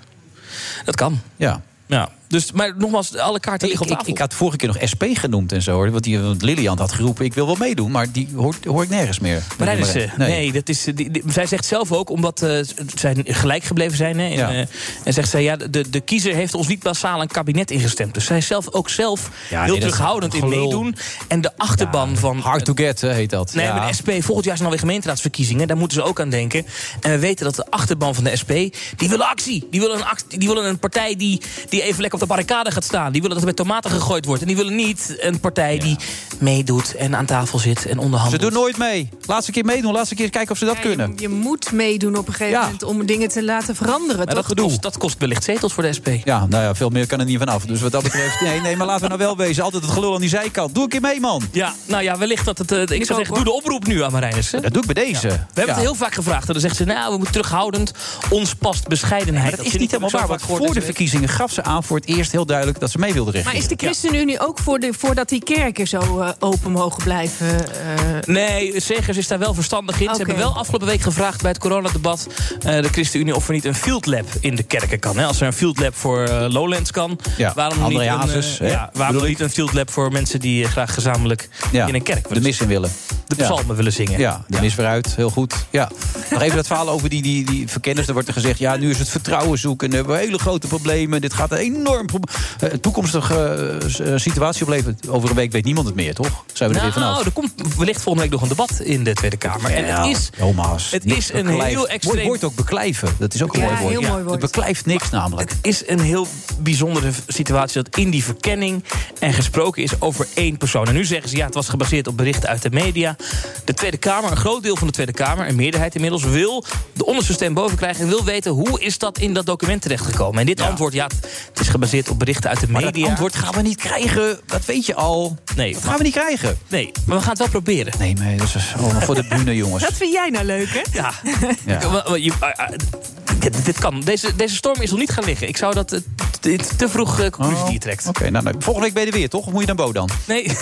[SPEAKER 14] Dat kan.
[SPEAKER 8] ja.
[SPEAKER 14] Ja. Dus, maar nogmaals, alle kaarten
[SPEAKER 8] Ik,
[SPEAKER 14] liggen op
[SPEAKER 8] ik,
[SPEAKER 14] tafel.
[SPEAKER 8] ik had vorige keer nog SP genoemd en zo. hoor. Want, die, want Lilian had geroepen, ik wil wel meedoen. Maar die hoor, hoor ik nergens meer.
[SPEAKER 14] Marijnissen,
[SPEAKER 8] Nummer één.
[SPEAKER 14] nee. dat is, eh, die- die- zij zegt zelf ook, omdat eh, zij gelijk gebleven zijn... Hè, en, eh, en zegt zij, ja, de, de kiezer heeft ons niet basaal een kabinet ingestemd. Dus zij is zelf ook zelf
[SPEAKER 8] Ja, nee,
[SPEAKER 14] heel
[SPEAKER 8] dat is
[SPEAKER 14] terughoudend in
[SPEAKER 8] gelul.
[SPEAKER 14] meedoen. En de achterban van...
[SPEAKER 8] Hard to get hè, heet dat.
[SPEAKER 14] Nee,
[SPEAKER 8] Ja.
[SPEAKER 14] maar de SP, volgend jaar zijn alweer gemeenteraadsverkiezingen. Daar moeten ze ook aan denken. En we weten dat de achterban van de SP, die willen actie. Die willen een, act- die willen een partij die, die even lekker op de barricade gaat staan. Die willen dat er met tomaten gegooid wordt. En die willen niet een partij die meedoet en aan tafel zit en
[SPEAKER 8] Ze
[SPEAKER 14] onderhandelt.
[SPEAKER 8] doen nooit mee. Laatste keer meedoen, laatste keer kijken of ze dat kunnen.
[SPEAKER 9] Je moet meedoen op een gegeven moment om dingen te laten veranderen.
[SPEAKER 14] Maar
[SPEAKER 9] toch?
[SPEAKER 14] dat, kost, dat kost wellicht zetels voor de SP.
[SPEAKER 8] Ja, nou ja, veel meer kan er niet vanaf. Dus wat dat betreft, nee, nee, maar laten we nou wel wezen. Altijd het gelul aan die zijkant. Doe een keer mee, man.
[SPEAKER 14] Ja, nou ja, wellicht dat het... eh, ik zou zeggen, doe de oproep nu aan Marijnissen.
[SPEAKER 8] Dat doe ik bij deze.
[SPEAKER 14] We hebben
[SPEAKER 8] Ja.
[SPEAKER 14] het heel vaak gevraagd. En dan zegt ze, nou, we moeten terughoudend. Ons past bescheidenheid.
[SPEAKER 8] Maar dat is niet helemaal waar. Want voor de verkiezingen gaf ze aan voor het eerst heel duidelijk dat ze mee wilde regeren.
[SPEAKER 9] Maar is de ChristenUnie ook voor, de, voor dat die kerken zo eh, open mogen blijven? eh,
[SPEAKER 14] Nee, Segers is daar wel verstandig in. Ze
[SPEAKER 9] Oké.
[SPEAKER 14] hebben wel afgelopen week gevraagd bij het coronadebat... eh de ChristenUnie of er niet een field lab in de kerken kan. Hè? Als er een field lab voor eh, Lowlands kan...
[SPEAKER 8] Ja,
[SPEAKER 14] waarom dan
[SPEAKER 8] André
[SPEAKER 14] niet, een,
[SPEAKER 8] Hazes,
[SPEAKER 14] eh,
[SPEAKER 8] hè?
[SPEAKER 14] ja, waarom dan niet een field lab voor mensen die eh, graag gezamenlijk
[SPEAKER 8] Ja,
[SPEAKER 14] in een kerk
[SPEAKER 8] de mis in willen.
[SPEAKER 14] De
[SPEAKER 8] Ja.
[SPEAKER 14] psalmen willen zingen.
[SPEAKER 8] Ja, dan is weer uit. Heel goed. Ja. Nog even dat verhaal over die, die, die verkenners. Er wordt er gezegd, ja, nu is het vertrouwen zoeken. We hebben hele grote problemen. Dit gaat een enorm probleem. toekomstige eh, s- eh, situatie opleveren. Over een week weet niemand het meer, toch? Zijn we er weer vanaf?
[SPEAKER 14] Nou, er komt wellicht volgende week nog een debat in de Tweede Kamer. En het is,
[SPEAKER 8] Thomas,
[SPEAKER 14] het
[SPEAKER 8] niet
[SPEAKER 14] is een
[SPEAKER 8] beklijft.
[SPEAKER 14] heel extreem...
[SPEAKER 8] Mooi woord ook beklijven. Dat is ook een
[SPEAKER 14] Ja,
[SPEAKER 8] mooi woord.
[SPEAKER 14] heel mooi
[SPEAKER 8] Het beklijft niks namelijk.
[SPEAKER 14] Het is een heel bijzondere situatie dat in die verkenning en gesproken is over één persoon. En nu zeggen ze ja, het was gebaseerd op berichten uit de media. De Tweede Kamer, een groot deel van de Tweede Kamer, een meerderheid inmiddels, wil de onderste stem boven krijgen en wil weten hoe is dat in dat document terechtgekomen. En dit antwoord, ja, het is gebaseerd op berichten uit de
[SPEAKER 8] Maar dat
[SPEAKER 14] media.
[SPEAKER 8] antwoord gaan we niet krijgen. Dat weet je al.
[SPEAKER 14] nee,
[SPEAKER 8] Dat gaan we niet krijgen.
[SPEAKER 14] Nee, maar we gaan het wel proberen.
[SPEAKER 8] Nee, maar dat is allemaal voor de bühne, jongens.
[SPEAKER 9] Dat vind jij nou leuk, hè?
[SPEAKER 14] Ja.
[SPEAKER 8] Ja.
[SPEAKER 14] Wa- wa- je- ah, ah, dit, dit kan. Deze, deze storm is nog niet gaan liggen. Ik zou dat eh, t- dit te vroeg eh, conclusie die je trekt.
[SPEAKER 8] Oké, nou, nou, volgende week ben je er weer, toch? Of moet je naar Bo dan?
[SPEAKER 14] Nee, nee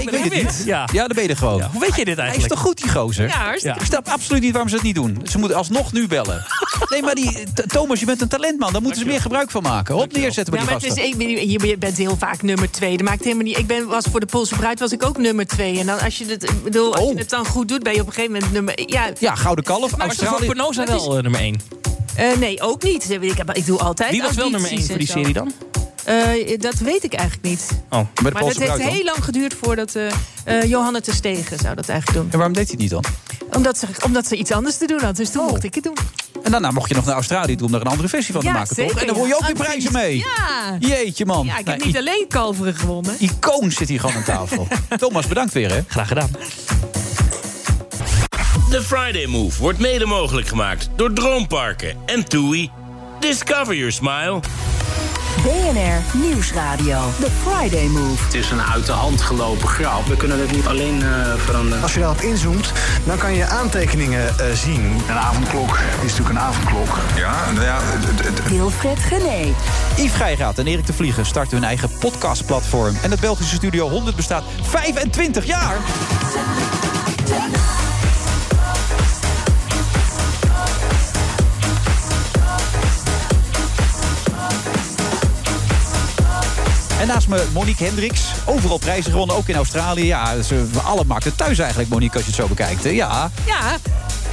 [SPEAKER 14] ik weet het niet. Ja.
[SPEAKER 8] Ja, dan ben je er gewoon.
[SPEAKER 14] Hoe weet je dit
[SPEAKER 8] Hij is
[SPEAKER 14] eigenlijk?
[SPEAKER 8] toch goed, die gozer?
[SPEAKER 14] Ja, hartstikke.
[SPEAKER 8] Ik snap absoluut niet waarom ze het niet doen. Ze moeten alsnog nu bellen. Nee, maar die, T- Thomas, je bent een talentman. Daar moeten ze meer gebruik van maken. Op neerzetten
[SPEAKER 9] Ja,
[SPEAKER 8] met
[SPEAKER 9] maar
[SPEAKER 8] die
[SPEAKER 9] het is,
[SPEAKER 8] gasten.
[SPEAKER 9] ik ben, je je bent heel vaak nummer twee. Dat maakt helemaal niet. Ik ben, was voor de Poolse bruid was ik ook nummer twee. En dan als je het, ik bedoel, als je het dan goed doet, ben je op een gegeven moment nummer. Ja,
[SPEAKER 8] Oh. Ja, Gouden Kalf,
[SPEAKER 14] Nou, Maar ze voor
[SPEAKER 8] Australië.
[SPEAKER 14] Pernoza wel eh, nummer 1.
[SPEAKER 9] eh, nee, ook niet. Ik, heb, ik doe altijd.
[SPEAKER 14] Wie was wel
[SPEAKER 9] audities
[SPEAKER 14] nummer 1 voor die
[SPEAKER 9] en
[SPEAKER 14] serie
[SPEAKER 9] zo.
[SPEAKER 14] dan?
[SPEAKER 9] Eh, dat weet ik eigenlijk niet.
[SPEAKER 14] Oh,
[SPEAKER 8] bij de
[SPEAKER 9] maar dat
[SPEAKER 8] Poolse
[SPEAKER 9] heeft
[SPEAKER 8] bruid
[SPEAKER 9] heel
[SPEAKER 8] dan?
[SPEAKER 9] lang geduurd voordat eh eh Johanna te Stegen zou dat eigenlijk
[SPEAKER 14] Oh.
[SPEAKER 9] doen.
[SPEAKER 8] En waarom deed hij het niet dan?
[SPEAKER 9] Omdat ze, omdat ze iets anders te doen had. Dus toen mocht ik het doen.
[SPEAKER 8] En daarna mocht je nog naar Australië toe om daar Oh. een andere versie van
[SPEAKER 9] Ja,
[SPEAKER 8] te maken,
[SPEAKER 9] zeker,
[SPEAKER 8] toch? En dan hoor je ook
[SPEAKER 9] ja.
[SPEAKER 8] weer prijzen mee.
[SPEAKER 9] Ja.
[SPEAKER 8] Jeetje, man.
[SPEAKER 9] Ja, ik heb
[SPEAKER 8] Nou,
[SPEAKER 9] niet alleen kalveren gewonnen.
[SPEAKER 8] i- Icoon zit hier gewoon aan tafel. Thomas, bedankt weer, hè?
[SPEAKER 14] Graag gedaan.
[SPEAKER 15] De Friday Move wordt mede mogelijk gemaakt door Droomparken en TUI. Discover your smile.
[SPEAKER 3] BNR Nieuwsradio. The Friday Move.
[SPEAKER 16] Het is een uit de hand gelopen grap. We kunnen het niet alleen eh, veranderen.
[SPEAKER 12] Als je daarop inzoomt, dan kan je aantekeningen eh, zien. Een avondklok is natuurlijk een avondklok.
[SPEAKER 4] Ja, nou ja, het- het- het-
[SPEAKER 3] Wilfred Genee.
[SPEAKER 8] Yves Geiraat en Erik de Vlieger starten hun eigen podcastplatform. En het Belgische Studio 100 bestaat 25 jaar. En naast me Monique Hendricks. Overal prijzen gewonnen, ook in Australië. Ja, ze, we alle markten thuis eigenlijk, Monique, als je het zo bekijkt. hè? Ja.
[SPEAKER 9] Ja,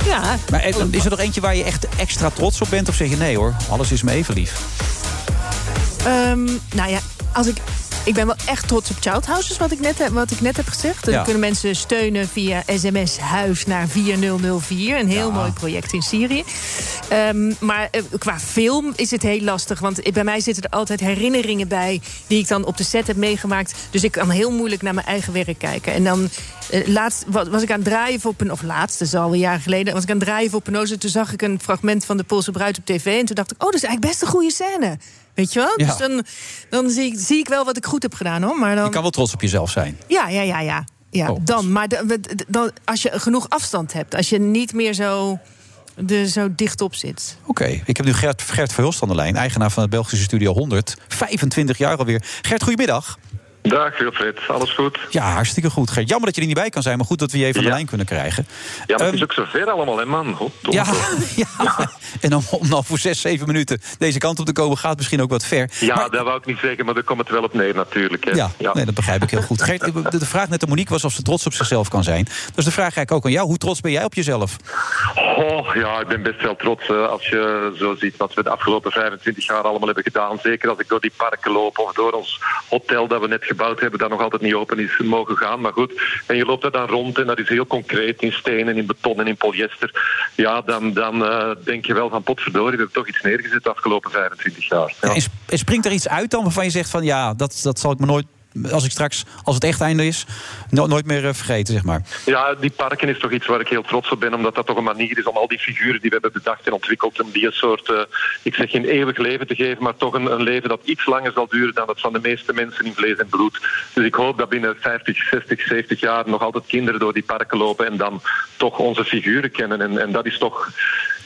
[SPEAKER 9] ja.
[SPEAKER 8] Maar eh, is er nog eentje waar je echt extra trots op bent? Of zeg je nee hoor, alles is me even lief?
[SPEAKER 9] Ehm, nou ja, als ik. Ik ben wel echt trots op Childhouses, wat ik net heb, wat ik net heb gezegd. Dan
[SPEAKER 17] Ja.
[SPEAKER 9] kunnen mensen steunen via sms huis naar 4004. Een heel mooi project in Syrië. Ehm, maar eh, qua film is het heel lastig. Want ik- bij mij zitten er altijd herinneringen bij... die ik dan op de set heb meegemaakt. Dus ik kan heel moeilijk naar mijn eigen werk kijken. En dan eh, laatst wa- was ik aan het draaien voor... Pen- Of laatst, dat is al een jaar geleden. Was ik aan het draaien voor Penosa. Toen zag ik een fragment van De Poolse Bruid op tv. En toen dacht ik, oh, dat is eigenlijk best een goede scène. Weet je wel?
[SPEAKER 8] Ja.
[SPEAKER 9] Dus dan, dan zie, ik, zie ik wel wat ik goed heb gedaan, hoor. Maar
[SPEAKER 8] Je
[SPEAKER 9] dan,
[SPEAKER 8] kan wel trots op jezelf zijn.
[SPEAKER 9] Ja, ja, ja, ja. ja
[SPEAKER 8] Oh.
[SPEAKER 9] Dan, maar de- we- de- dan, als je genoeg afstand hebt. Als je niet meer zo, de, zo dicht op zit.
[SPEAKER 8] Oké, ik heb nu Gert, Gert Verhulst aan de lijn, eigenaar van het Belgische Studio 100. 25 jaar alweer. Gert, goedemiddag.
[SPEAKER 18] Dag Wilfred, alles goed?
[SPEAKER 8] Ja, hartstikke goed. Gert, jammer dat je er niet bij kan zijn, maar goed dat we je even aan de lijn kunnen krijgen. Ehm,
[SPEAKER 18] Ja, maar het is ook zo ver allemaal, hè man? Goddomme.
[SPEAKER 8] Ja, ja. en om, om dan voor 6, 7 minuten deze kant op te komen gaat misschien ook wat ver.
[SPEAKER 18] Ja, dat wou ik niet zeggen, maar daar komt het wel op neer natuurlijk. Hè.
[SPEAKER 8] Ja, Nee, dat begrijp ik heel goed. Gert, ik- de de vraag net aan Monique was of ze trots op zichzelf kan zijn. Dus de vraag eigenlijk ook aan jou. Hoe trots ben jij op jezelf?
[SPEAKER 18] Oh, ja, ik ben best wel trots hè, als je zo ziet wat we de afgelopen 25 jaar allemaal hebben gedaan. Zeker als ik door die parken loop of door ons hotel dat we net gebouwd hebben, dat nog altijd niet open is, mogen gaan. Maar goed, en je loopt daar dan rond en dat is heel concreet in steen en in beton en in polyester. Ja, dan, dan eh, denk je wel van potverdorie, we hebben toch iets neergezet de afgelopen 25 jaar.
[SPEAKER 8] En sp- en springt er iets uit dan waarvan je zegt van ja, dat, dat zal ik me nooit, als ik straks, als het echt einde is, no- nooit meer eh, vergeten, zeg maar.
[SPEAKER 18] Ja, die parken is toch iets waar ik heel trots op ben, omdat dat toch een manier is om al die figuren die we hebben bedacht en ontwikkeld, om die een soort, eh, ik zeg geen eeuwig leven te geven, maar toch een, een leven dat iets langer zal duren dan dat van de meeste mensen in vlees en bloed. Dus ik hoop dat binnen 50, 60, 70 jaar nog altijd kinderen door die parken lopen en dan toch onze figuren kennen. En, en dat is toch,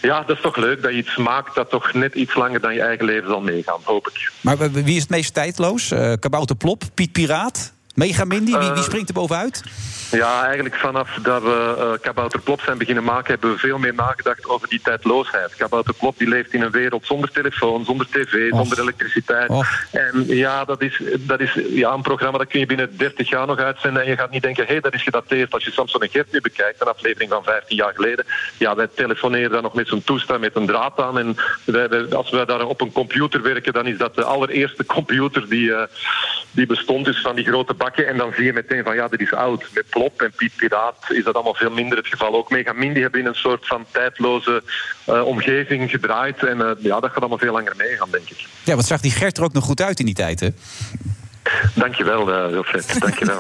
[SPEAKER 18] ja, dat is toch leuk dat je iets maakt dat toch net iets langer dan je eigen leven zal meegaan, hoop ik.
[SPEAKER 8] Maar w- w- wie is het meest tijdloos? Eh Kabouter Plop, Piet Piraat, Mega Mindy, wie,
[SPEAKER 18] Eh.
[SPEAKER 8] wie springt er bovenuit?
[SPEAKER 18] Ja, eigenlijk vanaf dat we eh Kabouter Plop zijn beginnen maken, hebben we veel meer nagedacht over die tijdloosheid. Kabouter Plop die leeft in een wereld zonder telefoon, zonder tv, zonder elektriciteit. En ja, dat is, dat is ja, een programma dat kun je binnen 30 jaar nog uitzenden. En je gaat niet denken, hé, hey, dat is gedateerd. Als je Samson en Gert nu bekijkt, een aflevering van 15 jaar geleden. Ja, wij telefoneren dan nog met zo'n toestel, met een draad aan. En wij- wij- als we daar op een computer werken, dan is dat de allereerste computer die, eh, die bestond. Dus van die grote bakken. En dan zie je meteen van, ja, dit is oud. Met Plop en Piet Piraat is dat allemaal veel minder het geval. Ook Megamindi hebben in een soort van tijdloze eh, omgeving gedraaid. En eh, ja, dat gaat allemaal veel langer meegaan, denk ik.
[SPEAKER 8] Ja, wat zag die Gert er ook nog goed uit in die tijd, hè?
[SPEAKER 18] Dankjewel, eh Wilfred. Dankjewel.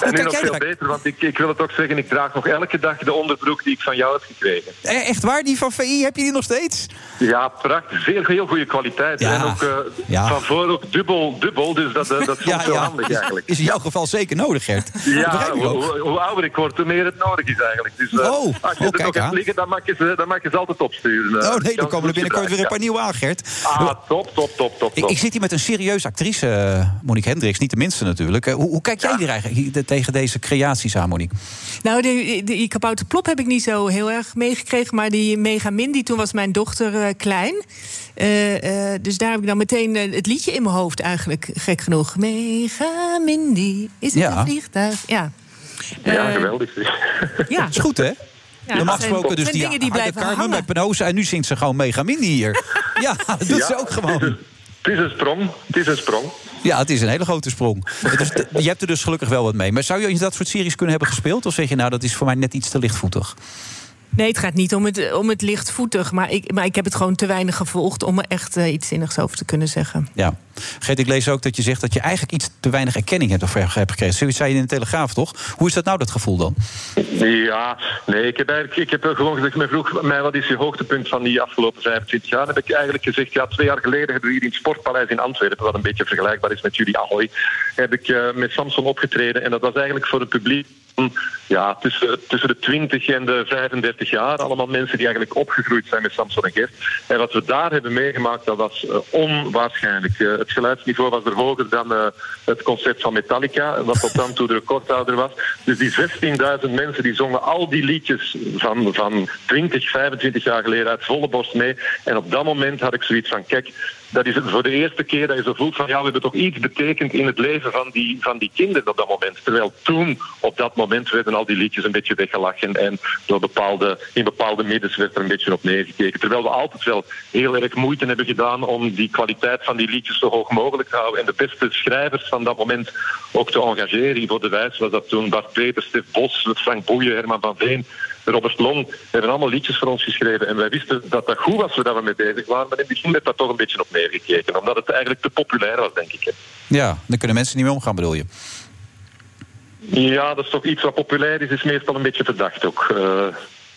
[SPEAKER 18] en nu nog veel beter, want ik, ik wil het ook zeggen... ik draag nog elke dag de onderbroek die ik van jou heb gekregen.
[SPEAKER 8] Eh, Echt waar, die van VI, heb je die nog steeds?
[SPEAKER 18] Ja, prachtig. Heel, heel goede kwaliteit. En ook eh, van voor ook dubbel, dubbel. Dus dat, eh, dat is soms heel handig
[SPEAKER 8] Is-
[SPEAKER 18] eigenlijk.
[SPEAKER 8] Is in jouw geval zeker nodig, Gert. Dat
[SPEAKER 18] Ja,
[SPEAKER 8] begrijp ik
[SPEAKER 18] hoe,
[SPEAKER 8] ook.
[SPEAKER 18] hoe- hoe ouder ik word, hoe meer het nodig is eigenlijk. Dus eh,
[SPEAKER 8] Oh,
[SPEAKER 18] als je
[SPEAKER 8] oh,
[SPEAKER 18] het
[SPEAKER 8] kijk
[SPEAKER 18] nog hebt
[SPEAKER 8] aan.
[SPEAKER 18] liggen, dan mag je ze, dan mag je ze altijd opsturen. eh.
[SPEAKER 8] Oh nee, er
[SPEAKER 18] Kans
[SPEAKER 8] komen er
[SPEAKER 18] moet je
[SPEAKER 8] binnenkort weer een paar
[SPEAKER 18] dragen,
[SPEAKER 8] nieuwe aan, Gert.
[SPEAKER 18] ja. Ah, top, top, top, top.
[SPEAKER 8] Ik, ik zit hier met een serieuze actrice, eh, eh, Monique Hendricks, niet de minste natuurlijk. Eh, hoe, hoe kijk jij hier eigenlijk hier- de- tegen deze creaties aan, Monique?
[SPEAKER 9] Nou, die, die, die kabouterplop heb ik niet zo heel erg meegekregen. Maar die Megamin, die toen was mijn dochter eh, klein. Eh, eh, dus daar heb ik dan meteen eh, het liedje in mijn hoofd eigenlijk, gek genoeg. Megamin, die is het
[SPEAKER 8] Ja.
[SPEAKER 9] een vliegtuig. Ja.
[SPEAKER 18] Ja,
[SPEAKER 9] Eh,
[SPEAKER 18] geweldig.
[SPEAKER 9] Ja.
[SPEAKER 8] Is goed, hè?
[SPEAKER 9] Ja,
[SPEAKER 8] Normaal
[SPEAKER 9] dat zijn-
[SPEAKER 8] gesproken dus
[SPEAKER 9] zijn
[SPEAKER 8] die,
[SPEAKER 9] dingen die
[SPEAKER 8] harde
[SPEAKER 9] blijven
[SPEAKER 8] Carmen
[SPEAKER 9] hangen.
[SPEAKER 8] bij Penosa... en nu zingt ze gewoon Megamini hier. ja, dat doet
[SPEAKER 18] Ja,
[SPEAKER 8] ze ook gewoon.
[SPEAKER 18] Het is een sprong. Het is een sprong.
[SPEAKER 8] Ja, het is een hele grote sprong. Dus, d- je hebt er dus gelukkig wel wat mee. Maar zou je in dat soort series kunnen hebben gespeeld? Of zeg je, nou, dat is voor mij net iets te lichtvoetig?
[SPEAKER 9] Nee, het gaat niet om het, om het lichtvoetig. Maar ik, maar ik heb het gewoon te weinig gevolgd om er echt eh, iets zinnigs over te kunnen zeggen.
[SPEAKER 8] Ja. Geet, ik lees ook dat je zegt dat je eigenlijk iets te weinig erkenning hebt, of hebt gekregen. Zoiets zei je in de Telegraaf, toch? Hoe is dat nou, dat gevoel dan?
[SPEAKER 18] Ja, nee, ik heb eigenlijk ik heb gewoon gezegd, men vroeg mij wat is je hoogtepunt van die afgelopen 25 jaar. Dan heb ik eigenlijk gezegd, ja, twee jaar geleden hebben we hier in het Sportpaleis in Antwerpen, wat een beetje vergelijkbaar is met jullie Ahoy, heb ik eh, met Samson opgetreden. En dat was eigenlijk voor het publiek mm, ja, tussen, tussen de 20 en de 35 jaar. Allemaal mensen die eigenlijk opgegroeid zijn met Samson en Gert. En wat we daar hebben meegemaakt, dat was eh, onwaarschijnlijk. Eh, het geluidsniveau was er hoger dan eh, het concert van Metallica, wat tot dan toe de recordhouder was. Dus die 16.000 mensen die zongen al die liedjes van, van 20, 25 jaar geleden uit volle borst mee. En op dat moment had ik zoiets van, kijk, dat is het voor de eerste keer dat je zo voelt van, ja, we hebben toch iets betekend in het leven van die, van die kinderen op dat moment. Terwijl toen, op dat moment, werden al die liedjes een beetje weggelachen. En door bepaalde, in bepaalde middens werd er een beetje op neergekeken. Terwijl we altijd wel heel erg moeite hebben gedaan om die kwaliteit van die liedjes zo hoog mogelijk te houden. En de beste schrijvers van dat moment ook te engageren. Voor de wijs was dat toen Bart Peters, Stef Bos, Frank Boeien, Herman van Veen. Robert Long hebben allemaal liedjes voor ons geschreven. En wij wisten dat dat goed was waar we mee bezig waren. Maar in het begin werd daar toch een beetje op neergekeken. Omdat het eigenlijk te populair was, denk ik. hè.
[SPEAKER 8] Ja, dan kunnen mensen niet meer omgaan, bedoel je?
[SPEAKER 18] Ja, dat is toch iets wat populair is, is meestal een beetje verdacht ook. Eh,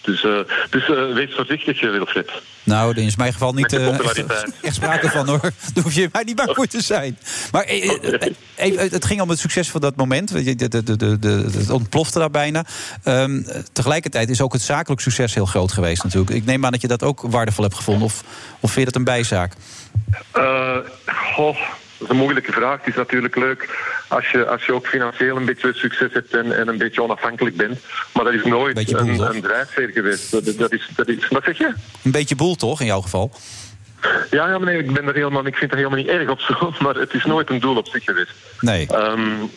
[SPEAKER 18] dus eh, dus eh, wees voorzichtig, eh, Wilfred.
[SPEAKER 8] Nou, er is in mijn geval niet
[SPEAKER 18] Met de
[SPEAKER 8] eh, echt,
[SPEAKER 18] populariteit.
[SPEAKER 8] echt sprake van hoor. Daar hoef je mij niet bang voor te zijn. Maar eh,
[SPEAKER 18] Oh,
[SPEAKER 8] eh, even, eh, het ging om het succes van dat moment. Weet je, de- de- de- de- de- Het ontplofte daar bijna. Ehm, tegelijkertijd is ook het zakelijk succes heel groot geweest natuurlijk. Ik neem aan dat je dat ook waardevol hebt gevonden. Of, of vind je dat een bijzaak?
[SPEAKER 18] Eh, goh, dat is een moeilijke vraag. Het is natuurlijk leuk als je, als je ook financieel een beetje succes hebt en, en een beetje onafhankelijk bent. Maar dat is nooit een, een drijfveer geweest. Dat, dat, is, dat is, wat zeg je?
[SPEAKER 8] Een beetje boel toch, in jouw geval?
[SPEAKER 18] Ja, ja, maar nee, ik, ben er helemaal, ik vind dat helemaal niet erg op zo, maar het is nooit een doel op zich geweest. Ehm, eh,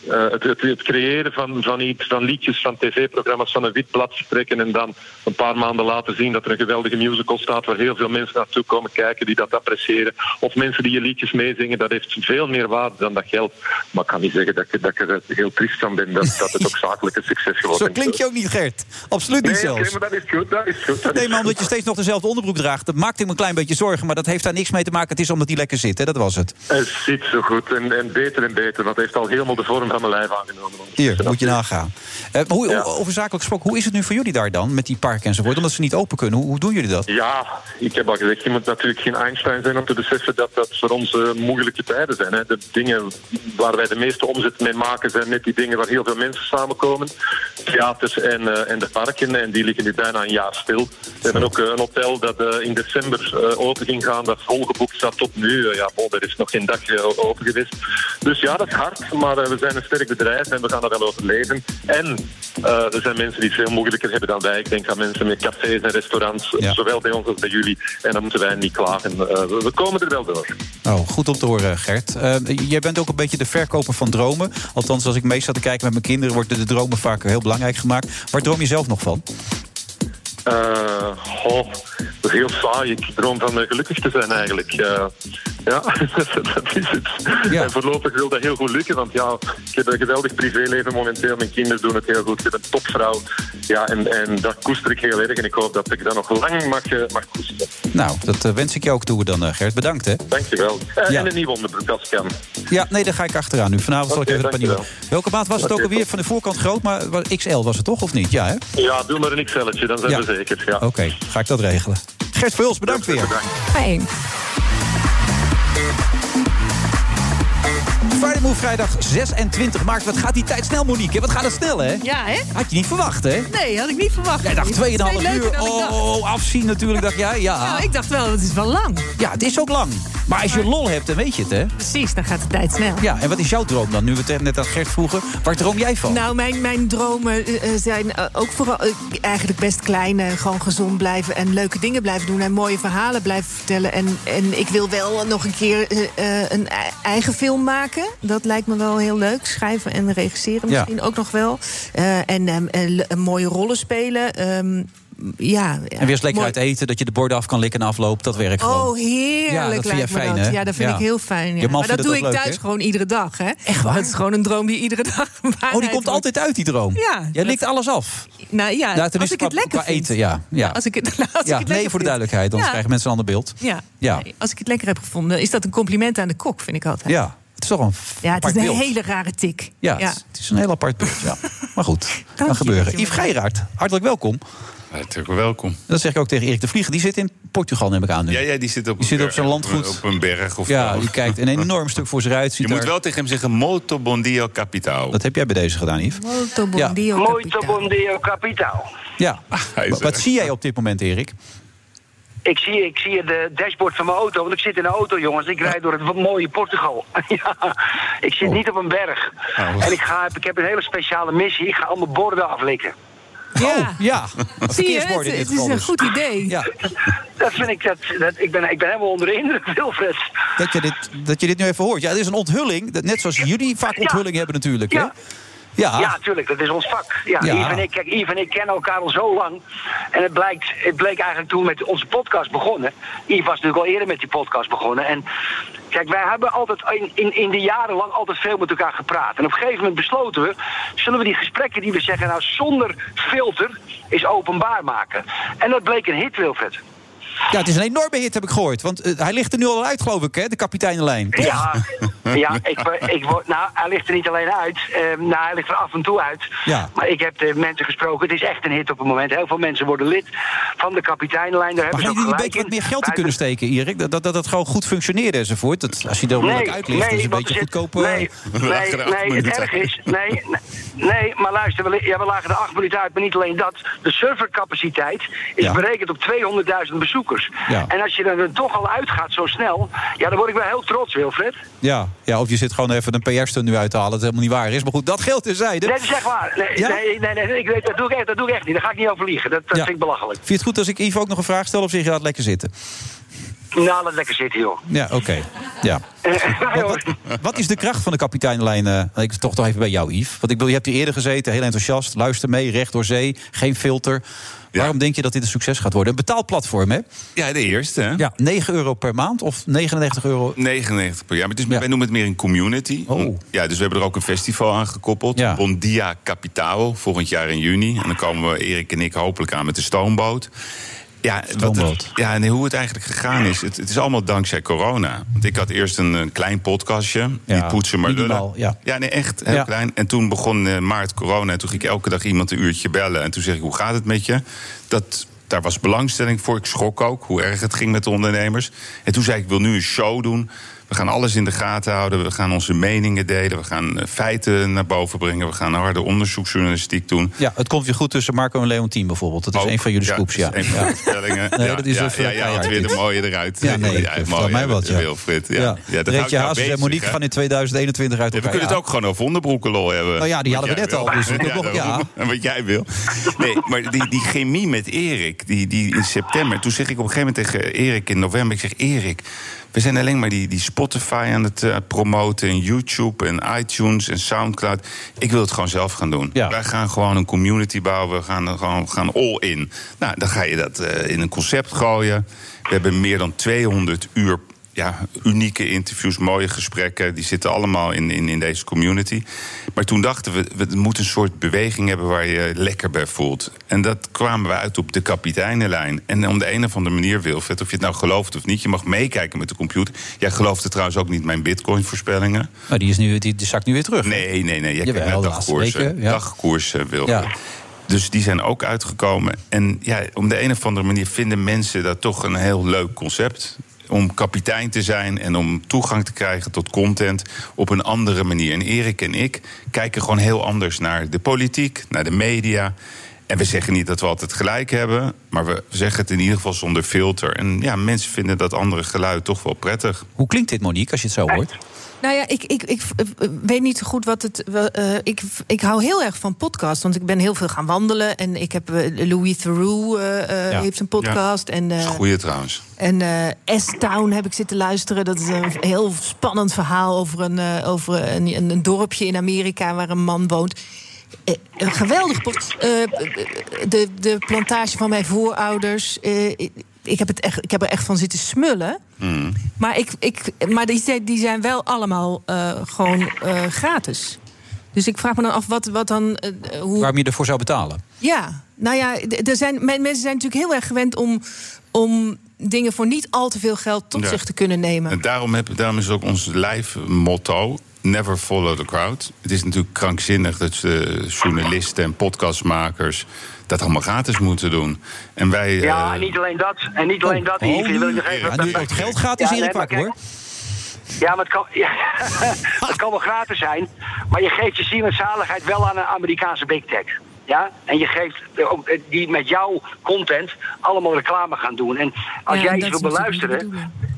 [SPEAKER 8] Nee.
[SPEAKER 18] het, het, het creëren van, van iets, van liedjes, van tv-programma's, van een wit blad vertrekken en dan een paar maanden later zien dat er een geweldige musical staat waar heel veel mensen naartoe komen kijken die dat appreciëren. Of mensen die je liedjes meezingen, dat heeft veel meer waarde dan dat geld. Maar ik kan niet zeggen dat ik, dat ik er heel triest van ben dat, dat het ook zakelijk een succes geworden
[SPEAKER 8] Zo
[SPEAKER 18] is.
[SPEAKER 8] klink je ook niet, Gert. Absoluut niet
[SPEAKER 18] Nee, oké,
[SPEAKER 8] zelfs.
[SPEAKER 18] maar dat is goed, dat is goed. dat
[SPEAKER 8] Nee,
[SPEAKER 18] is
[SPEAKER 8] maar
[SPEAKER 18] goed.
[SPEAKER 8] omdat je steeds nog dezelfde onderbroek draagt... dat maakt hem een klein beetje zorgen. Maar dat heeft daar niks mee te maken. Het is omdat hij lekker zit, hè? dat was het.
[SPEAKER 18] Het zit zo goed en, en beter en beter, want het heeft al helemaal de vorm van mijn lijf aangenomen.
[SPEAKER 8] Hier, moet je nagaan. Eh, maar hoe, Over zakelijk gesproken, hoe is het nu voor jullie daar dan? Met die parken enzovoort, omdat ze niet open kunnen. Hoe, hoe doen jullie dat?
[SPEAKER 18] Ja, ik heb al gezegd, je moet natuurlijk geen Einstein zijn om te beseffen dat dat voor ons eh, moeilijke tijden zijn. Hè. De dingen waar wij de meeste omzet mee maken zijn net die dingen waar heel veel mensen samenkomen. Theaters en, eh, en de parken, en die liggen nu bijna een jaar stil. We hebben ook eh, een hotel dat eh, in december eh, open ging gaan, dat volgeboekt staat tot nu. Eh, ja, bon, er is nog geen dag eh, open geweest. Dus ja, dat is hard, maar eh, we zijn een sterk bedrijf en we gaan er wel overleven. En eh, er zijn mensen die het veel moeilijker hebben dan wij. Ik denk aan mensen met cafés en restaurants, zowel bij ons als bij jullie. En dan moeten wij niet klagen. Eh, we we komen er wel door.
[SPEAKER 8] Oh, goed om te horen, Gert. Eh, jij bent ook een beetje de verkoper van dromen. Althans, als ik mee sta te kijken met mijn kinderen... worden de dromen vaak heel belangrijk gemaakt. Waar droom je zelf nog van?
[SPEAKER 18] Eh goh, dat is heel saai. Ik droom van eh, gelukkig te zijn eigenlijk. Eh, ja, dat is het. En voorlopig wil dat heel goed lukken, want ja, ik heb een geweldig privéleven momenteel. Mijn kinderen doen het heel goed. Ik heb een topvrouw. Ja, en, en dat koester ik heel erg. En ik hoop dat ik dat nog lang mag, eh, mag koesteren.
[SPEAKER 8] Nou, dat eh, wens ik jou ook toe dan, eh, Gert. Bedankt, hè.
[SPEAKER 18] Dankjewel. En,
[SPEAKER 8] Ja.
[SPEAKER 18] en een nieuw onderbroek als het kan.
[SPEAKER 8] Ja, nee, daar ga ik achteraan nu. Vanavond zal ik
[SPEAKER 18] Oké,
[SPEAKER 8] even het paniek.
[SPEAKER 18] dankjewel.
[SPEAKER 8] doen. Welke maat was het ook
[SPEAKER 18] Oké,
[SPEAKER 8] alweer? Van de voorkant groot, maar wa- XL was het toch, of niet? Ja, hè?
[SPEAKER 18] Ja, doe maar een xl dan zijn
[SPEAKER 8] Ja. Oh.
[SPEAKER 18] we zeker. Ja.
[SPEAKER 8] Oké, ga ik dat regelen. Gert Vuls, bedankt weer.
[SPEAKER 9] Fijn.
[SPEAKER 8] Friday Move vrijdag 26 maart. Wat gaat die tijd snel, Monique? hè? Wat gaat het snel, hè?
[SPEAKER 9] Ja, hè?
[SPEAKER 8] Had je niet verwacht, hè?
[SPEAKER 9] Nee, had ik niet verwacht.
[SPEAKER 8] Jij dacht
[SPEAKER 9] Het is veel
[SPEAKER 8] 2,5
[SPEAKER 9] leuker
[SPEAKER 8] uur.
[SPEAKER 9] dan ik dacht.
[SPEAKER 8] Oh, afzien natuurlijk, dacht jij. Ja.
[SPEAKER 9] Nou, ik dacht wel, het is wel lang.
[SPEAKER 8] Ja, het is ook lang. Maar als je lol hebt, dan weet je het, hè?
[SPEAKER 9] Precies, dan gaat de tijd snel.
[SPEAKER 8] Ja, en wat is jouw droom dan? Nu we het net aan Gert vroegen. Waar droom jij van?
[SPEAKER 9] Nou, mijn, mijn dromen eh, zijn eh, ook vooral eh, eigenlijk best klein. eh, gewoon gezond blijven en leuke dingen blijven doen. En mooie verhalen blijven vertellen. En, en ik wil wel nog een keer eh, eh, een e- eigen film maken. Dat lijkt me wel heel leuk. Schrijven en regisseren
[SPEAKER 8] Ja.
[SPEAKER 9] misschien ook nog wel. Eh, en ehm, eh, le- eh, mooie rollen spelen. Ehm, ja, ja.
[SPEAKER 8] en weer eens lekker
[SPEAKER 9] Mooi-
[SPEAKER 8] uit eten, dat je de borden af kan likken en afloopt. Dat werkt gewoon.
[SPEAKER 9] Oh, heerlijk
[SPEAKER 8] Ja, dat vind
[SPEAKER 9] lijkt
[SPEAKER 8] jij
[SPEAKER 9] me
[SPEAKER 8] fijn,
[SPEAKER 9] dat.
[SPEAKER 8] hè?
[SPEAKER 9] Ja, dat vind
[SPEAKER 8] Ja.
[SPEAKER 9] ik heel fijn.
[SPEAKER 8] Je
[SPEAKER 9] Ja.
[SPEAKER 8] man
[SPEAKER 9] Maar
[SPEAKER 8] vindt
[SPEAKER 9] dat
[SPEAKER 8] het
[SPEAKER 9] doe
[SPEAKER 8] ook
[SPEAKER 9] ik
[SPEAKER 8] leuk,
[SPEAKER 9] thuis
[SPEAKER 8] hè?
[SPEAKER 9] gewoon iedere dag. Hè? Echt waar? Dat is gewoon een droom die iedere dag
[SPEAKER 8] Oh, die komt altijd uit, die droom.
[SPEAKER 9] Ja.
[SPEAKER 8] Jij likt alles af.
[SPEAKER 9] Nou ja,
[SPEAKER 8] Nou, tenminste
[SPEAKER 9] als ik het
[SPEAKER 8] qua-
[SPEAKER 9] lekker
[SPEAKER 8] qua
[SPEAKER 9] vind.
[SPEAKER 8] eten, ja. Ja,
[SPEAKER 9] Als ik het, als ik het
[SPEAKER 8] Ja, nee, voor
[SPEAKER 9] lekker
[SPEAKER 8] de
[SPEAKER 9] vind.
[SPEAKER 8] duidelijkheid. Anders
[SPEAKER 9] Ja.
[SPEAKER 8] krijgen mensen een ander beeld.
[SPEAKER 9] Ja.
[SPEAKER 8] Ja.
[SPEAKER 9] als ik het lekker heb gevonden, is dat een compliment aan de kok, vind ik altijd.
[SPEAKER 8] Ja, het is toch een
[SPEAKER 9] Ja, het is
[SPEAKER 8] apart
[SPEAKER 9] een
[SPEAKER 8] beeld.
[SPEAKER 9] hele rare tik.
[SPEAKER 8] Ja, Het, is, het is een heel apart beeld. Ja. Maar goed, kan gebeuren. Yves Geiraert, hartelijk welkom.
[SPEAKER 17] Natuurlijk welkom.
[SPEAKER 8] Dat zeg ik ook tegen Erik de Vlieger. Die zit in Portugal, neem ik aan nu.
[SPEAKER 17] Ja, ja, die zit op,
[SPEAKER 8] Die zit op zijn landgoed.
[SPEAKER 17] Op een berg of
[SPEAKER 8] ja,
[SPEAKER 17] zo.
[SPEAKER 8] die kijkt een enorm stuk voor zich uit.
[SPEAKER 17] Je
[SPEAKER 8] Ziet
[SPEAKER 17] moet
[SPEAKER 8] daar-
[SPEAKER 17] wel tegen hem zeggen, molto bon dia capitao.
[SPEAKER 8] Dat heb jij bij deze gedaan, Yves.
[SPEAKER 9] Molto
[SPEAKER 8] bon Ja.
[SPEAKER 9] dia
[SPEAKER 19] Molto bon dia capitao.
[SPEAKER 8] Ja.
[SPEAKER 17] hij is eh,
[SPEAKER 8] Wat- Wat
[SPEAKER 17] er.
[SPEAKER 8] zie jij op dit moment, Erik?
[SPEAKER 19] Ik zie, ik zie het dashboard van mijn auto, want ik zit in een auto, jongens. Ik rijd door het wat mooie Portugal. ja, ik
[SPEAKER 8] Oh.
[SPEAKER 19] zit niet op een berg. En ik, ga, ik heb een hele speciale missie. Ik ga allemaal borden aflikken.
[SPEAKER 8] Ja. Oh, ja.
[SPEAKER 9] Zie je,
[SPEAKER 8] Verkeersborden
[SPEAKER 9] het,
[SPEAKER 8] in dit
[SPEAKER 9] het is
[SPEAKER 8] geval
[SPEAKER 9] een
[SPEAKER 8] dus.
[SPEAKER 9] goed idee.
[SPEAKER 8] Ja.
[SPEAKER 19] Dat vind ik, dat, dat, ik, ben, ik ben helemaal onder de indruk, Wilfred.
[SPEAKER 8] Dat je, dit, dat je dit nu even hoort. Ja, het is een onthulling. dat- Net zoals jullie vaak onthulling hebben natuurlijk. Hè? Ja.
[SPEAKER 19] Ja, tuurlijk, dat is ons vak. Ja,
[SPEAKER 8] Ja.
[SPEAKER 19] Yves en ik, kijk, Yves en ik kennen elkaar al zo lang. En het, blijkt, het bleek eigenlijk toen we met onze podcast begonnen. Yves was natuurlijk al eerder met die podcast begonnen. En kijk, wij hebben altijd in, in, in de jaren lang altijd veel met elkaar gepraat. En op een gegeven moment besloten we, zullen we die gesprekken die we zeggen nou zonder filter is openbaar maken. En dat bleek een hit, Wilfred.
[SPEAKER 8] ja, het is een enorme hit, heb ik gehoord. Want eh, hij ligt er nu al uit, geloof ik, hè? de kapiteinenlijn. toch?
[SPEAKER 19] Ja, ja ik, wo- ik, wo- nou, hij ligt er niet alleen uit. Eh, nou, hij ligt er af en toe uit.
[SPEAKER 8] Ja.
[SPEAKER 19] Maar ik heb de mensen gesproken. Het is echt een hit op het moment. Heel veel mensen worden lid van de kapiteinlijn. Daar hebben
[SPEAKER 8] Maar
[SPEAKER 19] ze
[SPEAKER 8] hadden
[SPEAKER 19] ook
[SPEAKER 8] jullie een
[SPEAKER 19] gelijk
[SPEAKER 8] beetje
[SPEAKER 19] in.
[SPEAKER 8] wat meer geld in
[SPEAKER 19] Wij-
[SPEAKER 8] kunnen steken, Erik? Dat dat, dat het gewoon goed functioneerde enzovoort. Dat, als je er
[SPEAKER 19] Nee,
[SPEAKER 8] moeilijk uit ligt, dat is een
[SPEAKER 19] want
[SPEAKER 8] beetje
[SPEAKER 19] er zit-
[SPEAKER 8] goedkoop. eh,
[SPEAKER 19] Nee, nee, nee, het erg is. Nee, nee, nee, maar luister, we, li- ja, we lagen er acht minuten uit. Maar niet alleen dat. De servercapaciteit is
[SPEAKER 8] Ja.
[SPEAKER 19] berekend op 200.000 bezoekers.
[SPEAKER 8] Ja.
[SPEAKER 19] En als je er dan toch al uitgaat zo snel. Ja, dan word ik wel heel trots, Wilfred.
[SPEAKER 8] Ja, ja, of je zit gewoon even een PR-stunt nu uit te halen. Dat helemaal niet waar is. Maar goed, dat geldt terzijde.
[SPEAKER 19] Nee, dat is echt waar. Nee,
[SPEAKER 8] Ja?
[SPEAKER 19] nee, nee, nee, ik weet, dat, doe ik echt, dat doe ik echt niet. Daar ga ik niet over liegen. Dat, dat vind ik belachelijk.
[SPEAKER 8] Vind je het goed als ik Yves ook nog een vraag stel? Of zeg je laat lekker zitten?
[SPEAKER 19] Nou, laat lekker zitten, joh.
[SPEAKER 8] Ja, oké. Ja. Wat, wat- wat is de kracht van de kapiteinlijn? eh, ik toch toch even bij jou, Yves. Want ik bedoel, je hebt hier eerder gezeten, heel enthousiast. Luister mee, recht door zee, geen filter. Waarom denk je dat dit een succes gaat worden? Een betaalplatform, hè?
[SPEAKER 17] Ja, de eerste, hè?
[SPEAKER 8] Ja, 9 euro per maand of 99 euro?
[SPEAKER 17] 99 per jaar. Maar het is, wij noemen het meer een community.
[SPEAKER 8] Oh.
[SPEAKER 17] Ja, dus we hebben er ook een festival aan gekoppeld. Bon Dia Capitao, volgend jaar in juni. En dan komen we, Erik en ik, hopelijk aan met de stoomboot. Ja, wat het, ja, en hoe het eigenlijk gegaan is, het, het is allemaal dankzij corona. Want ik had eerst een, eh, klein podcastje,
[SPEAKER 8] Ja,
[SPEAKER 17] niet poetsen, maar
[SPEAKER 8] minimaal,
[SPEAKER 17] lullen.
[SPEAKER 8] ja.
[SPEAKER 17] nee, echt heel
[SPEAKER 8] Ja.
[SPEAKER 17] klein. En toen begon eh, maart corona en toen ging ik elke dag iemand een uurtje bellen. En toen zeg ik, hoe gaat het met je? Dat, daar was belangstelling voor. Ik schrok ook hoe erg het ging met de ondernemers. En toen zei ik, ik wil nu een show doen. We gaan alles in de gaten houden. We gaan onze meningen delen. We gaan eh, feiten naar boven brengen. We gaan harde onderzoeksjournalistiek doen.
[SPEAKER 8] Ja, het komt weer goed tussen Marco en Leontien bijvoorbeeld. Dat is een van jullie scoops, ja.
[SPEAKER 17] dat is een van de voorspellingen.
[SPEAKER 8] Nee,
[SPEAKER 17] ja,
[SPEAKER 8] dat is
[SPEAKER 17] ja,
[SPEAKER 8] even
[SPEAKER 17] ja, ja,
[SPEAKER 8] keihard
[SPEAKER 17] het weer
[SPEAKER 8] dit.
[SPEAKER 17] de mooie eruit.
[SPEAKER 8] Ja, nee, vertel
[SPEAKER 17] mooi,
[SPEAKER 8] mij wat, ja.
[SPEAKER 17] Wilfred, ja.
[SPEAKER 8] Ja.
[SPEAKER 17] dat houdt
[SPEAKER 8] Reetje
[SPEAKER 17] jou
[SPEAKER 8] Hazes en
[SPEAKER 17] bezig,
[SPEAKER 8] Monique
[SPEAKER 17] hè?
[SPEAKER 8] gaan in 2021 uit
[SPEAKER 17] Ja, we
[SPEAKER 8] elkaar.
[SPEAKER 17] kunnen
[SPEAKER 8] Ja.
[SPEAKER 17] het ook gewoon over hondenbroekenlol hebben.
[SPEAKER 8] Nou ja, die
[SPEAKER 17] Wat
[SPEAKER 8] hadden we
[SPEAKER 17] jij
[SPEAKER 8] net al,
[SPEAKER 17] wil.
[SPEAKER 8] dus we kunnen nog- ja.
[SPEAKER 17] daarom. En wat jij wil. Nee, maar die, die chemie met Erik, die, die in september... Toen zeg ik op een gegeven moment tegen Erik in november... Ik zeg, Erik, we zijn alleen maar die, die Spotify aan het eh, promoten... en YouTube en iTunes en Soundcloud. Ik wil het gewoon zelf gaan doen. Wij gaan gewoon een community bouwen. We gaan er gewoon gaan all in. Nou, dan ga je dat eh, in een concept gooien. We hebben meer dan 200 uur ja, unieke interviews, mooie gesprekken. Die zitten allemaal in, in, in deze community. Maar toen dachten we, we moeten een soort beweging hebben waar je lekker bij voelt. En dat kwamen we uit op de kapiteinenlijn. En om de een of andere manier, Wilfred, of je het nou gelooft of niet, je mag meekijken met de computer. Jij geloofde trouwens ook niet mijn bitcoin-voorspellingen.
[SPEAKER 8] Maar die, is nu, die, die zakt nu weer terug.
[SPEAKER 17] Nee, nee, nee. Jij
[SPEAKER 8] Jawel,
[SPEAKER 17] kijkt naar
[SPEAKER 8] de laatste
[SPEAKER 17] dagkoersen.
[SPEAKER 8] weken, ja.
[SPEAKER 17] Dagkoersen, Wilfred.
[SPEAKER 8] Ja.
[SPEAKER 17] Dus die zijn ook uitgekomen. En ja, om de een of andere manier vinden mensen dat toch een heel leuk concept. Om kapitein te zijn en om toegang te krijgen tot content op een andere manier. En Erik en ik kijken gewoon heel anders naar de politiek, naar de media. En we zeggen niet dat we altijd gelijk hebben, maar we zeggen het in ieder geval zonder filter. En ja, mensen vinden dat andere geluid toch wel prettig.
[SPEAKER 8] Hoe klinkt dit, Monique, als je het zo hoort?
[SPEAKER 9] Nou ja, ik, ik, ik eh, weet niet zo goed wat het. wel, eh, ik, ik hou heel erg van podcasts. Want ik ben heel veel gaan wandelen. En ik heb eh, Louis Theroux eh, eh,
[SPEAKER 17] Ja.
[SPEAKER 9] heeft een podcast. En, eh,
[SPEAKER 17] Goeie trouwens.
[SPEAKER 9] en eh, S-Town heb ik zitten luisteren. Dat is een heel spannend verhaal over een, eh, over een, een, een dorpje in Amerika waar een man woont. Eh, een geweldig. pod- eh, eh, de, de plantage van mijn voorouders. eh, ik, ik heb het echt, ik heb er echt van zitten smullen. Maar, ik, ik, maar die, zijn- die zijn wel allemaal eh, gewoon eh, gratis. Dus ik vraag me dan af wat, wat dan. eh, hoe...
[SPEAKER 8] Waarom je ervoor zou betalen?
[SPEAKER 9] Ja, nou ja, d- er zijn, men- mensen zijn natuurlijk heel erg gewend om, om dingen voor niet al te veel geld tot
[SPEAKER 17] Ja.
[SPEAKER 9] zich te kunnen nemen.
[SPEAKER 17] En daarom, heb, daarom is ook ons lijfmotto. Never follow the crowd. Het is natuurlijk krankzinnig dat eh, journalisten en podcastmakers dat allemaal gratis moeten doen. En wij.
[SPEAKER 19] Ja,
[SPEAKER 17] eh,
[SPEAKER 19] en niet alleen dat. En niet alleen dat. Hier, wil ik nog even-
[SPEAKER 17] Oh, Ja, nu het geld
[SPEAKER 19] Ja,
[SPEAKER 17] gratis
[SPEAKER 19] nee,
[SPEAKER 17] eerlijk
[SPEAKER 19] maar
[SPEAKER 17] pakken,
[SPEAKER 19] kijk, Ja, maar het kan, ja, het kan wel gratis zijn. Maar je geeft je ziel en zaligheid wel aan een Amerikaanse big tech. Ja? En je geeft eh, ook eh, die met jouw content allemaal reclame gaan doen. En als
[SPEAKER 9] Ja,
[SPEAKER 19] jij
[SPEAKER 9] en
[SPEAKER 19] iets
[SPEAKER 9] dat
[SPEAKER 19] wil
[SPEAKER 9] is natuurlijk niet de
[SPEAKER 19] beluisteren,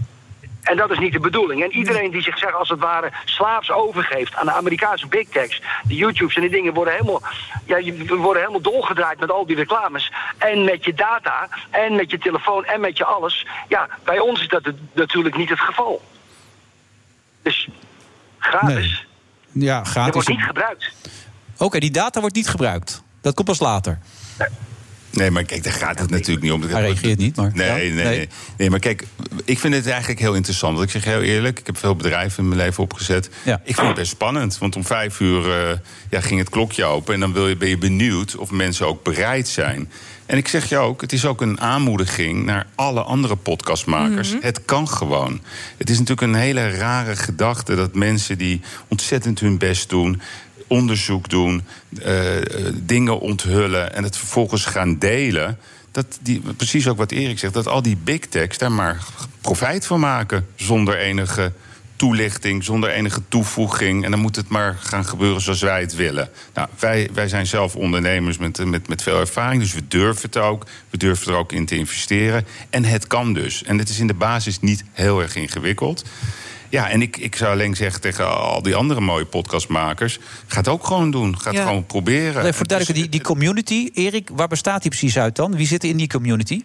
[SPEAKER 19] en dat is niet de bedoeling. En iedereen die zichzelf als het ware slaaps overgeeft aan de Amerikaanse big techs, de YouTubes en die dingen worden helemaal, ja, je- we worden helemaal dolgedraaid met al die reclames. En met je data, en met je telefoon, en met je alles. Ja, bij ons is dat het- natuurlijk niet het geval. Dus gratis.
[SPEAKER 8] Ja,
[SPEAKER 19] Dat
[SPEAKER 8] gratis.
[SPEAKER 19] wordt niet
[SPEAKER 8] Oké,
[SPEAKER 19] gebruikt.
[SPEAKER 8] die data wordt niet gebruikt. Dat komt pas later.
[SPEAKER 17] Nee, maar kijk, daar gaat het natuurlijk niet om. Hij reageert
[SPEAKER 8] niet, maar...
[SPEAKER 17] Nee, nee, nee, nee. maar kijk, ik vind het eigenlijk heel interessant. Want ik zeg heel eerlijk, ik heb veel bedrijven in mijn leven opgezet. Ik vond het best spannend, want om vijf uur eh, ja, ging het klokje open... en dan wil je, ben je benieuwd of mensen ook bereid zijn. En ik zeg je ook, het is ook een aanmoediging naar alle andere podcastmakers. Dus Het kan gewoon. Het is natuurlijk een hele rare gedachte dat mensen die ontzettend hun best doen onderzoek doen, eh, eh, dingen onthullen en het vervolgens gaan delen. Dat die, precies ook wat Erik zegt, dat al die big techs daar maar g- profijt van maken zonder enige toelichting, zonder enige toevoeging. En dan moet het maar gaan gebeuren zoals wij het willen. Nou, wij, wij zijn zelf ondernemers met, eh, met, met veel ervaring, dus we durven het ook. We durven er ook in te investeren. En het kan dus. En het is in de basis niet heel erg ingewikkeld. Ja, en ik, ik zou alleen zeggen tegen al die andere mooie podcastmakers... ga het ook gewoon doen. Ga het
[SPEAKER 8] Ja.
[SPEAKER 17] gewoon proberen.
[SPEAKER 8] Nee, voor duidelijkheid, die, die community, Erik, waar bestaat die precies uit dan? Wie zit er in die community?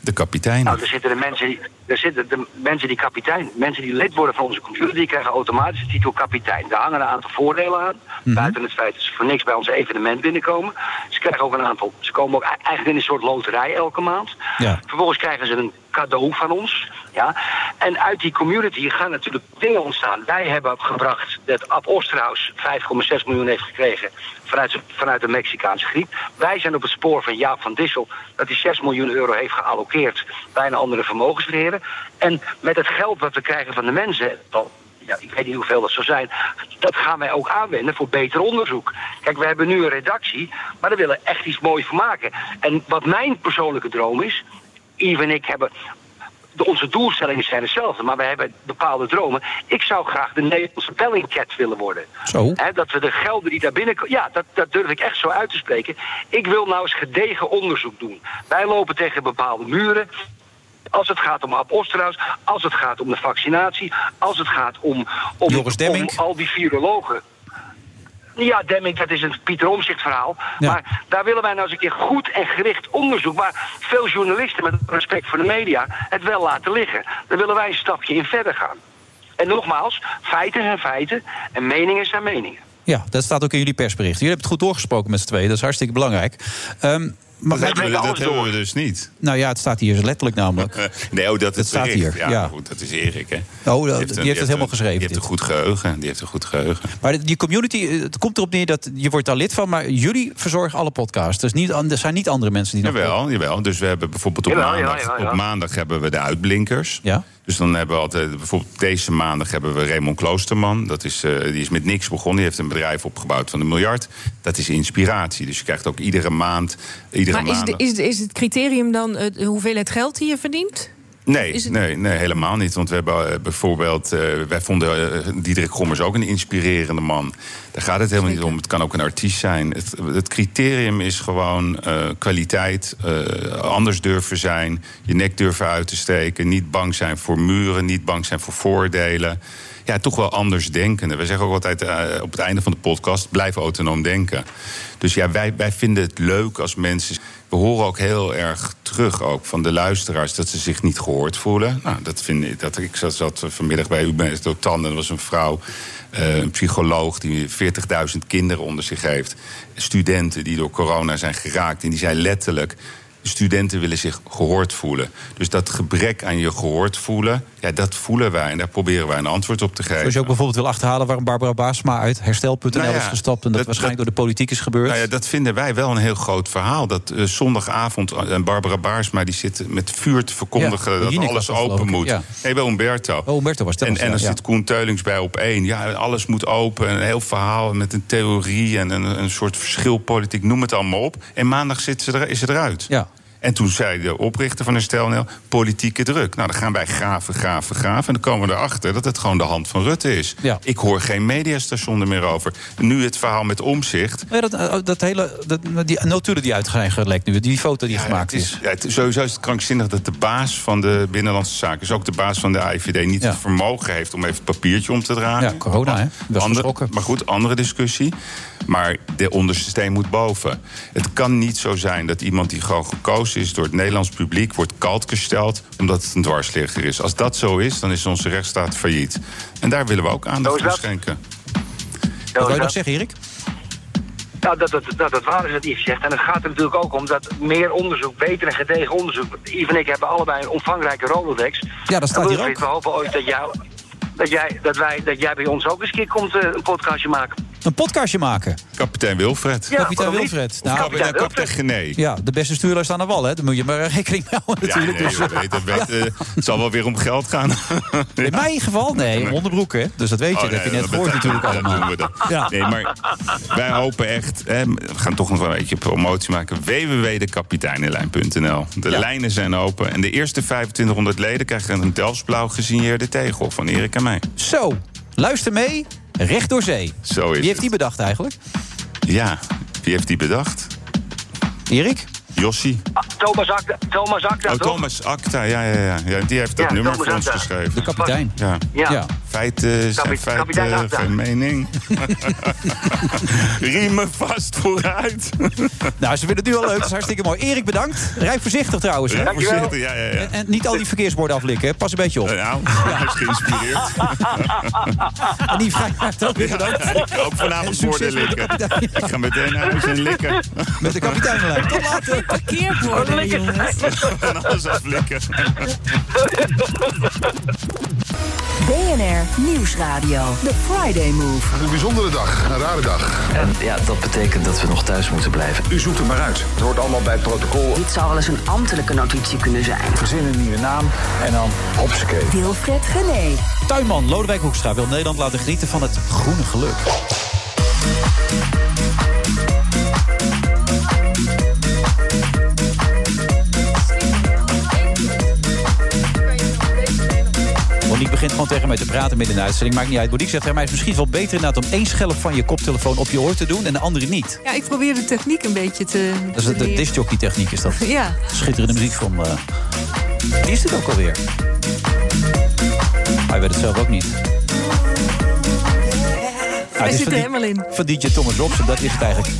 [SPEAKER 17] De kapitein.
[SPEAKER 19] Nou, er zitten de mensen, die- er zitten de mensen die kapitein, mensen die lid worden van onze computer, die krijgen automatisch de titel kapitein. Daar hangen een aantal voordelen aan.
[SPEAKER 8] Mhm.
[SPEAKER 19] Buiten het feit dat ze voor niks bij ons evenement binnenkomen. Ze krijgen ook een aantal, ze komen ook e- eigenlijk in een soort loterij elke maand.
[SPEAKER 8] Ja.
[SPEAKER 19] Vervolgens krijgen ze een cadeau van ons. Ja. En uit die community gaan natuurlijk dingen ontstaan. Wij hebben gebracht dat Ab Osterhaus 5,6 miljoen heeft gekregen vanuit, zijn- vanuit de Mexicaanse griep. Wij zijn op het spoor van Jaap van Dissel dat hij 6 miljoen euro heeft geallockeerd bij een andere vermogensbeheerder. En met het geld wat we krijgen van de mensen, dan- ja, ik weet niet hoeveel dat zou zijn. Dat gaan wij ook aanwenden voor beter onderzoek. Kijk, we hebben nu een redactie, maar daar willen we echt iets moois van maken. En wat mijn persoonlijke droom is, Yves en ik hebben. De, onze doelstellingen zijn hetzelfde, maar we hebben bepaalde dromen. Ik zou graag de Nederlandse bellingcat willen worden.
[SPEAKER 8] Zo.
[SPEAKER 19] Hè, dat we de gelden die daar binnenkomen. Ja, dat, dat durf ik echt zo uit te spreken. Ik wil nou eens gedegen onderzoek doen. Wij lopen tegen bepaalde muren. Als het gaat om Ab Osterhaus, als het gaat om de vaccinatie, als het gaat om, om, om al die virologen. Ja, Demming, dat is een Pieter Omzicht verhaal. Maar daar willen wij nou eens een keer goed en gericht onderzoek. Maar veel journalisten, met respect voor de media, het wel laten liggen. Daar willen wij een stapje in verder gaan. En nogmaals, feiten zijn feiten en meningen zijn meningen.
[SPEAKER 8] Ja, dat staat ook in jullie persbericht. Jullie hebben het goed doorgesproken met z'n tweeën, dat is hartstikke belangrijk. Ehm, maar
[SPEAKER 17] dat hebben we, dat hebben we dus niet.
[SPEAKER 8] Nou ja, het staat hier letterlijk namelijk.
[SPEAKER 17] nee, oh, dat, het
[SPEAKER 8] staat
[SPEAKER 17] bericht.
[SPEAKER 8] hier,
[SPEAKER 17] Ja,
[SPEAKER 8] ja. Oh,
[SPEAKER 17] Goed, dat is Erik, hè.
[SPEAKER 8] dat- die heeft
[SPEAKER 17] een-
[SPEAKER 8] het helemaal
[SPEAKER 17] een-
[SPEAKER 8] geschreven,
[SPEAKER 17] Die heeft een goed geheugen. Die heeft een goed geheugen.
[SPEAKER 8] Maar die community, eh, het komt erop neer dat je wordt daar lid van, maar jullie verzorgen alle podcasts. Dus niet, an- er zijn niet andere mensen die nog.
[SPEAKER 17] Jawel, jawel. Dus we hebben bijvoorbeeld op,
[SPEAKER 8] Jawel,
[SPEAKER 17] maandag,
[SPEAKER 8] jawel, jawel.
[SPEAKER 17] op maandag hebben we de uitblinkers.
[SPEAKER 8] Ja.
[SPEAKER 17] Dus dan hebben we altijd, bijvoorbeeld deze maandag hebben we Raymond Kloosterman. Dat is, eh, die is met niks begonnen. Die heeft een bedrijf opgebouwd van een miljard. Dat is inspiratie. Dus je krijgt ook iedere maand. Iedere
[SPEAKER 9] maar is,
[SPEAKER 17] maand
[SPEAKER 9] de, is, de- is het criterium dan eh, de hoeveelheid geld die je verdient?
[SPEAKER 17] Nee, nee, nee, helemaal niet. Want we hebben eh, bijvoorbeeld, eh, wij vonden eh, Diederik Gommers ook een inspirerende man. Daar gaat het helemaal niet om. Het kan ook een artiest zijn. Het, het criterium is gewoon eh, kwaliteit, eh, anders durven zijn, je nek durven uit te steken, niet bang zijn voor muren, niet bang zijn voor voordelen. Ja, toch wel anders denken. We zeggen ook altijd eh, op het einde van de podcast: blijf autonoom denken. Dus ja, wij, wij vinden het leuk als mensen. We horen ook heel erg terug ook van de luisteraars dat ze zich niet gehoord voelen. Nou, dat vind ik. Dat, ik zat, zat vanmiddag bij Ubenes Dotan en er was een vrouw, eh, een psycholoog, die 40.000 kinderen onder zich heeft. Studenten die door corona zijn geraakt. En die zei letterlijk: studenten willen zich gehoord voelen. Dus dat gebrek aan je gehoord voelen, ja, dat voelen wij. En daar proberen wij een antwoord op te geven.
[SPEAKER 8] Zoals je ook bijvoorbeeld wil achterhalen waarom Barbara Baasma uit herstel.nl
[SPEAKER 17] Nou ja,
[SPEAKER 8] is gestapt. En dat, waarschijnlijk door de politiek is gebeurd.
[SPEAKER 17] Nou ja, dat vinden wij wel een heel groot verhaal. Dat eh, zondagavond, eh, Barbara Baarsma die zit met vuur te verkondigen...
[SPEAKER 8] Ja,
[SPEAKER 17] dat
[SPEAKER 8] Jinek was
[SPEAKER 17] alles
[SPEAKER 8] dat, geloof
[SPEAKER 17] open
[SPEAKER 8] ik,
[SPEAKER 17] moet.
[SPEAKER 8] ja.
[SPEAKER 17] Nee, bij Umberto.
[SPEAKER 8] Oh, Humberto was dat.
[SPEAKER 17] En,
[SPEAKER 8] was,
[SPEAKER 17] en
[SPEAKER 8] ja,
[SPEAKER 17] dan
[SPEAKER 8] ja.
[SPEAKER 17] zit Koen Teulings bij op één. Ja, alles moet open. Een heel verhaal met een theorie en een, een soort verschilpolitiek. Noem het allemaal op. En maandag zit ze er, is ze eruit.
[SPEAKER 8] Ja.
[SPEAKER 17] En toen zei de oprichter van Herstelnel, politieke druk. Nou, dan gaan wij graven, graven, graven. En dan komen we erachter dat het gewoon de hand van Rutte is. Ik hoor geen mediastation er meer over. Nu het verhaal met omzicht.
[SPEAKER 8] Nou ja, dat, dat hele, dat, die notulen die uit zijn gelekt nu, die foto die gemaakt
[SPEAKER 17] het
[SPEAKER 8] is.
[SPEAKER 17] ja, het- sowieso is het krankzinnig dat de baas van de Binnenlandse Zaken... dus ook de baas van de AIVD niet het vermogen heeft... om even het papiertje om te dragen.
[SPEAKER 8] Ja, corona, hè? Dat is
[SPEAKER 17] andere, maar goed, andere discussie. Maar de onderste steen moet boven. Het kan niet zo zijn dat iemand die gewoon gekozen is... door het Nederlands publiek wordt kalt gesteld... omdat het een dwarsligger is. Als dat zo is, dan is onze rechtsstaat failliet. En daar willen we ook aandacht aan schenken.
[SPEAKER 19] Zo is dat.
[SPEAKER 8] zeggen, Erik?
[SPEAKER 19] Nou, dat, dat, dat, dat waar is dat Yves zegt. En het gaat er natuurlijk ook om dat meer onderzoek, beter en gedegen onderzoek. Yves en ik hebben allebei een omvangrijke Rolodex.
[SPEAKER 8] Ja, dat staat
[SPEAKER 19] En
[SPEAKER 8] hier
[SPEAKER 19] Wilfried,
[SPEAKER 8] ook.
[SPEAKER 19] We hopen ooit dat, jou, dat, jij, dat, wij, dat jij bij ons ook eens een keer komt eh, een podcastje maken.
[SPEAKER 8] Een podcastje maken.
[SPEAKER 17] Kapitein Wilfred.
[SPEAKER 19] Ja,
[SPEAKER 8] Kapitein
[SPEAKER 19] waarom niet?
[SPEAKER 8] Wilfred. Nou,
[SPEAKER 19] Of kapitein
[SPEAKER 17] Ja, kapitein Gené.
[SPEAKER 8] Ja, de beste stuurlui staan aan wal, hè? Daar moet je maar rekening mee houden natuurlijk.
[SPEAKER 17] Ja, nee,
[SPEAKER 8] Dus,
[SPEAKER 17] dat weet- dat weet, eh, het zal wel weer om geld gaan.
[SPEAKER 8] In mijn geval, nee, om onderbroeken. hè. Dus dat weet je,
[SPEAKER 17] Oh,
[SPEAKER 8] dat heb je
[SPEAKER 17] nee,
[SPEAKER 8] net gehoord
[SPEAKER 17] betekent-
[SPEAKER 8] natuurlijk allemaal.
[SPEAKER 17] Dat doen we dan.
[SPEAKER 8] Ja.
[SPEAKER 17] Nee, maar wij hopen echt... Hè, we gaan toch nog wel een beetje promotie maken. www.dekapiteinenlijn.nl De lijnen zijn open. En de eerste 2500 leden krijgen een Delftsblauw gesigneerde tegel van Erik en mij.
[SPEAKER 8] Zo, luister mee, recht door zee.
[SPEAKER 17] Zo is
[SPEAKER 8] Wie heeft die bedacht eigenlijk?
[SPEAKER 17] Ja, wie heeft die bedacht?
[SPEAKER 8] Erik?
[SPEAKER 17] Jossie.
[SPEAKER 19] Thomas Akda, Thomas Akda
[SPEAKER 17] Oh,
[SPEAKER 19] toch?
[SPEAKER 17] Thomas Acta, ja, ja, ja. ja die heeft dat
[SPEAKER 19] Ja,
[SPEAKER 17] nummer
[SPEAKER 19] Thomas
[SPEAKER 17] voor ons
[SPEAKER 19] Acta.
[SPEAKER 17] geschreven.
[SPEAKER 19] De kapitein.
[SPEAKER 17] Ja.
[SPEAKER 19] Ja. Ja.
[SPEAKER 17] Feiten zijn
[SPEAKER 19] Kapi- kapitein
[SPEAKER 17] feiten,
[SPEAKER 19] Acta.
[SPEAKER 17] geen mening. Riemen vast vooruit.
[SPEAKER 8] Nou, ze vinden het nu al leuk, dat is hartstikke mooi. Erik, bedankt. Rij voorzichtig trouwens. hè.
[SPEAKER 17] Ja, voorzichtig, ja, ja, ja.
[SPEAKER 8] En, en niet al die verkeersborden aflikken, hè. pas een beetje op.
[SPEAKER 17] Nou, hij is geïnspireerd.
[SPEAKER 8] En die vraag ook weer bedankt.
[SPEAKER 17] Ik ga ook vanavond borden likken. Ik ga meteen naar huis en likken.
[SPEAKER 8] Met de kapiteinlijn. Tot later.
[SPEAKER 19] Parkeerborden, jongens.
[SPEAKER 17] En alles aflikken.
[SPEAKER 3] BNR Nieuwsradio. The Friday Move.
[SPEAKER 12] Het is een bijzondere dag, een rare dag.
[SPEAKER 5] En ja, dat betekent dat we nog thuis moeten blijven.
[SPEAKER 12] U zoekt er maar uit. Het hoort allemaal bij het protocol.
[SPEAKER 7] Dit zou wel eens een ambtelijke notitie kunnen zijn.
[SPEAKER 12] Verzin een nieuwe naam en dan hopsakee.
[SPEAKER 3] Wilfred Gené.
[SPEAKER 8] Tuinman Lodewijk Hoekstra wil Nederland laten genieten van het groene geluk. Monique begint gewoon tegen mij te praten midden in de uitzending. Maakt niet uit. Monique zegt, "Ja, maar het is misschien wel beter inderdaad om één schelp van je koptelefoon op je oor te doen en de andere niet.
[SPEAKER 9] Ja, ik probeer de techniek een beetje te.
[SPEAKER 8] Dat is de,
[SPEAKER 9] te
[SPEAKER 8] de
[SPEAKER 9] leren.
[SPEAKER 8] discjockey techniek Ah, is dat.
[SPEAKER 9] Ja.
[SPEAKER 8] Schitterende muziek van... eh, Wie is dit ook alweer? Hij weet het zelf ook niet. Nou,
[SPEAKER 9] Hij
[SPEAKER 8] het is
[SPEAKER 9] zit
[SPEAKER 8] van
[SPEAKER 9] er
[SPEAKER 8] die-
[SPEAKER 9] helemaal in.
[SPEAKER 8] Van DJ Thomas Robson, dat is het eigenlijk.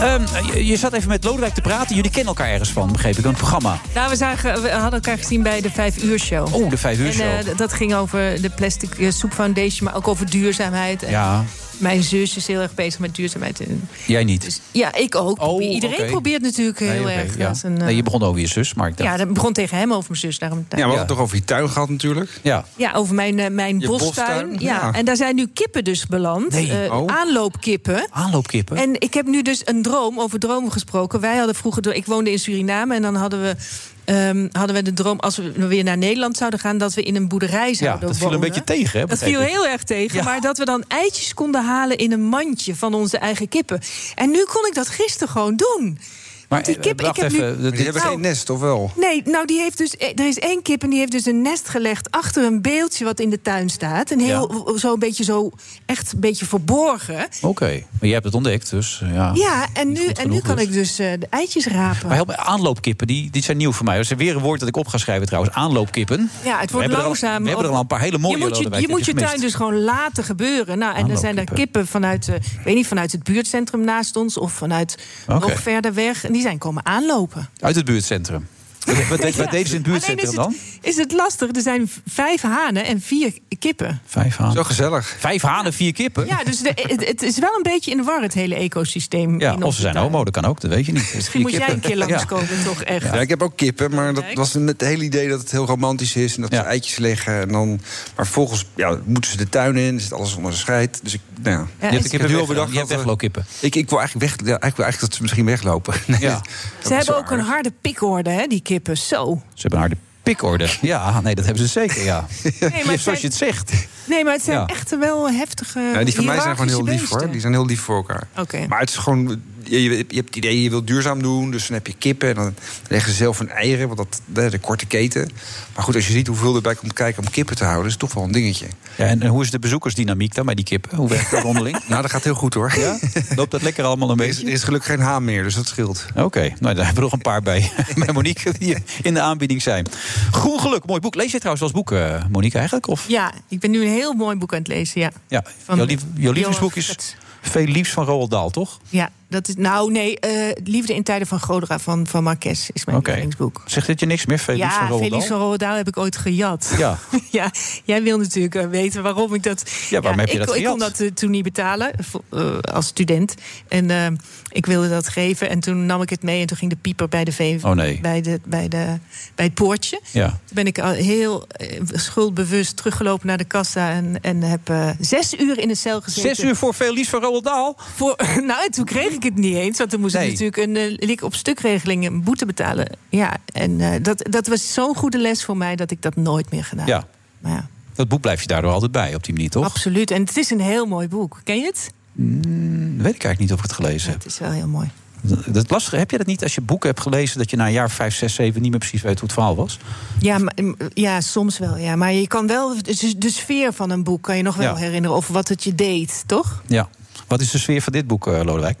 [SPEAKER 8] Ehm, je, je zat even met Lodewijk te praten. Jullie kennen elkaar ergens van, begreep ik. Een programma.
[SPEAKER 9] Nou, we, zagen, we hadden elkaar gezien bij de Vijf Uur Show.
[SPEAKER 8] Oh, de Vijf Uur
[SPEAKER 9] En
[SPEAKER 8] Show.
[SPEAKER 9] eh, d- dat ging over de Plastic eh, Soep Foundation, maar ook over duurzaamheid. En
[SPEAKER 8] Ja,
[SPEAKER 9] Mijn zus is heel erg bezig met duurzaamheid. En-
[SPEAKER 8] jij niet.
[SPEAKER 9] Ja, ik ook. Iedereen
[SPEAKER 8] Oh, oké.
[SPEAKER 9] probeert natuurlijk Dus heel
[SPEAKER 8] Nee, oké,
[SPEAKER 9] erg.
[SPEAKER 8] ja.
[SPEAKER 9] dat een, eh,
[SPEAKER 8] nee, je begon over je zus, maar ik dacht...
[SPEAKER 9] ja, dat begon tegen hem over mijn zus. Daarom,
[SPEAKER 20] Ja, we hadden het toch over je tuin gehad natuurlijk.
[SPEAKER 8] Ja.
[SPEAKER 9] Ja, over mijn, eh, mijn
[SPEAKER 20] Je
[SPEAKER 9] bostuin.
[SPEAKER 20] bostuin,
[SPEAKER 9] Ja.
[SPEAKER 20] ja.
[SPEAKER 9] En daar zijn nu kippen dus beland.
[SPEAKER 20] Nee,
[SPEAKER 9] Eh,
[SPEAKER 20] oh.
[SPEAKER 9] Aanloopkippen.
[SPEAKER 8] Aanloopkippen?
[SPEAKER 9] En ik heb nu dus een droom, over dromen gesproken. Wij hadden vroeger, door- ik woonde in Suriname en dan hadden we... ehm, hadden we de droom, als we weer naar Nederland zouden gaan... dat we in een boerderij zouden
[SPEAKER 8] dat viel een
[SPEAKER 9] wonen.
[SPEAKER 8] beetje tegen, hè,
[SPEAKER 9] Dat
[SPEAKER 8] begreep
[SPEAKER 9] viel
[SPEAKER 8] ik.
[SPEAKER 9] heel erg tegen.
[SPEAKER 8] Ja.
[SPEAKER 9] Maar dat we dan eitjes konden halen in een mandje van onze eigen kippen. En nu kon ik dat gisteren gewoon doen.
[SPEAKER 13] Maar
[SPEAKER 8] eh,
[SPEAKER 9] die kip, ik heb nu-
[SPEAKER 20] Die hebben
[SPEAKER 9] Nou,
[SPEAKER 20] geen nest, of wel?
[SPEAKER 9] Nee, nou die heeft dus. Er is één kip en die heeft dus een nest gelegd achter een beeldje wat in de tuin staat. Een heel zo een beetje zo echt een beetje verborgen.
[SPEAKER 8] Oké, maar jij hebt het ontdekt, dus eh, ja.
[SPEAKER 9] Ja, en nu, en nu
[SPEAKER 8] genoeg
[SPEAKER 9] kan
[SPEAKER 8] dus.
[SPEAKER 9] ik dus eh, de eitjes rapen.
[SPEAKER 8] Maar help me, aanloopkippen, die, die zijn nieuw voor mij. Dat is weer een woord dat ik op ga schrijven trouwens. Aanloopkippen.
[SPEAKER 9] Ja, het
[SPEAKER 8] We hebben
[SPEAKER 9] wordt
[SPEAKER 8] er al-
[SPEAKER 9] langzaam.
[SPEAKER 8] we hebben er al een paar hele mooie
[SPEAKER 9] Je moet je,
[SPEAKER 8] Lodewijk,
[SPEAKER 9] je,
[SPEAKER 8] dit
[SPEAKER 9] moet
[SPEAKER 8] is
[SPEAKER 9] je tuin
[SPEAKER 8] gemist. Ah,
[SPEAKER 9] dus gewoon laten gebeuren. Nou, en dan zijn er kippen vanuit, eh, ik weet niet, vanuit het buurtcentrum naast ons of vanuit
[SPEAKER 8] Oké.
[SPEAKER 9] nog verder weg. En die zijn komen aanlopen.
[SPEAKER 8] Uit het buurtcentrum. Wat, wat, wat
[SPEAKER 9] dus Ja.
[SPEAKER 8] deden ze in het
[SPEAKER 9] Alleen
[SPEAKER 8] buurtcentrum
[SPEAKER 9] is
[SPEAKER 8] dan?
[SPEAKER 9] het, is het lastig. Er zijn v- vijf hanen en vier kippen.
[SPEAKER 8] Vijf hanen.
[SPEAKER 20] Zo gezellig.
[SPEAKER 8] Vijf hanen, vier kippen?
[SPEAKER 9] Ja, dus de- het, het is wel een beetje in de war, het hele ecosysteem.
[SPEAKER 8] Ja,
[SPEAKER 9] in
[SPEAKER 8] of
[SPEAKER 9] onze
[SPEAKER 8] ze zijn
[SPEAKER 9] tuin.
[SPEAKER 8] homo, dat kan ook, dat weet je niet.
[SPEAKER 9] Misschien moet jij een keer langskomen, toch echt.
[SPEAKER 20] Ja, ik heb ook kippen, maar dat
[SPEAKER 9] Kijk.
[SPEAKER 20] was met het hele idee dat het heel romantisch is en dat ze eitjes leggen. En dan, maar volgens ja, moeten ze de tuin in, zit alles onder de scheid. Dus ik, nou, ja.
[SPEAKER 9] en-
[SPEAKER 20] ik
[SPEAKER 9] Je
[SPEAKER 20] heb
[SPEAKER 9] hebt
[SPEAKER 20] nu al
[SPEAKER 8] weglo-
[SPEAKER 20] bedacht
[SPEAKER 8] je hebt
[SPEAKER 20] dat we-
[SPEAKER 8] wegloopkippen.
[SPEAKER 20] Ik, ik wil eigenlijk, weg, ja, ik wil eigenlijk dat ze misschien weglopen. Nee,
[SPEAKER 8] Ja.
[SPEAKER 20] dat is
[SPEAKER 9] Ze hebben
[SPEAKER 20] zo
[SPEAKER 9] ook een
[SPEAKER 20] aardig.
[SPEAKER 9] harde pikorde, hè, die kippen. Zo.
[SPEAKER 8] Ze hebben een harde pikorde. Ja, nee, dat hebben ze zeker, ja.
[SPEAKER 9] maar het zijn-
[SPEAKER 8] Zoals je het zegt.
[SPEAKER 9] Nee, maar het zijn
[SPEAKER 20] Ja.
[SPEAKER 9] echt wel heftige.
[SPEAKER 20] Ja, die van mij zijn gewoon heel
[SPEAKER 9] eh, hiërarchische
[SPEAKER 20] lief hoor.
[SPEAKER 9] beesten.
[SPEAKER 20] Die zijn heel lief voor elkaar.
[SPEAKER 9] Oké.
[SPEAKER 20] Maar het is gewoon, je, je, je hebt het idee, je wilt duurzaam doen. Dus dan heb je kippen en dan leggen ze zelf hun eieren. Want dat, de, de korte keten. Maar goed, als je ziet hoeveel erbij komt kijken om kippen te houden... is het toch wel een dingetje.
[SPEAKER 8] Ja, en en hoe is de bezoekersdynamiek dan bij die kippen? Hoe werkt dat onderling?
[SPEAKER 20] Nou, dat gaat heel goed hoor.
[SPEAKER 8] Ja? Loopt dat lekker allemaal een
[SPEAKER 20] Er, is,
[SPEAKER 8] beetje?
[SPEAKER 20] er is gelukkig geen haan meer, dus dat scheelt.
[SPEAKER 8] Oké, nou, daar hebben we nog een paar bij, bij Monique die in de aanbieding zijn. Groen Geluk, mooi boek. Lees je trouwens wel eens boeken, eh, Monique, eigenlijk? Of,
[SPEAKER 9] Ja, ik ben nu een heel mooi boek aan het lezen. Ja,
[SPEAKER 8] ja,
[SPEAKER 9] Van
[SPEAKER 8] jouw, lief, jouw
[SPEAKER 9] Johan
[SPEAKER 8] lievelingsboek is
[SPEAKER 9] Frits.
[SPEAKER 8] Veel Liefs van Roald Dahl, toch?
[SPEAKER 9] ja dat is. Nou, nee, eh, Liefde in Tijden van Godra van, van Marques is mijn
[SPEAKER 8] Oké.
[SPEAKER 9] lievelingsboek.
[SPEAKER 8] Zegt dit je niks meer, Veel Liefs van
[SPEAKER 9] Ja,
[SPEAKER 8] Roald Dahl?
[SPEAKER 9] Felix van Roordaal heb ik ooit gejat.
[SPEAKER 8] Ja.
[SPEAKER 9] ja, jij wil natuurlijk eh, weten waarom ik dat.
[SPEAKER 8] Ja, waarom heb je
[SPEAKER 9] ik,
[SPEAKER 8] dat
[SPEAKER 9] Ik kon
[SPEAKER 8] gejat?
[SPEAKER 9] dat eh, toen niet betalen vo- eh, als student. En eh, ik wilde dat geven. En toen nam ik het mee en toen ging de pieper bij de VV.
[SPEAKER 8] Oh, nee.
[SPEAKER 9] bij, de, bij, de, bij het poortje.
[SPEAKER 8] Ja.
[SPEAKER 9] Toen ben ik al heel eh, schuldbewust teruggelopen naar de kassa. En, en heb eh, zes uur in de cel gezeten.
[SPEAKER 8] Zes uur voor Veel Liefs van Roald Dahl?
[SPEAKER 9] Voor, nou, en toen kreeg ik het niet eens. Want dan moest
[SPEAKER 8] Nee.
[SPEAKER 9] ik natuurlijk een eh, lik op stukregeling een boete betalen. Ja, en eh, dat, dat was zo'n goede les voor mij dat ik dat nooit meer gedaan heb.
[SPEAKER 8] Ja.
[SPEAKER 9] Maar ja.
[SPEAKER 8] Dat boek blijf je daardoor altijd bij, op die manier, toch?
[SPEAKER 9] Absoluut. En het is een heel mooi boek. Ken je het?
[SPEAKER 8] Mm, weet ik eigenlijk niet of ik het gelezen heb.
[SPEAKER 9] Het is wel heel mooi.
[SPEAKER 8] Dat is lastig. Heb je dat niet als je boeken hebt gelezen... dat je na een jaar 5, 6, 7 niet meer precies weet hoe het verhaal was?
[SPEAKER 9] Ja, maar, mm, ja soms wel. Ja. Maar je kan wel. dus De sfeer van een boek kan je nog wel
[SPEAKER 8] Ja.
[SPEAKER 9] herinneren. Of wat het je deed, toch?
[SPEAKER 8] Ja. Wat is de sfeer van dit boek, eh, Lodewijk?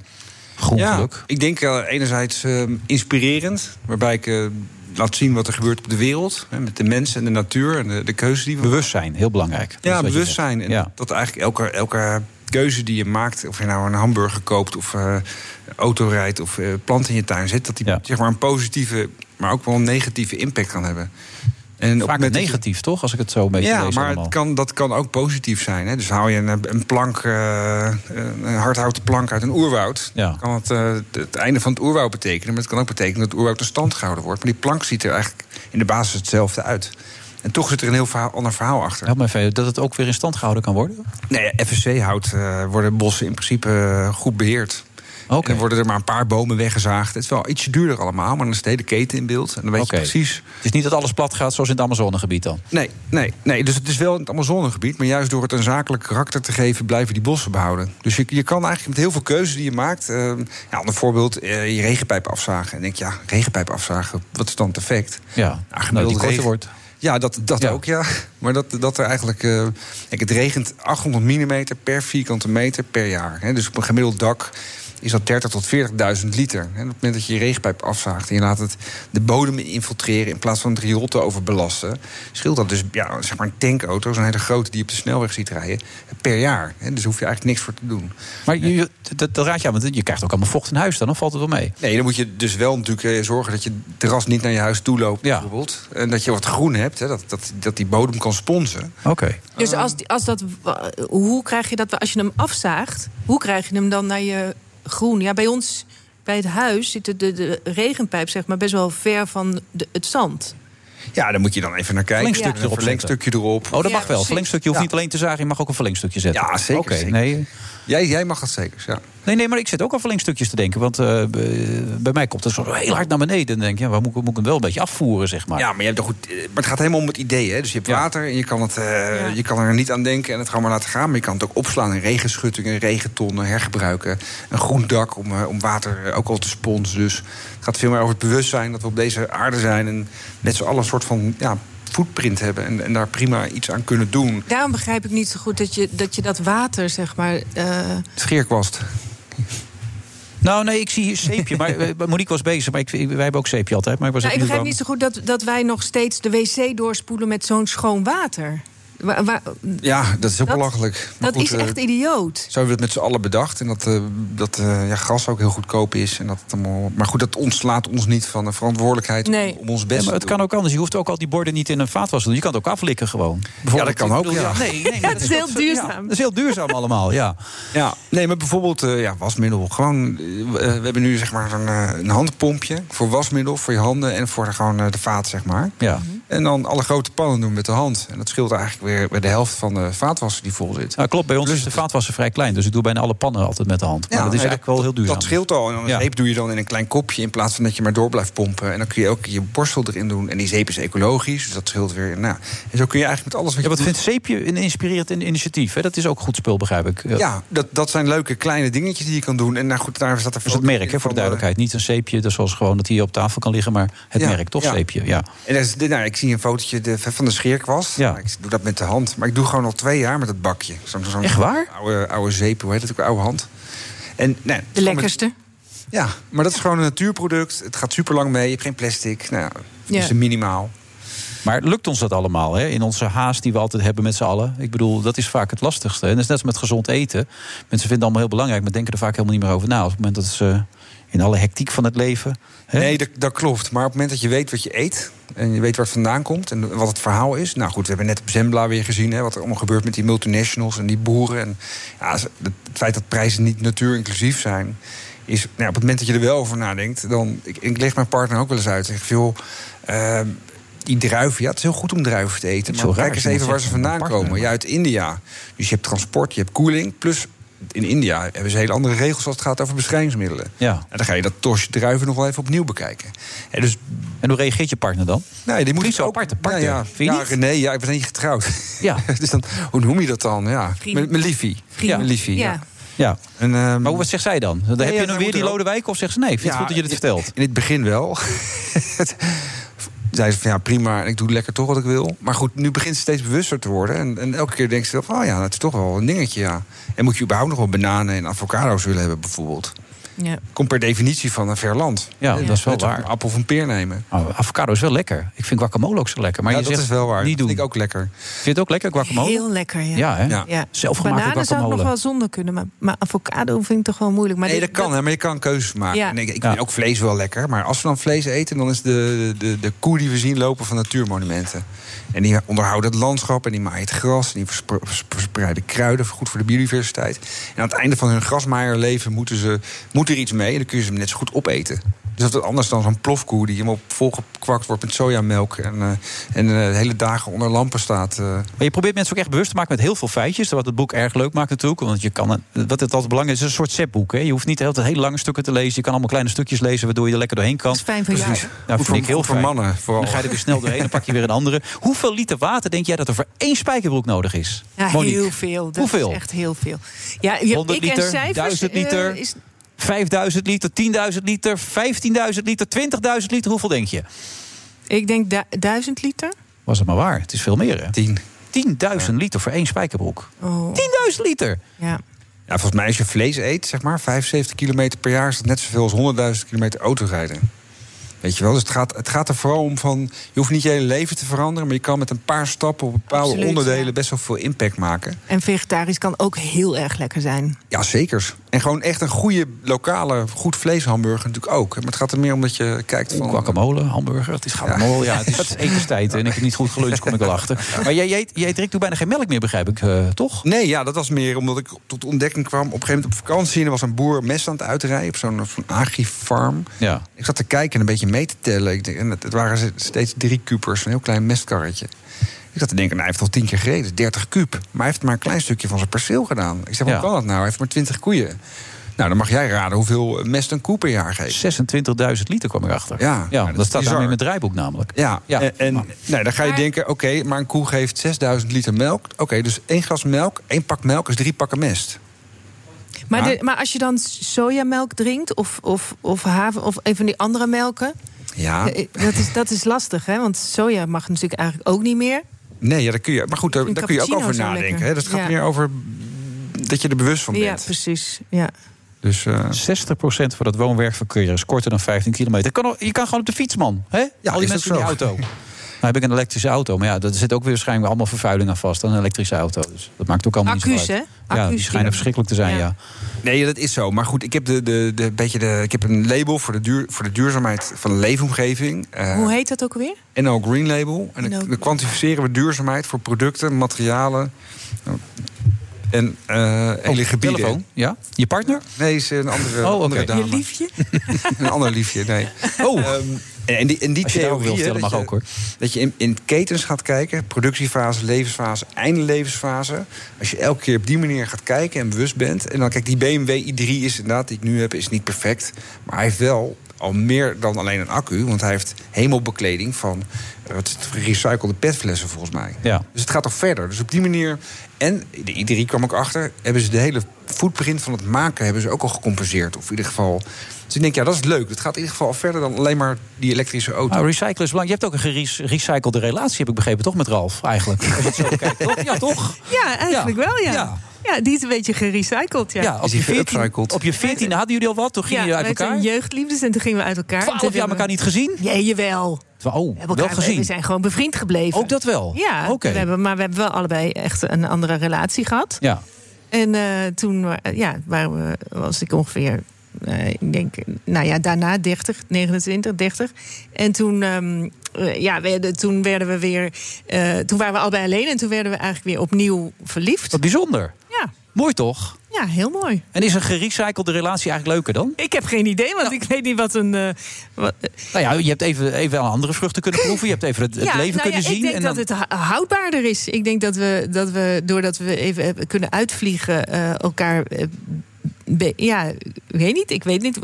[SPEAKER 8] Groen
[SPEAKER 20] Ja,
[SPEAKER 8] geluk.
[SPEAKER 20] ik denk eh, enerzijds eh, inspirerend. Waarbij ik eh, laat zien wat er gebeurt op de wereld. Hè, met de mensen en de natuur en de, de keuze die we
[SPEAKER 8] Bewustzijn, heel belangrijk. Dat is
[SPEAKER 20] Ja,
[SPEAKER 8] wat je
[SPEAKER 20] bewustzijn.
[SPEAKER 8] zegt.
[SPEAKER 20] En
[SPEAKER 8] Ja.
[SPEAKER 20] dat eigenlijk elke, elke keuze die je maakt, of je nou een hamburger koopt of eh, auto rijdt of eh plant in je tuin zet, dat die zeg maar een positieve, maar ook wel een negatieve impact kan hebben. En op het
[SPEAKER 8] Vaak
[SPEAKER 20] moment dat je-
[SPEAKER 8] negatief, toch? Als ik het zo een beetje
[SPEAKER 20] ja,
[SPEAKER 8] lees
[SPEAKER 20] maar
[SPEAKER 8] allemaal.
[SPEAKER 20] het kan, dat kan ook positief zijn. Hè? Dus hou je een, een plank, eh, een hardhouten plank uit een oerwoud...
[SPEAKER 8] Ja.
[SPEAKER 20] dan kan het, eh, het- het einde van het oerwoud betekenen. Maar het kan ook betekenen dat het oerwoud in stand gehouden wordt. Maar die plank ziet er eigenlijk in de basis hetzelfde uit. En toch zit er een heel verhaal, ander verhaal achter.
[SPEAKER 8] Help me even, dat het ook weer in stand gehouden kan worden?
[SPEAKER 20] Nee, FSC-hout eh, worden bossen in principe eh, goed beheerd. En dan worden er maar een paar bomen weggezaagd. Het is wel ietsje duurder allemaal, maar dan is de hele keten in beeld. En dan weet
[SPEAKER 8] Oké.
[SPEAKER 20] je precies.
[SPEAKER 8] Het is niet dat alles plat gaat zoals in het Amazonegebied dan.
[SPEAKER 20] Nee, nee, nee, dus het is wel in het Amazonegebied. Maar juist door het een zakelijk karakter te geven, blijven die bossen behouden. Dus je, je kan eigenlijk met heel veel keuzes die je maakt. eh, ja, een voorbeeld, eh, je regenpijp afzagen. En denk je, ja, regenpijp afzagen, wat is dan het effect?
[SPEAKER 8] Ja, nou, die
[SPEAKER 20] gemiddelde
[SPEAKER 8] korter
[SPEAKER 20] regen-
[SPEAKER 8] wordt.
[SPEAKER 20] Ja, dat, dat ook, ja. Maar dat, dat er eigenlijk... eh, kijk, het regent 800 mm per vierkante meter per jaar. Hè. Dus op een gemiddeld dak is dat 30 tot 40.000 liter. En op het moment dat je je regenpijp afzaagt... en je laat het de bodem infiltreren... in plaats van het riool te overbelasten... scheelt dat dus ja, zeg maar een tankauto... zo'n hele grote die je op de snelweg ziet rijden... per jaar. Hè. Dus daar hoef je eigenlijk niks voor te doen.
[SPEAKER 8] Maar je, je- dat, dat raad je aan, want je krijgt ook allemaal vocht in huis dan. Dan valt het wel mee.
[SPEAKER 20] Nee, dan moet je dus wel natuurlijk eh, zorgen dat je terras niet naar je huis toe loopt, bijvoorbeeld. En dat je wat groen hebt, hè, dat, dat, dat die bodem kan sponsen.
[SPEAKER 8] Oké.
[SPEAKER 9] Dus als, die- als dat, wa- hoe krijg je dat als je hem afzaagt? Hoe krijg je hem dan naar je groen? Ja, bij ons, bij het huis, zit de, de, de regenpijp zeg maar, best wel ver van de, het zand.
[SPEAKER 20] Ja, daar moet je dan even naar kijken.
[SPEAKER 8] Verlengstukje
[SPEAKER 20] Een
[SPEAKER 8] erop
[SPEAKER 20] verlengstukje erop.
[SPEAKER 8] Oh, dat mag wel. Verlengstukje hoeft niet alleen te zagen, je mag ook een verlengstukje zetten.
[SPEAKER 20] Ja, zeker,
[SPEAKER 8] Oké,
[SPEAKER 20] zeker.
[SPEAKER 8] nee.
[SPEAKER 20] Jij, jij mag dat zeker, ja.
[SPEAKER 8] Nee, nee, maar ik zit ook aan verlengstukjes te denken. Want eh, bij mij komt het zo heel hard naar beneden. En denk je, ja, waar moet, ik- moet ik hem wel een beetje afvoeren, zeg maar.
[SPEAKER 20] Ja, maar, je hebt toch goed, eh, maar het gaat helemaal om het idee. Hè? Dus je hebt water en je kan, het, eh, je kan er niet aan denken en het gewoon maar laten gaan. Maar je kan het ook opslaan in regenschuttingen, regentonnen, hergebruiken. Een groen dak om, eh, om water eh, ook al te sponsen. Dus het gaat veel meer over het bewustzijn dat we op deze aarde zijn. En met z'n allen een soort van ja, footprint hebben. En, en daar prima iets aan kunnen doen.
[SPEAKER 9] Daarom begrijp ik niet zo goed dat je dat, je dat water, zeg maar. eh,
[SPEAKER 20] Scheerkwast.
[SPEAKER 8] Nou, nee, ik zie hier zeepje. Maar eh, Monique was bezig, maar ik, ik- wij hebben ook zeepje altijd. Maar ik was
[SPEAKER 9] Nou, ik
[SPEAKER 8] even
[SPEAKER 9] begrijp
[SPEAKER 8] bang.
[SPEAKER 9] niet zo goed dat, dat wij nog steeds de wc doorspoelen met zo'n schoon water. Wa- wa-
[SPEAKER 20] Ja, dat is ook
[SPEAKER 9] Dat-
[SPEAKER 20] belachelijk. Maar
[SPEAKER 9] dat
[SPEAKER 20] goed,
[SPEAKER 9] is
[SPEAKER 20] eh,
[SPEAKER 9] echt idioot.
[SPEAKER 20] Zo hebben we het met z'n allen bedacht. En dat, eh, dat eh, ja, gas ook heel goedkoop is. En dat het allemaal... Maar goed, dat ontslaat ons niet van de verantwoordelijkheid om- om, ons best
[SPEAKER 8] Ja, maar
[SPEAKER 20] te
[SPEAKER 8] het kan ook anders. Je hoeft ook al die borden niet in een vaatwas te doen. Je kan het ook aflikken gewoon.
[SPEAKER 20] Ja, dat kan ook.
[SPEAKER 8] bedoel,
[SPEAKER 20] ja.
[SPEAKER 8] ja, nee, nee, maar dat is heel duurzaam. dat is heel duurzaam allemaal, ja.
[SPEAKER 20] Ja, nee, maar bijvoorbeeld eh, ja, wasmiddel. Gewoon, eh, we eh, we hebben nu zeg maar een, eh, een handpompje voor wasmiddel, voor je handen en voor de, gewoon eh, de vaat, zeg maar.
[SPEAKER 8] Ja.
[SPEAKER 20] En dan alle grote pannen doen met de hand. En dat scheelt eigenlijk weer bij de helft van de vaatwasser die vol zit.
[SPEAKER 8] Nou, klopt, bij ons is de vaatwasser vrij klein. Dus ik doe bijna alle pannen altijd met de hand. Maar
[SPEAKER 20] Ja,
[SPEAKER 8] dat is
[SPEAKER 20] nee,
[SPEAKER 8] eigenlijk wel heel duurzaam.
[SPEAKER 20] Dat scheelt al. En dan een zeep doe je dan in een klein kopje in plaats van dat je maar door blijft pompen. En dan kun je ook je borstel erin doen. En die zeep is ecologisch, dus dat scheelt weer. Nou, en zo kun je eigenlijk met alles wat
[SPEAKER 8] Ja,
[SPEAKER 20] je
[SPEAKER 8] wat
[SPEAKER 20] doet-
[SPEAKER 8] vindt Zeepje een inspirerend in- initiatief? Hè? Dat is ook goed spul, begrijp ik. Eh,
[SPEAKER 20] Ja, dat, dat zijn leuke kleine dingetjes die je kan doen. En nou goed, daar staat er
[SPEAKER 8] Dus het merk, hè, voor
[SPEAKER 20] eh,
[SPEAKER 8] de duidelijkheid. Niet een zeepje, dat is zoals gewoon dat hier op tafel kan liggen. Maar het
[SPEAKER 20] Ja,
[SPEAKER 8] merk, toch
[SPEAKER 20] ja.
[SPEAKER 8] zeepje. Ja.
[SPEAKER 20] En dat is, dit- nou, ik zie een fotootje de- van de scheerkwast. Nou, ik doe dat met de hand. Maar ik doe gewoon al twee jaar met dat bakje. Zo'n zo'n
[SPEAKER 8] Echt waar?
[SPEAKER 20] Oude, oude zeep, hoe heet het ook? Oude hand. En, nou, nee,
[SPEAKER 9] De lekkerste.
[SPEAKER 20] Ja, maar dat is gewoon een natuurproduct. Het gaat super lang mee. Je hebt geen plastic. Nou,
[SPEAKER 9] Ja.
[SPEAKER 20] is een minimaal.
[SPEAKER 8] Maar lukt ons dat allemaal? Hè? In onze haast die we altijd hebben met z'n allen. Ik bedoel, dat is vaak het lastigste. En dat is net als met gezond eten. Mensen vinden het allemaal heel belangrijk, maar denken er vaak helemaal niet meer over na. Op het moment dat ze in alle hectiek van het leven. Hè?
[SPEAKER 20] Nee, dat, dat klopt. Maar op het moment dat je weet wat je eet... en je weet waar het vandaan komt en wat het verhaal is... nou goed, we hebben net op Zembla weer gezien... Hè, wat er allemaal gebeurt met die multinationals en die boeren. En, ja, ze- het feit dat prijzen niet natuurinclusief zijn... is nou, ja, op het moment dat je er wel over nadenkt... dan ik, ik leg mijn partner ook wel eens uit. Ik zeg, joh, ehm, die druiven... ja, het is heel goed om druiven te eten...
[SPEAKER 8] is
[SPEAKER 20] maar
[SPEAKER 8] zo raar
[SPEAKER 20] kijk eens
[SPEAKER 8] als iemand
[SPEAKER 20] even waar ze
[SPEAKER 8] zegt,
[SPEAKER 20] vandaan
[SPEAKER 8] mijn partner.
[SPEAKER 20] komen. Ja, uit India. Dus je hebt transport, je hebt koeling... plus in India hebben ze hele andere regels... als het gaat over beschrijvingsmiddelen.
[SPEAKER 8] Ja.
[SPEAKER 20] En dan ga je dat tosje druiven nog wel even opnieuw bekijken. En, dus,
[SPEAKER 8] en hoe reageert je partner dan?
[SPEAKER 20] Nee, die moet
[SPEAKER 8] Niet zo
[SPEAKER 20] ook-
[SPEAKER 8] aparte, aparte.
[SPEAKER 20] Nou ja,
[SPEAKER 8] Vind je
[SPEAKER 20] ja,
[SPEAKER 8] niet?
[SPEAKER 20] René, ja, ik ben niet getrouwd.
[SPEAKER 8] Ja.
[SPEAKER 20] dus dan, hoe noem je dat dan? Ja.
[SPEAKER 8] Vriend.
[SPEAKER 20] Mijn mijn liefie.
[SPEAKER 8] Vriend.
[SPEAKER 20] Mijn liefie,
[SPEAKER 8] Ja.
[SPEAKER 20] ja.
[SPEAKER 8] Ja.
[SPEAKER 20] En, ehm,
[SPEAKER 8] Maar wat zegt zij dan? Dan
[SPEAKER 20] Nee,
[SPEAKER 8] heb
[SPEAKER 20] ja,
[SPEAKER 8] je
[SPEAKER 20] zij
[SPEAKER 8] dan weer
[SPEAKER 20] moet
[SPEAKER 8] die
[SPEAKER 20] er ook-
[SPEAKER 8] Lodewijk? Of zegt ze nee, vind je het goed dat je dit
[SPEAKER 20] in-
[SPEAKER 8] vertelt?
[SPEAKER 20] In het begin wel. Zij ze van ja, prima, en ik doe lekker toch wat ik wil. Maar goed, nu begint ze steeds bewuster te worden. En, en elke keer denkt ze van, oh ja, dat is toch wel een dingetje, ja. En moet je überhaupt nog wel bananen en avocado's willen hebben, bijvoorbeeld?
[SPEAKER 9] Ja.
[SPEAKER 20] Komt per definitie van een ver land.
[SPEAKER 8] Ja, dat is wel
[SPEAKER 20] Net als
[SPEAKER 8] waar.
[SPEAKER 20] Een appel of een peer nemen.
[SPEAKER 8] Oh, avocado is wel lekker. Ik vind guacamole ook zo lekker. Maar
[SPEAKER 20] Ja,
[SPEAKER 8] je
[SPEAKER 20] dat
[SPEAKER 8] zegt,
[SPEAKER 20] is wel waar.
[SPEAKER 8] Niet
[SPEAKER 20] Dat
[SPEAKER 8] doen.
[SPEAKER 20] vind ik ook lekker.
[SPEAKER 8] Vind je het ook lekker, guacamole?
[SPEAKER 9] Heel lekker, ja.
[SPEAKER 8] Ja, hè? Zelfgemaakte
[SPEAKER 9] Bananen zou ik nog
[SPEAKER 8] guacamole.
[SPEAKER 9] wel zonder kunnen, maar, maar avocado vind ik toch wel moeilijk. Maar
[SPEAKER 20] nee,
[SPEAKER 9] dit-
[SPEAKER 20] dat kan, hè, maar je kan keuzes maken.
[SPEAKER 9] Ja.
[SPEAKER 20] En ik ik
[SPEAKER 9] Ja.
[SPEAKER 20] vind ook vlees wel lekker. Maar als we dan vlees eten, dan is de, de, de koe die we zien lopen van natuurmonumenten. En die onderhouden het landschap en die maaien het gras. En die verspre- vers- verspreiden kruiden, goed voor de biodiversiteit. En aan het einde van hun grasmaaierleven moeten ze, moet er iets mee. En dan kun je ze hem net zo goed opeten. Dus dat is anders dan zo'n plofkoe die helemaal volgekwakt wordt met sojamelk. En, eh, en eh, hele dagen onder lampen staat. eh.
[SPEAKER 8] Maar je probeert mensen ook echt bewust te maken met heel veel feitjes. Wat het boek erg leuk maakt natuurlijk. Want je kan, een- wat het altijd belangrijk is, is een soort setboek. Hè. Je hoeft niet de hele tijd hele lange stukken te lezen. Je kan allemaal kleine stukjes lezen, waardoor je er lekker doorheen kan. Dat is
[SPEAKER 9] fijn voor jou.
[SPEAKER 8] Nou,
[SPEAKER 9] Goed
[SPEAKER 8] vind
[SPEAKER 20] voor-
[SPEAKER 8] ik heel
[SPEAKER 20] goed voor
[SPEAKER 8] fijn.
[SPEAKER 20] mannen vooral.
[SPEAKER 8] Dan ga je er weer snel doorheen, dan pak je weer een andere. Hoeveel liter water denk jij dat er voor één spijkerbroek nodig is?
[SPEAKER 9] Ja,
[SPEAKER 8] Monique?
[SPEAKER 9] heel veel. Dat
[SPEAKER 8] Hoeveel?
[SPEAKER 9] is echt heel veel. Ja, je-
[SPEAKER 8] 100
[SPEAKER 9] ik
[SPEAKER 8] liter,
[SPEAKER 9] en cijfers,
[SPEAKER 8] 1000
[SPEAKER 9] eh,
[SPEAKER 8] liter.
[SPEAKER 9] is,
[SPEAKER 8] 5000 liter, 10.000 liter, 15.000 liter, 20.000 liter. Hoeveel denk je?
[SPEAKER 9] ik denk du- 1000 liter.
[SPEAKER 8] Was het maar waar. Het is veel meer, hè?
[SPEAKER 20] 10.
[SPEAKER 8] 10.000 liter voor één spijkerbroek.
[SPEAKER 9] Oh.
[SPEAKER 8] 10.000 liter!
[SPEAKER 9] Ja.
[SPEAKER 20] Ja, volgens mij als je vlees eet, zeg maar, 75 kilometer per jaar... is dat net zoveel als 100.000 kilometer autorijden. Weet je wel, dus het gaat, het gaat er vooral om van... je hoeft niet je hele leven te veranderen... maar je kan met een paar stappen op bepaalde
[SPEAKER 9] Absoluut,
[SPEAKER 20] onderdelen... best wel veel impact maken.
[SPEAKER 9] En vegetarisch kan ook heel erg lekker zijn.
[SPEAKER 20] Ja, zeker. En gewoon echt een goede lokale, goed vleeshamburger natuurlijk ook. Maar het gaat er meer om dat je kijkt van...
[SPEAKER 8] Guacamole, hamburger, het is gaat allemaal wel. Ja, het is etenstijd en ik heb niet goed geluncht, kom ik wel achter. Maar jij, jij, jij drinkt toen bijna geen melk meer, begrijp ik, eh, toch?
[SPEAKER 20] Nee, ja, dat was meer omdat ik tot ontdekking kwam. Op een gegeven moment op vakantie en er was een boer mes aan het uitrijden... op zo'n zo'n agrifarm.
[SPEAKER 8] Ja.
[SPEAKER 20] Ik zat te kijken en een beetje mee te tellen. Ik denk, en het, het waren ze- steeds drie kupers, een heel klein mestkarretje. Ik zat te denken, nou, hij heeft al tien keer gereden, 30 kuub. Maar hij heeft maar een klein stukje van zijn perceel gedaan. Ik zeg, hoe kan dat nou? Hij heeft maar 20 koeien. Nou, dan mag jij raden hoeveel mest een koe per jaar geeft.
[SPEAKER 8] 26.000 liter kwam erachter.
[SPEAKER 20] Ja,
[SPEAKER 8] Ja,
[SPEAKER 20] nou,
[SPEAKER 8] dat,
[SPEAKER 20] is
[SPEAKER 8] staat
[SPEAKER 20] bizar.
[SPEAKER 8] daarmee in mijn draaiboek namelijk.
[SPEAKER 20] Ja, en, en nou, dan ga je denken, oké, maar een koe geeft 6000 liter melk. Oké, dus één glas melk, één pak melk is drie pakken mest.
[SPEAKER 9] Maar,
[SPEAKER 20] Ja.
[SPEAKER 9] de- maar als je dan sojamelk drinkt of, of, of haven of een van die andere melken.
[SPEAKER 20] Ja,
[SPEAKER 9] eh, Dat, is, dat is lastig, hè? Want soja mag natuurlijk eigenlijk ook niet meer.
[SPEAKER 20] nee, ja, daar kun je, maar goed, daar,
[SPEAKER 9] Een
[SPEAKER 20] daar kun je ook
[SPEAKER 9] cappuccino
[SPEAKER 20] over
[SPEAKER 9] zou
[SPEAKER 20] nadenken.
[SPEAKER 9] lekker.
[SPEAKER 20] Hè? Dat gaat
[SPEAKER 9] Ja.
[SPEAKER 20] meer over dat je er bewust van bent.
[SPEAKER 9] Ja, precies. Ja.
[SPEAKER 20] Dus,
[SPEAKER 8] 60% van dat woonwerkverkeer is korter dan 15 kilometer. Kan, al- je kan gewoon op de fiets, man. Hè? Al die
[SPEAKER 20] is
[SPEAKER 8] mensen
[SPEAKER 20] dat
[SPEAKER 8] in die
[SPEAKER 20] zo?
[SPEAKER 8] auto. Nou heb ik een elektrische auto, maar ja, daar zit ook weer waarschijnlijk allemaal vervuiling aan vast. Aan een elektrische auto. Dus dat maakt ook allemaal niet
[SPEAKER 9] Accu's,
[SPEAKER 8] zo uit. Ja,
[SPEAKER 9] hè?
[SPEAKER 8] die
[SPEAKER 9] Accu's
[SPEAKER 8] schijnen
[SPEAKER 9] die-
[SPEAKER 8] verschrikkelijk te zijn, ja.
[SPEAKER 20] Nee, dat is zo. Maar goed, ik heb, de, de, de, beetje de, ik heb een label voor de, duur, voor de duurzaamheid van de leefomgeving. Eh,
[SPEAKER 9] Hoe heet dat ook weer?
[SPEAKER 20] NL Green Label. En
[SPEAKER 9] NL
[SPEAKER 20] dan, dan kwantificeren we duurzaamheid voor producten, materialen en eh hele gebieden.
[SPEAKER 8] Oh, telefoon, ja? Je partner?
[SPEAKER 20] Nee, is een andere,
[SPEAKER 8] Oh, oké.
[SPEAKER 20] andere dame.
[SPEAKER 8] Je
[SPEAKER 9] liefje?
[SPEAKER 20] een ander liefje, nee. Ehm,
[SPEAKER 8] Oh.
[SPEAKER 20] en, en die, en die
[SPEAKER 8] Als je daarover
[SPEAKER 20] theorie,
[SPEAKER 8] wil
[SPEAKER 20] hè,
[SPEAKER 8] vertellen,
[SPEAKER 20] dat
[SPEAKER 8] mag
[SPEAKER 20] je-
[SPEAKER 8] ook, hoor.
[SPEAKER 20] Dat je in, in ketens gaat kijken, productiefase, levensfase, einde levensfase. Als je elke keer op die manier gaat kijken en bewust bent. En dan kijk, die BMW i3 is inderdaad, die ik nu heb, is niet perfect. Maar hij heeft wel al meer dan alleen een accu. Want hij heeft hemelbekleding van eh, wat is het, gerecyclede petflessen volgens mij.
[SPEAKER 8] Ja.
[SPEAKER 20] Dus het gaat toch verder. Dus op die manier. En de i3 kwam ik achter. Hebben ze de hele footprint van het maken hebben ze ook al gecompenseerd. Of in ieder geval. Dus ik denk, ja, dat is leuk. Het gaat in ieder geval al verder dan alleen maar die elektrische auto.
[SPEAKER 8] Nou, recyclen is belangrijk. Je hebt ook een gerecyclede relatie, heb ik begrepen, toch met Ralf eigenlijk? Als je het zo bekijkt, toch? Ja, toch?
[SPEAKER 9] Ja, eigenlijk wel, ja. ja.
[SPEAKER 8] Ja.
[SPEAKER 9] die is een beetje gerecycled, ja.
[SPEAKER 8] Ja, op je, 14, op je 14 hadden jullie al wat, toen gingen
[SPEAKER 9] Ja,
[SPEAKER 8] jullie uit
[SPEAKER 9] wij
[SPEAKER 8] elkaar.
[SPEAKER 9] zijn jeugdliefdes en toen gingen we uit elkaar.
[SPEAKER 8] Twaalf
[SPEAKER 9] Toen
[SPEAKER 8] jaar
[SPEAKER 9] hebben we-
[SPEAKER 8] elkaar niet gezien?
[SPEAKER 9] Nee, jawel.
[SPEAKER 8] Oh,
[SPEAKER 9] We hebben
[SPEAKER 8] wel
[SPEAKER 9] elkaar We
[SPEAKER 8] gezien.
[SPEAKER 9] zijn gewoon bevriend gebleven.
[SPEAKER 8] Ook dat wel?
[SPEAKER 9] Ja,
[SPEAKER 8] Oké.
[SPEAKER 9] we hebben, maar we hebben wel allebei echt een andere relatie gehad.
[SPEAKER 8] Ja.
[SPEAKER 9] En eh, toen wa- ja, waren we, was ik ongeveer, eh, ik denk, nou ja, daarna 30, 29, 30. En toen, ehm, eh, ja, werden, toen werden we weer, eh, toen waren we allebei alleen en toen werden we eigenlijk weer opnieuw verliefd.
[SPEAKER 8] Wat bijzonder.
[SPEAKER 9] Ja,
[SPEAKER 8] Mooi toch?
[SPEAKER 9] ja heel mooi.
[SPEAKER 8] En is een gerecyclede relatie eigenlijk leuker dan?
[SPEAKER 9] Ik heb geen idee, want ik weet niet wat een. eh, wat,
[SPEAKER 8] Nou ja, je hebt even, even aan andere vruchten kunnen proeven. Je hebt even het, het
[SPEAKER 9] Ja,
[SPEAKER 8] leven
[SPEAKER 9] nou ja,
[SPEAKER 8] kunnen zien.
[SPEAKER 9] Ik denk
[SPEAKER 8] en
[SPEAKER 9] dat
[SPEAKER 8] dan-
[SPEAKER 9] het hou- houdbaarder is. Ik denk dat we, dat we doordat we even hebben kunnen uitvliegen, eh, elkaar. eh, be- ja, ik weet niet. Ik weet niet. Ik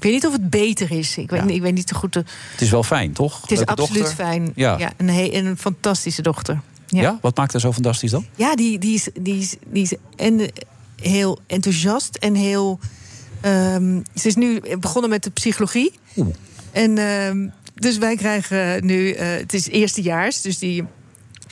[SPEAKER 9] weet niet of het beter is. Ik weet, niet- ik weet niet zo goed. de-
[SPEAKER 8] het is wel fijn, toch?
[SPEAKER 9] het is
[SPEAKER 8] Leuke
[SPEAKER 9] absoluut
[SPEAKER 8] dochter.
[SPEAKER 9] fijn.
[SPEAKER 8] Ja.
[SPEAKER 9] Ja.
[SPEAKER 8] Ja?
[SPEAKER 9] een, he- een fantastische dochter. Ja, ja?
[SPEAKER 8] Wat maakt haar zo fantastisch dan?
[SPEAKER 9] die, die is, die is, die is en, eh, heel enthousiast en heel. ehm, ze is nu begonnen met de psychologie. En ehm, dus wij krijgen nu, eh, het is eerstejaars, dus die.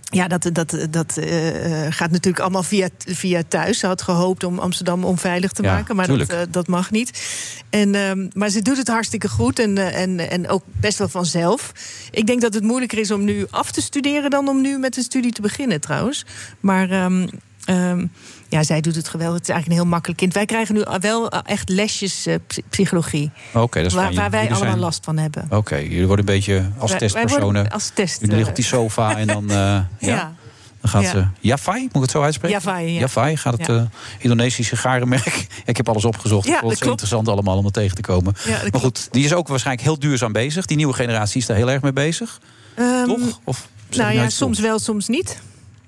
[SPEAKER 9] Ja, dat, dat, dat eh, eh, gaat natuurlijk allemaal via, via thuis. Ze had gehoopt om Amsterdam onveilig te
[SPEAKER 21] Ja,
[SPEAKER 9] maken, maar dat,
[SPEAKER 21] tuurlijk.
[SPEAKER 9] eh, dat mag niet. En, ehm, maar ze doet het hartstikke goed en, eh, en, en ook best wel vanzelf. Ik denk dat het moeilijker is om nu af te studeren dan om nu met de studie te beginnen, trouwens. Maar ehm, ehm, ja, zij doet het geweldig. Het is eigenlijk een heel makkelijk kind. Wij krijgen nu wel echt lesjes eh, psy- psychologie,
[SPEAKER 8] Oké, dat is
[SPEAKER 9] waar,
[SPEAKER 8] fijn.
[SPEAKER 9] waar wij
[SPEAKER 8] Jullie
[SPEAKER 9] allemaal
[SPEAKER 8] zijn-
[SPEAKER 9] last van hebben.
[SPEAKER 8] Oké, jullie worden een beetje als
[SPEAKER 9] Wij- wij
[SPEAKER 8] testpersonen.
[SPEAKER 9] worden als test,
[SPEAKER 8] Jullie liggen op die
[SPEAKER 9] eh,
[SPEAKER 8] sofa en dan, eh, ja,
[SPEAKER 9] Ja.
[SPEAKER 8] dan gaat
[SPEAKER 9] Ja.
[SPEAKER 8] ze... Jafai, moet ik het zo uitspreken?
[SPEAKER 9] Javai, ja.
[SPEAKER 8] Jafai gaat het
[SPEAKER 9] Ja.
[SPEAKER 8] eh, Indonesische garenmerk. ik heb alles opgezocht.
[SPEAKER 9] Ja,
[SPEAKER 8] ik vond
[SPEAKER 9] dat
[SPEAKER 8] het zo
[SPEAKER 9] klopt.
[SPEAKER 8] interessant allemaal om er tegen te komen.
[SPEAKER 9] Ja, dat
[SPEAKER 8] maar goed, die is ook waarschijnlijk heel duurzaam bezig. Die nieuwe generatie is daar heel erg mee bezig.
[SPEAKER 9] Ehm,
[SPEAKER 8] Toch? Of zeg
[SPEAKER 9] nou
[SPEAKER 8] ik
[SPEAKER 9] ja,
[SPEAKER 8] iets
[SPEAKER 9] soms wel, soms niet.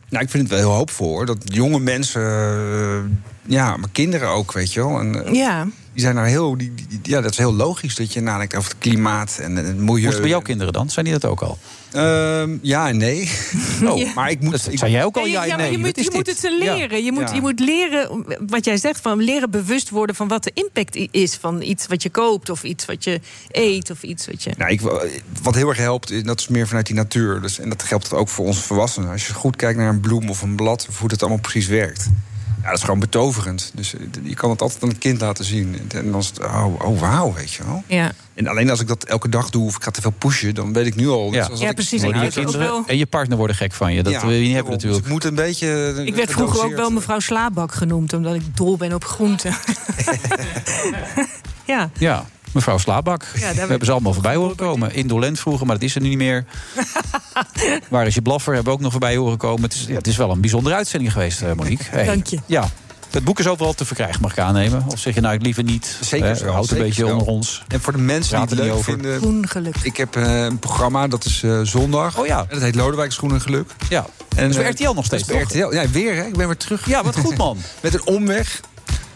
[SPEAKER 20] Nou, ik vind het wel heel hoopvol hoor. Dat jonge mensen, eh, ja, maar kinderen ook, weet je wel. En, eh,
[SPEAKER 9] Ja.
[SPEAKER 20] Die zijn daar heel, die, die- ja, dat is heel logisch dat je nadenkt over het klimaat en het milieu.
[SPEAKER 8] Hoe is het bij jouw kinderen dan? Zijn die dat ook al?
[SPEAKER 20] Ehm, ja en nee.
[SPEAKER 8] Oh,
[SPEAKER 20] ja. Maar ik moet. ik-
[SPEAKER 8] zei jij ook al,
[SPEAKER 9] Nee,
[SPEAKER 8] ja,
[SPEAKER 9] ja, maar
[SPEAKER 8] nee.
[SPEAKER 9] je,
[SPEAKER 8] Wat
[SPEAKER 9] moet,
[SPEAKER 8] is
[SPEAKER 9] je moet
[SPEAKER 8] dit?
[SPEAKER 9] het ze leren. Je, moet,
[SPEAKER 8] Ja.
[SPEAKER 9] je moet leren, om- wat jij zegt, van leren bewust worden van wat de impact i- is van iets wat je koopt of iets wat je eet of iets wat je.
[SPEAKER 20] Nou, ik, wat heel erg helpt, is- dat is meer vanuit die natuur. Dus, en dat geldt ook voor onze volwassenen. Als je goed kijkt naar een bloem of een blad, of hoe dat allemaal precies werkt. Ja, dat is gewoon betoverend. Dus eh, je kan het altijd aan een kind laten zien. En dan is het, oh, oh wauw, weet je wel.
[SPEAKER 9] Ja.
[SPEAKER 20] En alleen als ik dat elke dag doe of ik ga te veel pushen, dan weet ik nu al.
[SPEAKER 8] Ja.
[SPEAKER 20] zoals
[SPEAKER 8] Ja,
[SPEAKER 20] dat ik-
[SPEAKER 9] precies,
[SPEAKER 20] Ja,
[SPEAKER 9] ik
[SPEAKER 8] Je
[SPEAKER 9] weet het ook
[SPEAKER 8] kinderen
[SPEAKER 9] wel.
[SPEAKER 8] en je partner worden gek van je. Dat wil je niet
[SPEAKER 20] daarom.
[SPEAKER 8] hebben
[SPEAKER 20] Dus
[SPEAKER 8] natuurlijk.
[SPEAKER 20] ik moet een beetje. eh,
[SPEAKER 9] Ik werd vroeger ook
[SPEAKER 20] gedoseerd.
[SPEAKER 9] wel mevrouw Slaabak genoemd, omdat ik dol ben op groenten. ja.
[SPEAKER 8] Ja, mevrouw Slaabak.
[SPEAKER 9] daar
[SPEAKER 8] We
[SPEAKER 9] ben-
[SPEAKER 8] hebben ze allemaal voorbij horen komen. Indolent vroeger, maar dat is er nu niet meer. Waar is je blaffer? Hebben we ook nog voorbij horen komen. Het is, ja, het is wel een bijzondere uitzending geweest, eh, Monique. Hey.
[SPEAKER 9] Dank je.
[SPEAKER 8] Ja. Het boek is overal te verkrijgen, mag ik aannemen. Of zeg je nou, ik liever niet.
[SPEAKER 20] Zeker zo.
[SPEAKER 8] Houd een
[SPEAKER 20] zeker
[SPEAKER 8] beetje
[SPEAKER 20] zo.
[SPEAKER 8] onder ons.
[SPEAKER 20] En voor de mensen
[SPEAKER 8] Praat
[SPEAKER 20] die het
[SPEAKER 8] er
[SPEAKER 20] leuk
[SPEAKER 8] niet over.
[SPEAKER 20] vinden...
[SPEAKER 9] Schoengeluk.
[SPEAKER 20] Ik heb eh, een programma, dat is eh, zondag. Oh
[SPEAKER 8] ja.
[SPEAKER 20] En dat heet Lodewijk Schoenen Geluk.
[SPEAKER 8] Ja.
[SPEAKER 20] En,
[SPEAKER 8] Dat is bij
[SPEAKER 20] eh,
[SPEAKER 8] RTL nog steeds,
[SPEAKER 20] dat is bij
[SPEAKER 8] toch?
[SPEAKER 20] RTL. Ja, weer hè. Ik ben weer terug.
[SPEAKER 8] Ja, wat goed, man.
[SPEAKER 20] Met een omweg.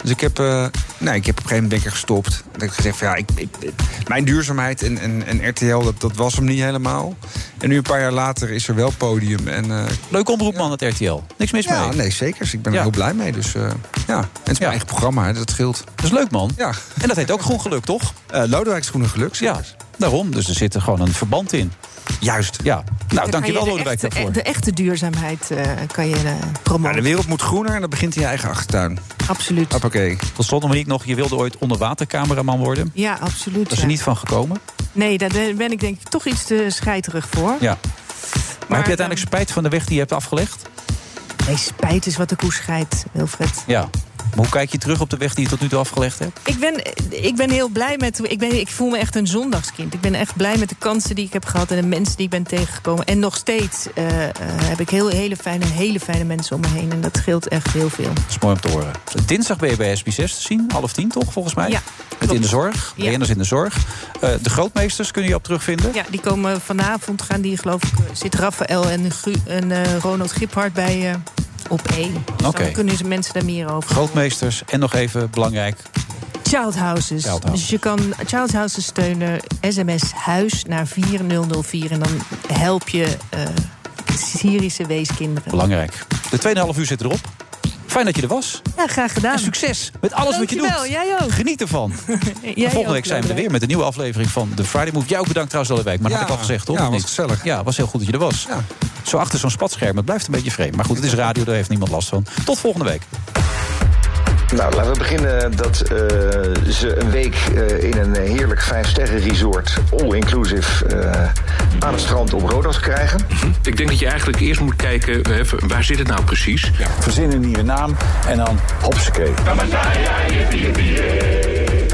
[SPEAKER 20] Dus ik heb, eh, nou, ik heb op een gegeven moment ben ik er gestopt. Dat ik gezegd van ja, ik, ik- ik- mijn duurzaamheid en, en, en RTL, dat, dat was hem niet helemaal. En nu een paar jaar later is er wel podium. En, eh,
[SPEAKER 8] Leuk omroep man, het RTL. Niks mis
[SPEAKER 20] ja,
[SPEAKER 8] mee.
[SPEAKER 20] nee, zeker. Ik ben er heel blij mee. Dus eh, ja, en het is mijn eigen programma, hè, dat scheelt.
[SPEAKER 8] Dat is leuk, man.
[SPEAKER 20] Ja.
[SPEAKER 8] En dat heet ook Groen Geluk, toch?
[SPEAKER 20] Eh Lodewijk Schoenen Geluk,
[SPEAKER 8] Ja, daarom. Dus er zit er gewoon een verband in.
[SPEAKER 20] Juist.
[SPEAKER 8] Ja. Nou,
[SPEAKER 9] Dan ga je
[SPEAKER 8] dankjewel
[SPEAKER 9] de
[SPEAKER 8] Lodewijk
[SPEAKER 9] echte-
[SPEAKER 8] daarvoor.
[SPEAKER 9] De echte duurzaamheid eh, kan je eh,
[SPEAKER 20] Ja, de
[SPEAKER 9] promoten.
[SPEAKER 20] wereld moet groener en dat begint in je eigen achtertuin.
[SPEAKER 9] Absoluut.
[SPEAKER 20] Hoppakee.
[SPEAKER 8] Tot slot, Monique, nog, je wilde ooit onderwatercameraman worden.
[SPEAKER 9] Ja, absoluut.
[SPEAKER 8] Daar is
[SPEAKER 9] ja.
[SPEAKER 8] er niet van gekomen.
[SPEAKER 9] Nee, daar ben ik denk ik toch iets te scheiterig voor.
[SPEAKER 8] Ja. Maar, heb je uiteindelijk spijt van de weg die je hebt afgelegd?
[SPEAKER 9] Nee, spijt is wat de koe scheidt, Wilfred.
[SPEAKER 8] Ja. Maar hoe kijk je terug op de weg die je tot nu toe afgelegd hebt?
[SPEAKER 9] Ik ben, ik ben heel blij met. Ik, ben, ik voel me echt een zondagskind. Ik ben echt blij met de kansen die ik heb gehad en de mensen die ik ben tegengekomen. En nog steeds eh, eh, heb ik heel, hele, fijne, hele fijne mensen om me heen. En dat scheelt echt heel veel.
[SPEAKER 8] Dat is mooi om te horen. Dinsdag ben je bij SB6 te zien, half tien toch, volgens mij?
[SPEAKER 9] Ja,
[SPEAKER 8] Het in de zorg,
[SPEAKER 9] Ja.
[SPEAKER 8] BN'ers in de zorg. Eh, de grootmeesters kunnen je op terugvinden.
[SPEAKER 9] Ja, die komen vanavond gaan die geloof ik. eh, Zit Raphaël en, Gu- en eh, Ronald Giphart bij eh, op één. Dus
[SPEAKER 8] Oké.
[SPEAKER 9] Dan kunnen ze mensen daar meer over.
[SPEAKER 8] Grootmeesters en nog even belangrijk,
[SPEAKER 9] Childhouses.
[SPEAKER 8] Child houses.
[SPEAKER 9] Dus je kan Childhouses steunen. SMS huis naar 4004. En dan help je eh, Syrische weeskinderen.
[SPEAKER 8] belangrijk. De tweede half uur zit erop. Fijn dat je er was.
[SPEAKER 9] Ja, graag gedaan.
[SPEAKER 8] En succes met alles wat je
[SPEAKER 9] Dankjewel,
[SPEAKER 8] doet.
[SPEAKER 9] jij ook.
[SPEAKER 8] Geniet ervan.
[SPEAKER 9] Jij
[SPEAKER 8] En
[SPEAKER 9] ook,
[SPEAKER 8] volgende week zijn we er
[SPEAKER 9] Lodewijk.
[SPEAKER 8] weer met een nieuwe aflevering van The Friday Move. Jou ook bedankt trouwens, Lodewijk. Maar dat
[SPEAKER 20] Ja.
[SPEAKER 8] had ik al gezegd, toch?
[SPEAKER 20] Ja,
[SPEAKER 8] Of
[SPEAKER 20] was
[SPEAKER 8] niet? Ja, was heel goed dat je er was. Zo achter zo'n spatscherm, het blijft een beetje vreemd. Maar goed, het is radio, daar heeft niemand last van. Tot volgende week.
[SPEAKER 5] Nou, laten we beginnen dat eh, ze een week eh, in een heerlijk vijfsterren resort, all-inclusive, eh, aan het strand op Rodas krijgen.
[SPEAKER 21] Mhm. Ik denk dat je eigenlijk eerst moet kijken, eh, waar zit het nou precies?
[SPEAKER 12] Verzin een nieuwe naam en dan hopsakee.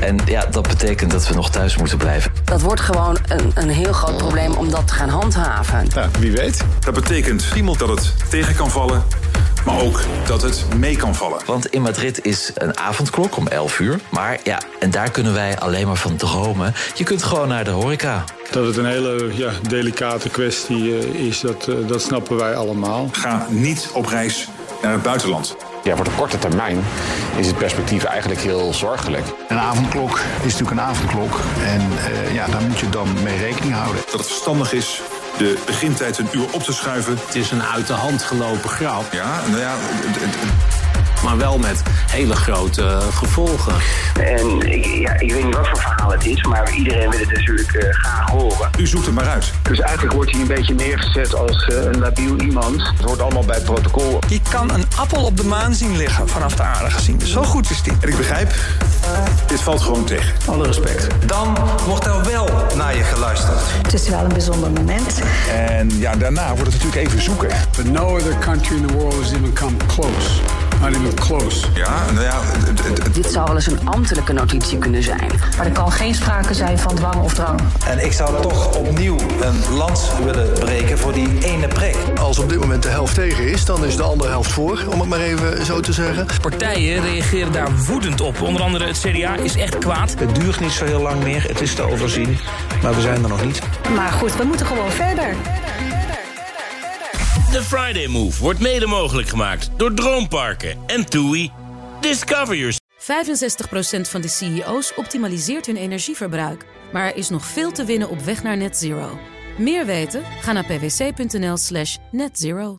[SPEAKER 5] En ja, dat betekent dat we nog thuis moeten blijven.
[SPEAKER 7] Dat wordt gewoon een, een heel groot probleem om dat te gaan handhaven.
[SPEAKER 6] wie weet. Dat betekent iemand dat het tegen kan vallen, maar ook dat het mee kan vallen.
[SPEAKER 5] Want in Madrid is een avondklok om 11 uur. Maar ja, en daar kunnen wij alleen maar van dromen. Je kunt gewoon naar de horeca.
[SPEAKER 22] Dat het een hele ja, delicate kwestie eh, is, dat, eh, dat snappen wij allemaal.
[SPEAKER 6] Ga niet op reis naar het buitenland.
[SPEAKER 23] Ja, voor de korte termijn is het perspectief eigenlijk heel zorgelijk.
[SPEAKER 12] Een avondklok is natuurlijk een avondklok. En eh, ja, daar moet je dan mee rekening houden.
[SPEAKER 6] Dat het verstandig is de begintijd een uur op te schuiven. Het is een uit de hand gelopen grap. Ja, nou ja, het- het- het-
[SPEAKER 21] Maar wel met hele grote eh, gevolgen.
[SPEAKER 19] En ik, ja, ik weet niet wat voor verhaal het is, maar iedereen wil het natuurlijk eh, graag horen.
[SPEAKER 6] u zoekt het maar uit.
[SPEAKER 19] Dus eigenlijk wordt hij een beetje neergezet als eh, een labiel iemand. Het hoort allemaal bij het protocol.
[SPEAKER 24] Je kan een appel op de maan zien liggen vanaf de aarde gezien. Dus Zo goed is die.
[SPEAKER 6] En ik begrijp, dit valt gewoon tegen.
[SPEAKER 24] Alle respect.
[SPEAKER 6] Dan wordt er wel naar je geluisterd.
[SPEAKER 25] Het is wel een bijzonder moment.
[SPEAKER 6] En ja, daarna wordt het natuurlijk even zoeken.
[SPEAKER 22] But no other country in the world has even come close. Not even close.
[SPEAKER 6] Ja, nou ja,
[SPEAKER 7] Dit zou wel eens een ambtelijke notitie kunnen zijn.
[SPEAKER 25] Maar er kan geen sprake zijn van dwang of drang.
[SPEAKER 26] En ik zou toch opnieuw een lans willen breken voor die ene prik.
[SPEAKER 27] Als op dit moment de helft tegen is, dan is de andere helft voor, om het maar even zo te zeggen.
[SPEAKER 14] Partijen reageren daar woedend op. Onder andere het CDA is echt kwaad.
[SPEAKER 21] Het duurt niet zo heel lang meer, het is te overzien, maar we zijn er nog niet.
[SPEAKER 25] Maar goed, we moeten gewoon verder.
[SPEAKER 15] De Friday Move wordt mede mogelijk gemaakt door Droomparken en TUI. Discover your
[SPEAKER 1] 65% van de CEO's optimaliseert hun energieverbruik. Maar er is nog veel te winnen op weg naar net zero. Meer weten? Ga naar pwc.nl slash netzero.